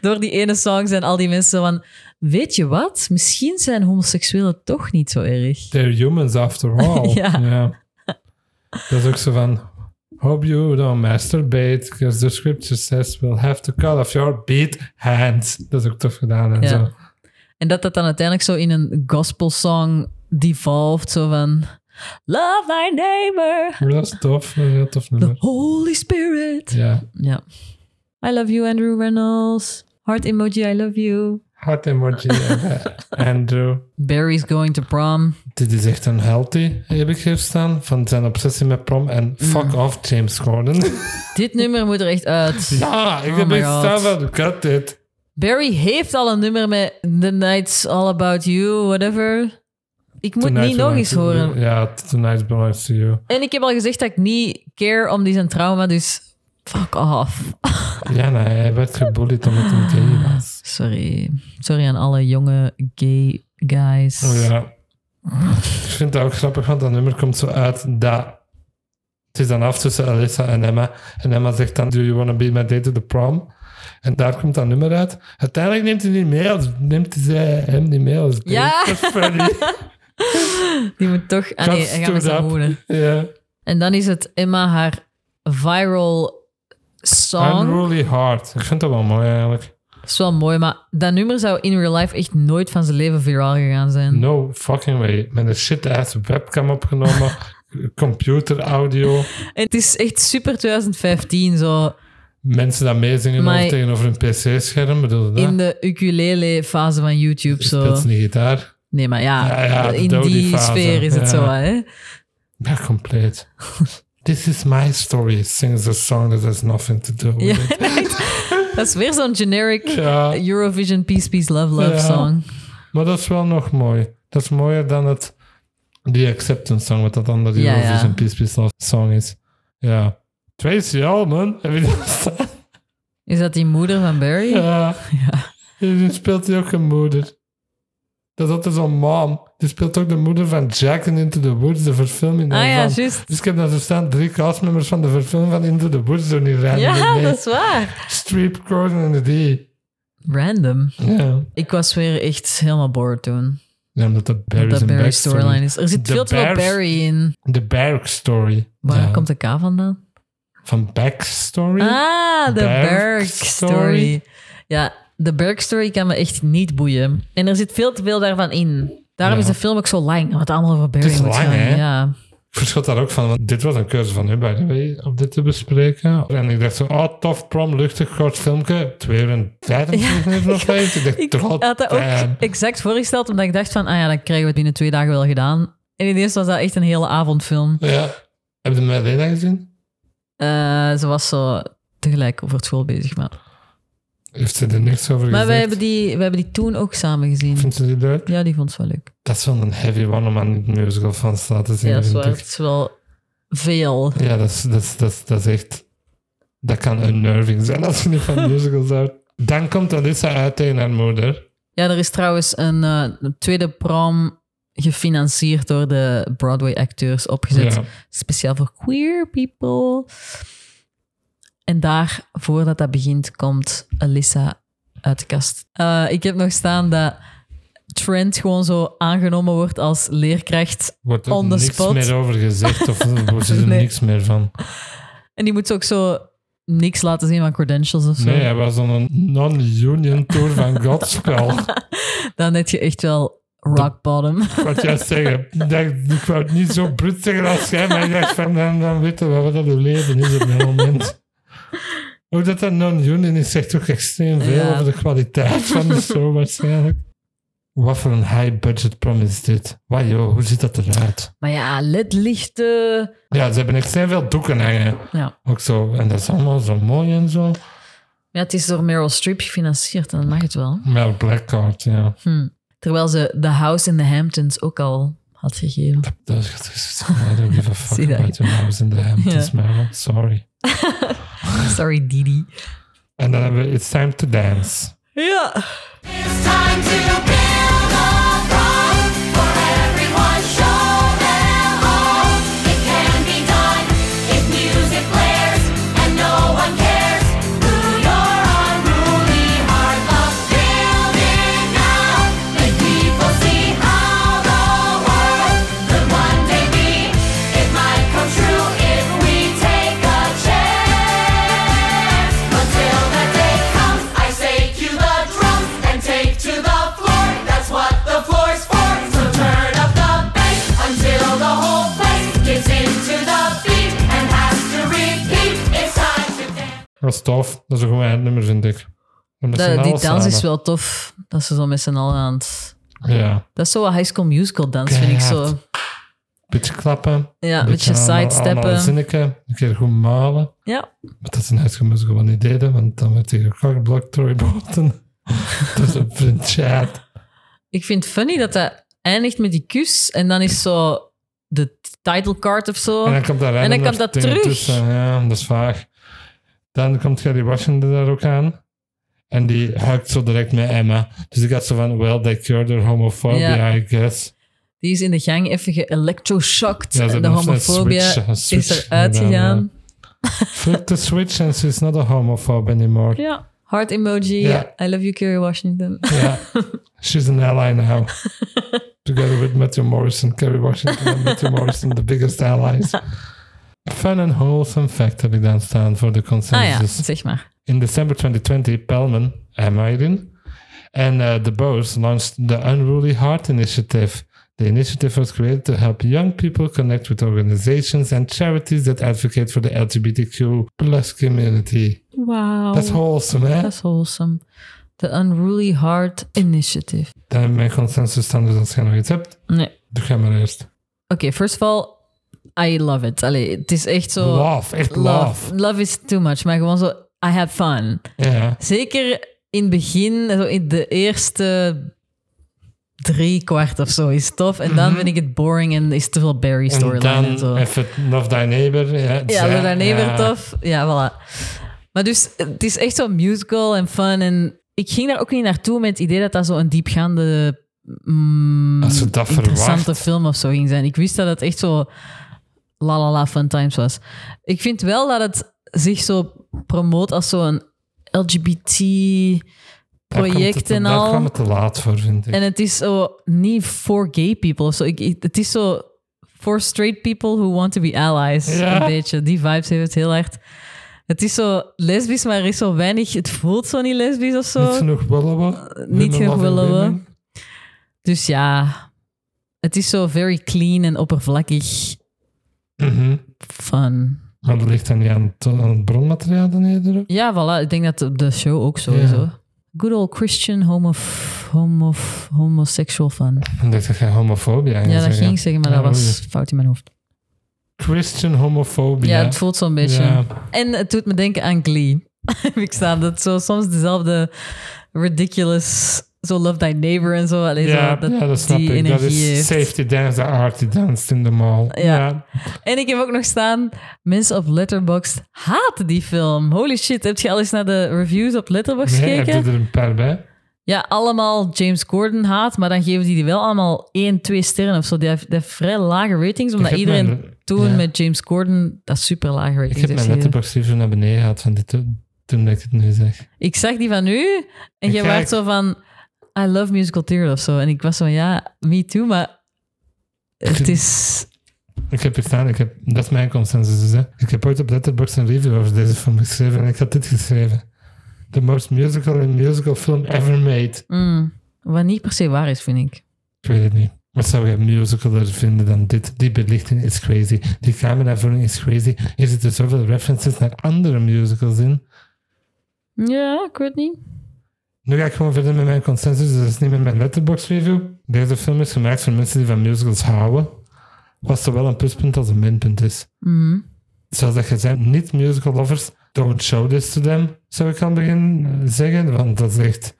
B: Door die ene song zijn al die mensen van... Weet je wat? Misschien zijn homoseksuelen toch niet zo erg.
A: They're humans after all.
B: Ja.
A: Dat is ook zo van... Hope you don't masturbate, because the scripture says we'll have to cut off your beat hands. Dat is ook tof gedaan en
B: Ja.
A: zo.
B: En dat dat dan uiteindelijk zo in een gospel song devolved. Zo van... Love thy neighbor,
A: Maar dat is tof, dat is een heel tof
B: the
A: nummer.
B: Holy Spirit.
A: Ja.
B: Ja. I love you, Andrew Reynolds. Heart emoji, I love you.
A: Hart emoji, eh, Andrew.
B: Barry's going to prom.
A: Dit is echt een healthy, heb ik hier staan, van zijn obsessie met prom en
B: Mm.
A: fuck off James Corden.
B: Dit nummer moet er echt uit.
A: ja, ik
B: Oh
A: heb
B: my
A: echt
B: God.
A: staan van, cut it.
B: Barry heeft al een nummer met The Night's All About You, whatever. Ik moet niet nog eens horen.
A: Ja, Tonight's Belongs to You.
B: En ik heb al gezegd dat ik niet care om die zijn trauma, dus fuck off.
A: Ja, nee, hij werd gebullied omdat hij gay was.
B: Sorry. Sorry aan alle jonge gay guys.
A: Oh ja. Ik vind het ook grappig, want dat nummer komt zo uit dat... Het is dan af tussen Alyssa en Emma. En Emma zegt dan, do you wanna be my date to the prom? En daar komt dat nummer uit. Uiteindelijk neemt hij niet mee als... Neemt zij hem niet mee als date.
B: Ja.
A: Dat is funny.
B: Die moet toch... Ah nee,
A: Cuts
B: hij gaat
A: to
B: met zijn
A: that.
B: woorden.
A: Ja.
B: En dan is het Emma haar viral song.
A: Unruly Heart. Ik vind dat wel mooi eigenlijk.
B: Dat is wel mooi, maar dat nummer zou in real life echt nooit van zijn leven viraal gegaan zijn.
A: No fucking way. Met een shit-ass webcam opgenomen. computer audio.
B: En het is echt super 2015, zo
A: Mensen dat meezingen
B: Maar-
A: over tegenover een pc-scherm. Bedoel je dat?
B: in de ukulele-fase van YouTube. Zo.
A: Speelt ze een gitaar.
B: Nee, maar ja,
A: Ja, ja, de
B: in die
A: Dodie-fase,
B: sfeer is het
A: ja.
B: zo, hè.
A: Ja, compleet. This is my story. Sings a song that has nothing to do with
B: Ja,
A: it.
B: Dat is weer zo'n generic
A: Ja.
B: Eurovision Peace, Peace, Love, Love
A: Ja.
B: song.
A: Maar dat is wel nog mooi. Dat is mooier dan het die acceptance song, wat dat dan de
B: Ja, ja.
A: Eurovision Peace Peace Love song is. Ja. Tracy Allman, heb je dat staan?
B: Is dat die moeder van Barry?
A: Ja. Die speelt hij ook een moeder. Dat is altijd zo'n mom. Die speelt ook de moeder van Jack in Into the Woods, de verfilming
B: Ah ja,
A: daarvan.
B: juist.
A: Dus ik heb daar zo staan drie castmembers van de verfilming van Into the Woods doen die random
B: Ja,
A: mee.
B: dat is waar.
A: Streep Gordon en de D.
B: Random.
A: Ja.
B: Ik was weer echt helemaal bored toen.
A: Ja, omdat dat Barry's
B: Dat
A: een
B: Barry
A: backstory.
B: storyline is. Er zit
A: De
B: veel te veel
A: Bears-
B: Barry in.
A: De Berg-story.
B: Waar
A: Ja.
B: komt de K vandaan?
A: Van backstory?
B: Ah, de
A: Berg
B: Berg-story.
A: story.
B: Ja, de Berg-story kan me echt niet boeien. En er zit veel te veel daarvan in. Daarom
A: Ja.
B: is de film ook zo lang, wat allemaal over Barry
A: Het is
B: moet
A: lang,
B: gaan.
A: hè?
B: Ja.
A: Ik verschot daar ook van, want dit was een keuze van hun, by the way, om dit te bespreken. En ik dacht zo, oh, tof, prom, luchtig, kort filmpje. 2 uur en 25 minuten of vijf. Ik dacht,
B: Ik had dat ook
A: goddamn.
B: exact voorgesteld, omdat ik dacht van, ah ja, dan krijgen we het binnen twee dagen wel gedaan. En ineens was dat echt een hele avondfilm.
A: Ja. Heb je Melena gezien?
B: Eh, ze was zo tegelijk over het school bezig. Maar,
A: Heeft ze er niks over
B: maar
A: gezegd?
B: we, hebben die, we hebben die toen ook samen gezien.
A: Vindt ze die leuk?
B: Ja, die vond ze wel leuk.
A: Dat is wel een heavy one om aan een musical van te laten zien.
B: Ja, dat is
A: vind
B: waar. Het
A: ik.
B: is wel veel.
A: Ja, dat is, dat, is, dat, is, dat is echt... Dat kan unnerving zijn als je niet van musicals houdt. Dan komt Alyssa uit tegen haar moeder.
B: Ja, er is trouwens een eh, tweede prom gefinancierd door de Broadway-acteurs opgezet.
A: Ja.
B: Speciaal voor queer people. En daar, voordat dat begint, komt Alyssa uit de kast. Eh, ik heb nog staan dat Trent gewoon zo aangenomen wordt als leerkracht.
A: Wordt er
B: On the
A: niks
B: spot.
A: meer over gezegd of wordt er
B: Nee.
A: niks meer van.
B: En die moet ook zo niks laten zien van credentials of zo.
A: Nee, hij was dan een non-union tour van Godspel.
B: Dan heb je echt wel rock bottom.
A: Wat jij zeggen. Ik dacht, ik wou het niet zo bruut zeggen als jij, maar ik dacht van, dan, dan weten we wat dat uw leven is op dat moment. Ook dat dat non-union is, zegt ook extreem veel
B: Ja.
A: over de kwaliteit van de show waarschijnlijk. Wat voor een high-budget prom is dit? Wauw, joh, hoe ziet dat eruit?
B: Maar ja, ledlichten.
A: Ja, ze hebben extreem veel doeken hangen.
B: Ja.
A: Ook zo. En dat is allemaal zo mooi en zo.
B: ja, het is door Meryl Streep gefinancierd, dan mag het wel.
A: Mel Blackheart, ja.
B: Terwijl ze The House in the Hamptons ook al had gegeven.
A: Dat is gezegd. I don't give a fuck
B: Zie dat.
A: about your house in the Hamptons, Meryl. Sorry.
B: Sorry, Didi.
A: En dan hebben we It's Time to Dance.
B: Ja.
C: It's time to build a prom for everyone. Show them all it can be done if music blares and no one cares who your unruly heart loves. Build it now, let people see how the world could one day be. It might come true if we take a chance. Until that day comes, I say cue the drums and take to the floor. That's what the floor's for. So turn up the bass until the whole place gets into the beat and has to repeat. It's time to dance.
A: Dat is tof. Dat is een goed eindnummer, vind ik. En met z'n allen
B: die dans is
A: samen.
B: wel tof. Dat ze zo met z'n allen aan het...
A: Ja.
B: Dat is zo een high school musical dans, vind ik zo.
A: Keihard. Beetje klappen.
B: Ja, een
A: een
B: beetje sidesteppen.
A: Zinneke, een keer goed malen.
B: Ja.
A: Maar dat is een huisgenoot gewoon niet deden, want dan werd hij gekakt, door Troy Bolton. dat is een vriend chat.
B: Ik vind het funny dat dat eindigt met die kus en dan is zo de title card of zo.
A: En dan komt daar
B: Oh. En dan
A: random
B: komt dat
A: dingen
B: terug.
A: tussen. Ja, dat is vaag. Dan komt Gary Washington daar ook aan. En die huikt zo direct met Emma. Dus ik had zo van, well, they cured their homophobia,
B: Ja.
A: I guess.
B: Die is in de gang even geelectroshocked.
A: Ja, ze
B: de
A: hebben een
B: homofobia
A: switch- een
B: is
A: switch
B: eruit
A: gedaan,
B: gegaan.
A: Flip the switch and she's not a homophobe anymore.
B: Ja. Heart emoji.
A: Ja.
B: I love you, Kerry Washington.
A: Yeah. She's an ally now. Together with Matthew Morrison, Kerry Washington en Matthew Morrison, the biggest allies. Fun and wholesome fact heb ik dan staan voor de
B: ah ja,
A: consensus.
B: zeg maar.
A: In December 2020, Pelman, Emma Erin, and uh, the Boers launched the Unruly Heart Initiative. The initiative was created to help young people connect with organizations and charities that advocate for the LGBTQ plus community.
B: Wauw.
A: That's wholesome, hè?
B: That's wholesome. The Unruly Heart Initiative.
A: Dan heb ik mijn consensus staan, dus als je nog iets hebt,
B: Nee.
A: doe jij maar eerst.
B: Oké, first of all, I love it. Allee, het is echt zo...
A: Love, echt love.
B: Oh. love. Love is too much, maar gewoon zo... I had fun.
A: Ja,
B: Zeker in het begin, zo in de eerste drie kwart of zo, is het tof. En dan vind ik het boring en is te veel Barry
A: Mhm. en
B: storyline en, zo.
A: dan even Love Thy Neighbor. Ja,
B: Ja,
A: zij-
B: we zijn even
A: ja.
B: tof. Ja, voilà. Maar dus, het is echt zo'n musical en fun. En ik ging daar ook niet naartoe met het idee dat dat zo'n diepgaande, mm,
A: Als je dat
B: interessante
A: verwacht.
B: film of zo ging zijn. Ik wist dat het echt zo la la la fun times was. Ik vind wel dat het zich zo promoot als zo'n LGBT-project
A: Daar komt het-
B: en
A: Daar kwam
B: al.
A: het te laat voor, vind ik.
B: En het is zo niet voor gay people of zo. Ik, ik- het is zo voor straight people who want to be allies.
A: Ja.
B: Een beetje. Die vibes heeft het heel hard. Het is zo lesbisch, maar er is zo weinig. Het voelt zo niet lesbisch of zo.
A: niet genoeg willen we.
B: Eh, Niet genoeg
A: loving
B: willen we.
A: women.
B: Dus ja, het is zo very clean en oppervlakkig.
A: Mhm.
B: Fun.
A: Maar dat ligt dan niet aan het, aan het bronmateriaal dan eerder ook.
B: Ja, voilà. Ik denk dat op de show ook sowieso. Good old Christian homo, homo, homosexual fun.
A: Ik dacht dat jij homofobia ging
B: Ja, dat
A: zeggen.
B: ging ik zeggen, maar
A: Ja,
B: dat was
A: oei.
B: fout in mijn hoofd.
A: Christian homofobia.
B: Ja, het voelt zo'n beetje.
A: Ja.
B: En het doet me denken aan Glee. Heb ik staan dat zo soms dezelfde ridiculous, zo love thy neighbor en zo. Allee,
A: ja,
B: zo, dat,
A: ja, dat snap
B: die
A: ik. Dat
B: energie
A: is
B: heeft.
A: safety dance, the art die danced in the mall.
B: Ja. En ik heb ook nog staan, mensen op Letterboxd haten die film. Holy shit, heb je al eens naar de reviews op Letterboxd
A: Nee, heb je
B: gekeken?
A: er een paar bij?
B: Ja, allemaal James Gordon haat, maar dan geven die die wel allemaal 1, 2 sterren of zo. Die heeft, die heeft vrij lage ratings, omdat
A: heb
B: iedereen
A: mijn-
B: toen
A: ja.
B: met James Gordon dat super lage ratings
A: Ik heb
B: heeft
A: mijn
B: gegeven.
A: letterbox review naar beneden gehad van dit, toen dat ik het nu zeg.
B: ik zag die van u en
A: Ik
B: jij
A: kijk.
B: was zo van I love musical theater of zo. En ik was zo van ja, me too, maar het is
A: Ik heb hier staan, ik heb, dat is mijn consensus. Dus, hè. Ik heb ooit op Letterboxd een review over deze film geschreven en ik had dit geschreven. The most musical and musical film ever made.
B: wat niet per se waar is, vind ik.
A: Ik weet het niet. Wat zou je musicaler vinden dan dit? Die belichting is crazy. Die cameravoering is crazy. Er zitten zoveel references naar andere musicals in.
B: Ja, ik weet niet.
A: Nu ga ik gewoon verder met mijn consensus. Dus dat is niet met mijn letterbox review. Deze film is gemaakt voor mensen die van musicals houden. Wat zowel een pluspunt als een minpunt is. Zoals dat je zei, niet musical lovers, don't show this to them, zou ik aan het begin eh, zeggen. Want dat is echt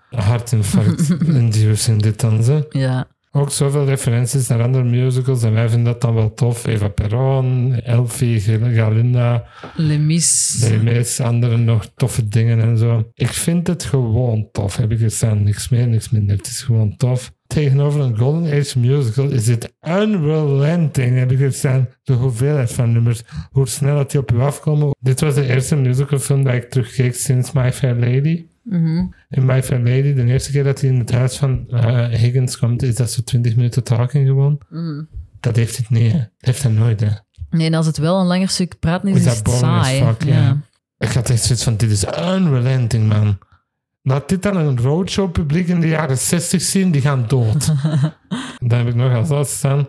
A: hartinfarct-inducing dit dan. Ze.
B: Ja.
A: Ook zoveel referenties naar andere musicals en wij vinden dat dan wel tof. Eva Perron, Elfie, Gal- Galinda,
B: Le Mis.
A: de meeste anderen nog toffe dingen en zo. Ik vind het gewoon tof. Heb ik er staan niks meer, niks minder. Het is gewoon tof. Tegenover een Golden Age musical is het unrelenting. Heb ik er staan de hoeveelheid van nummers. Hoe snel dat die op je afkomen. Dit was de eerste musicalfilm dat ik terugkeek sinds My Fair Lady. In My Fair Lady, de eerste keer dat hij in het huis van eh, Higgins komt, is dat zo 20 minuten talking gewoon. Dat heeft het niet, hè. Dat heeft hij nooit, hè.
B: Nee, en als het wel een langer stuk praat is,
A: Is
B: is
A: dat
B: het
A: boring
B: saai.
A: as fuck, ja. Ik had echt zoiets van, dit is unrelenting, man. Laat dit dan een roadshow publiek in de jaren 60 zien, die gaan dood. dan heb ik nog als laatste staan.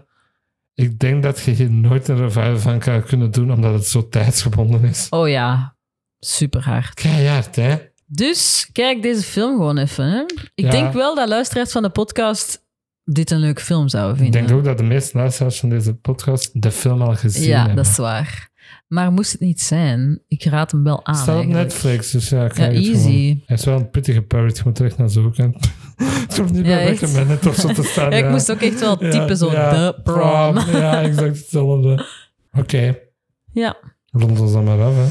A: Ik denk dat je hier nooit een revival van kan kunnen doen, omdat het zo tijdsgebonden is.
B: Oh ja, super hard.
A: Keihard, hè?
B: Dus kijk deze film gewoon even. Hè? Ik
A: Ja.
B: denk wel dat luisteraars van de podcast dit een leuke film zouden
A: Ik
B: vinden.
A: denk ook dat de meeste luisteraars van deze podcast de film al gezien
B: ja,
A: hebben.
B: dat is waar. Maar moest het niet zijn, ik raad hem wel aan.
A: Staat op
B: eigenlijk.
A: Netflix, dus ja,
B: Ja,
A: kijk het gewoon.
B: easy.
A: Hij is wel een pittige parrot, je moet er echt naar zoeken. het hoeft niet
B: Ja,
A: bij
B: echt.
A: recommended of zo te staan.
B: Ja, ik moest ook echt wel
A: Ja,
B: typen zo
A: ja,
B: de prom.
A: Ja, exact hetzelfde. Oké,
B: Ja.
A: rond ons dan maar af, hè.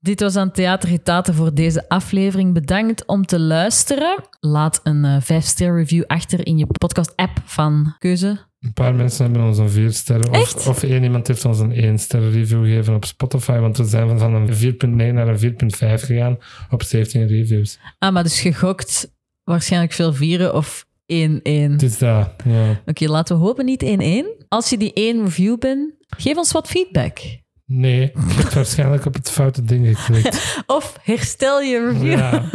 B: Dit was aan Theater Hitate voor deze aflevering. Bedankt om te luisteren. Laat een 5-ster review achter in je podcast-app van keuze.
A: Een paar mensen hebben ons een vier sterren. Of,
B: Echt?
A: of één iemand heeft ons een één sterren review gegeven op Spotify. Want we zijn van- van een 4.9 naar een 4.5 gegaan op 17 reviews.
B: Ah, maar dus gegokt. Waarschijnlijk veel vieren of 1-1.
A: Het
B: Oké,
A: is dat, ja.
B: laten we hopen niet 1-1. Als je die 1 review bent, geef ons wat feedback.
A: Nee, ik heb waarschijnlijk op het foute ding geklikt.
B: Of herstel je review.
A: Ja,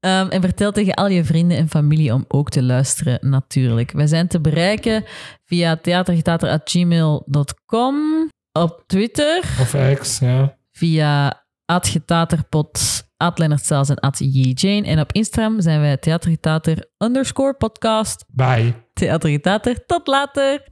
B: Ehm, en vertel tegen al je vrienden en familie om ook te luisteren, natuurlijk. Wij zijn te bereiken via theatergetater.gmail.com, op Twitter,
A: of X, ja.
B: via atgetaterpot, atlennertzaals en atjjane. En op Instagram zijn wij theatergetater underscore podcast.
A: Bye.
B: Theatergetater, tot later!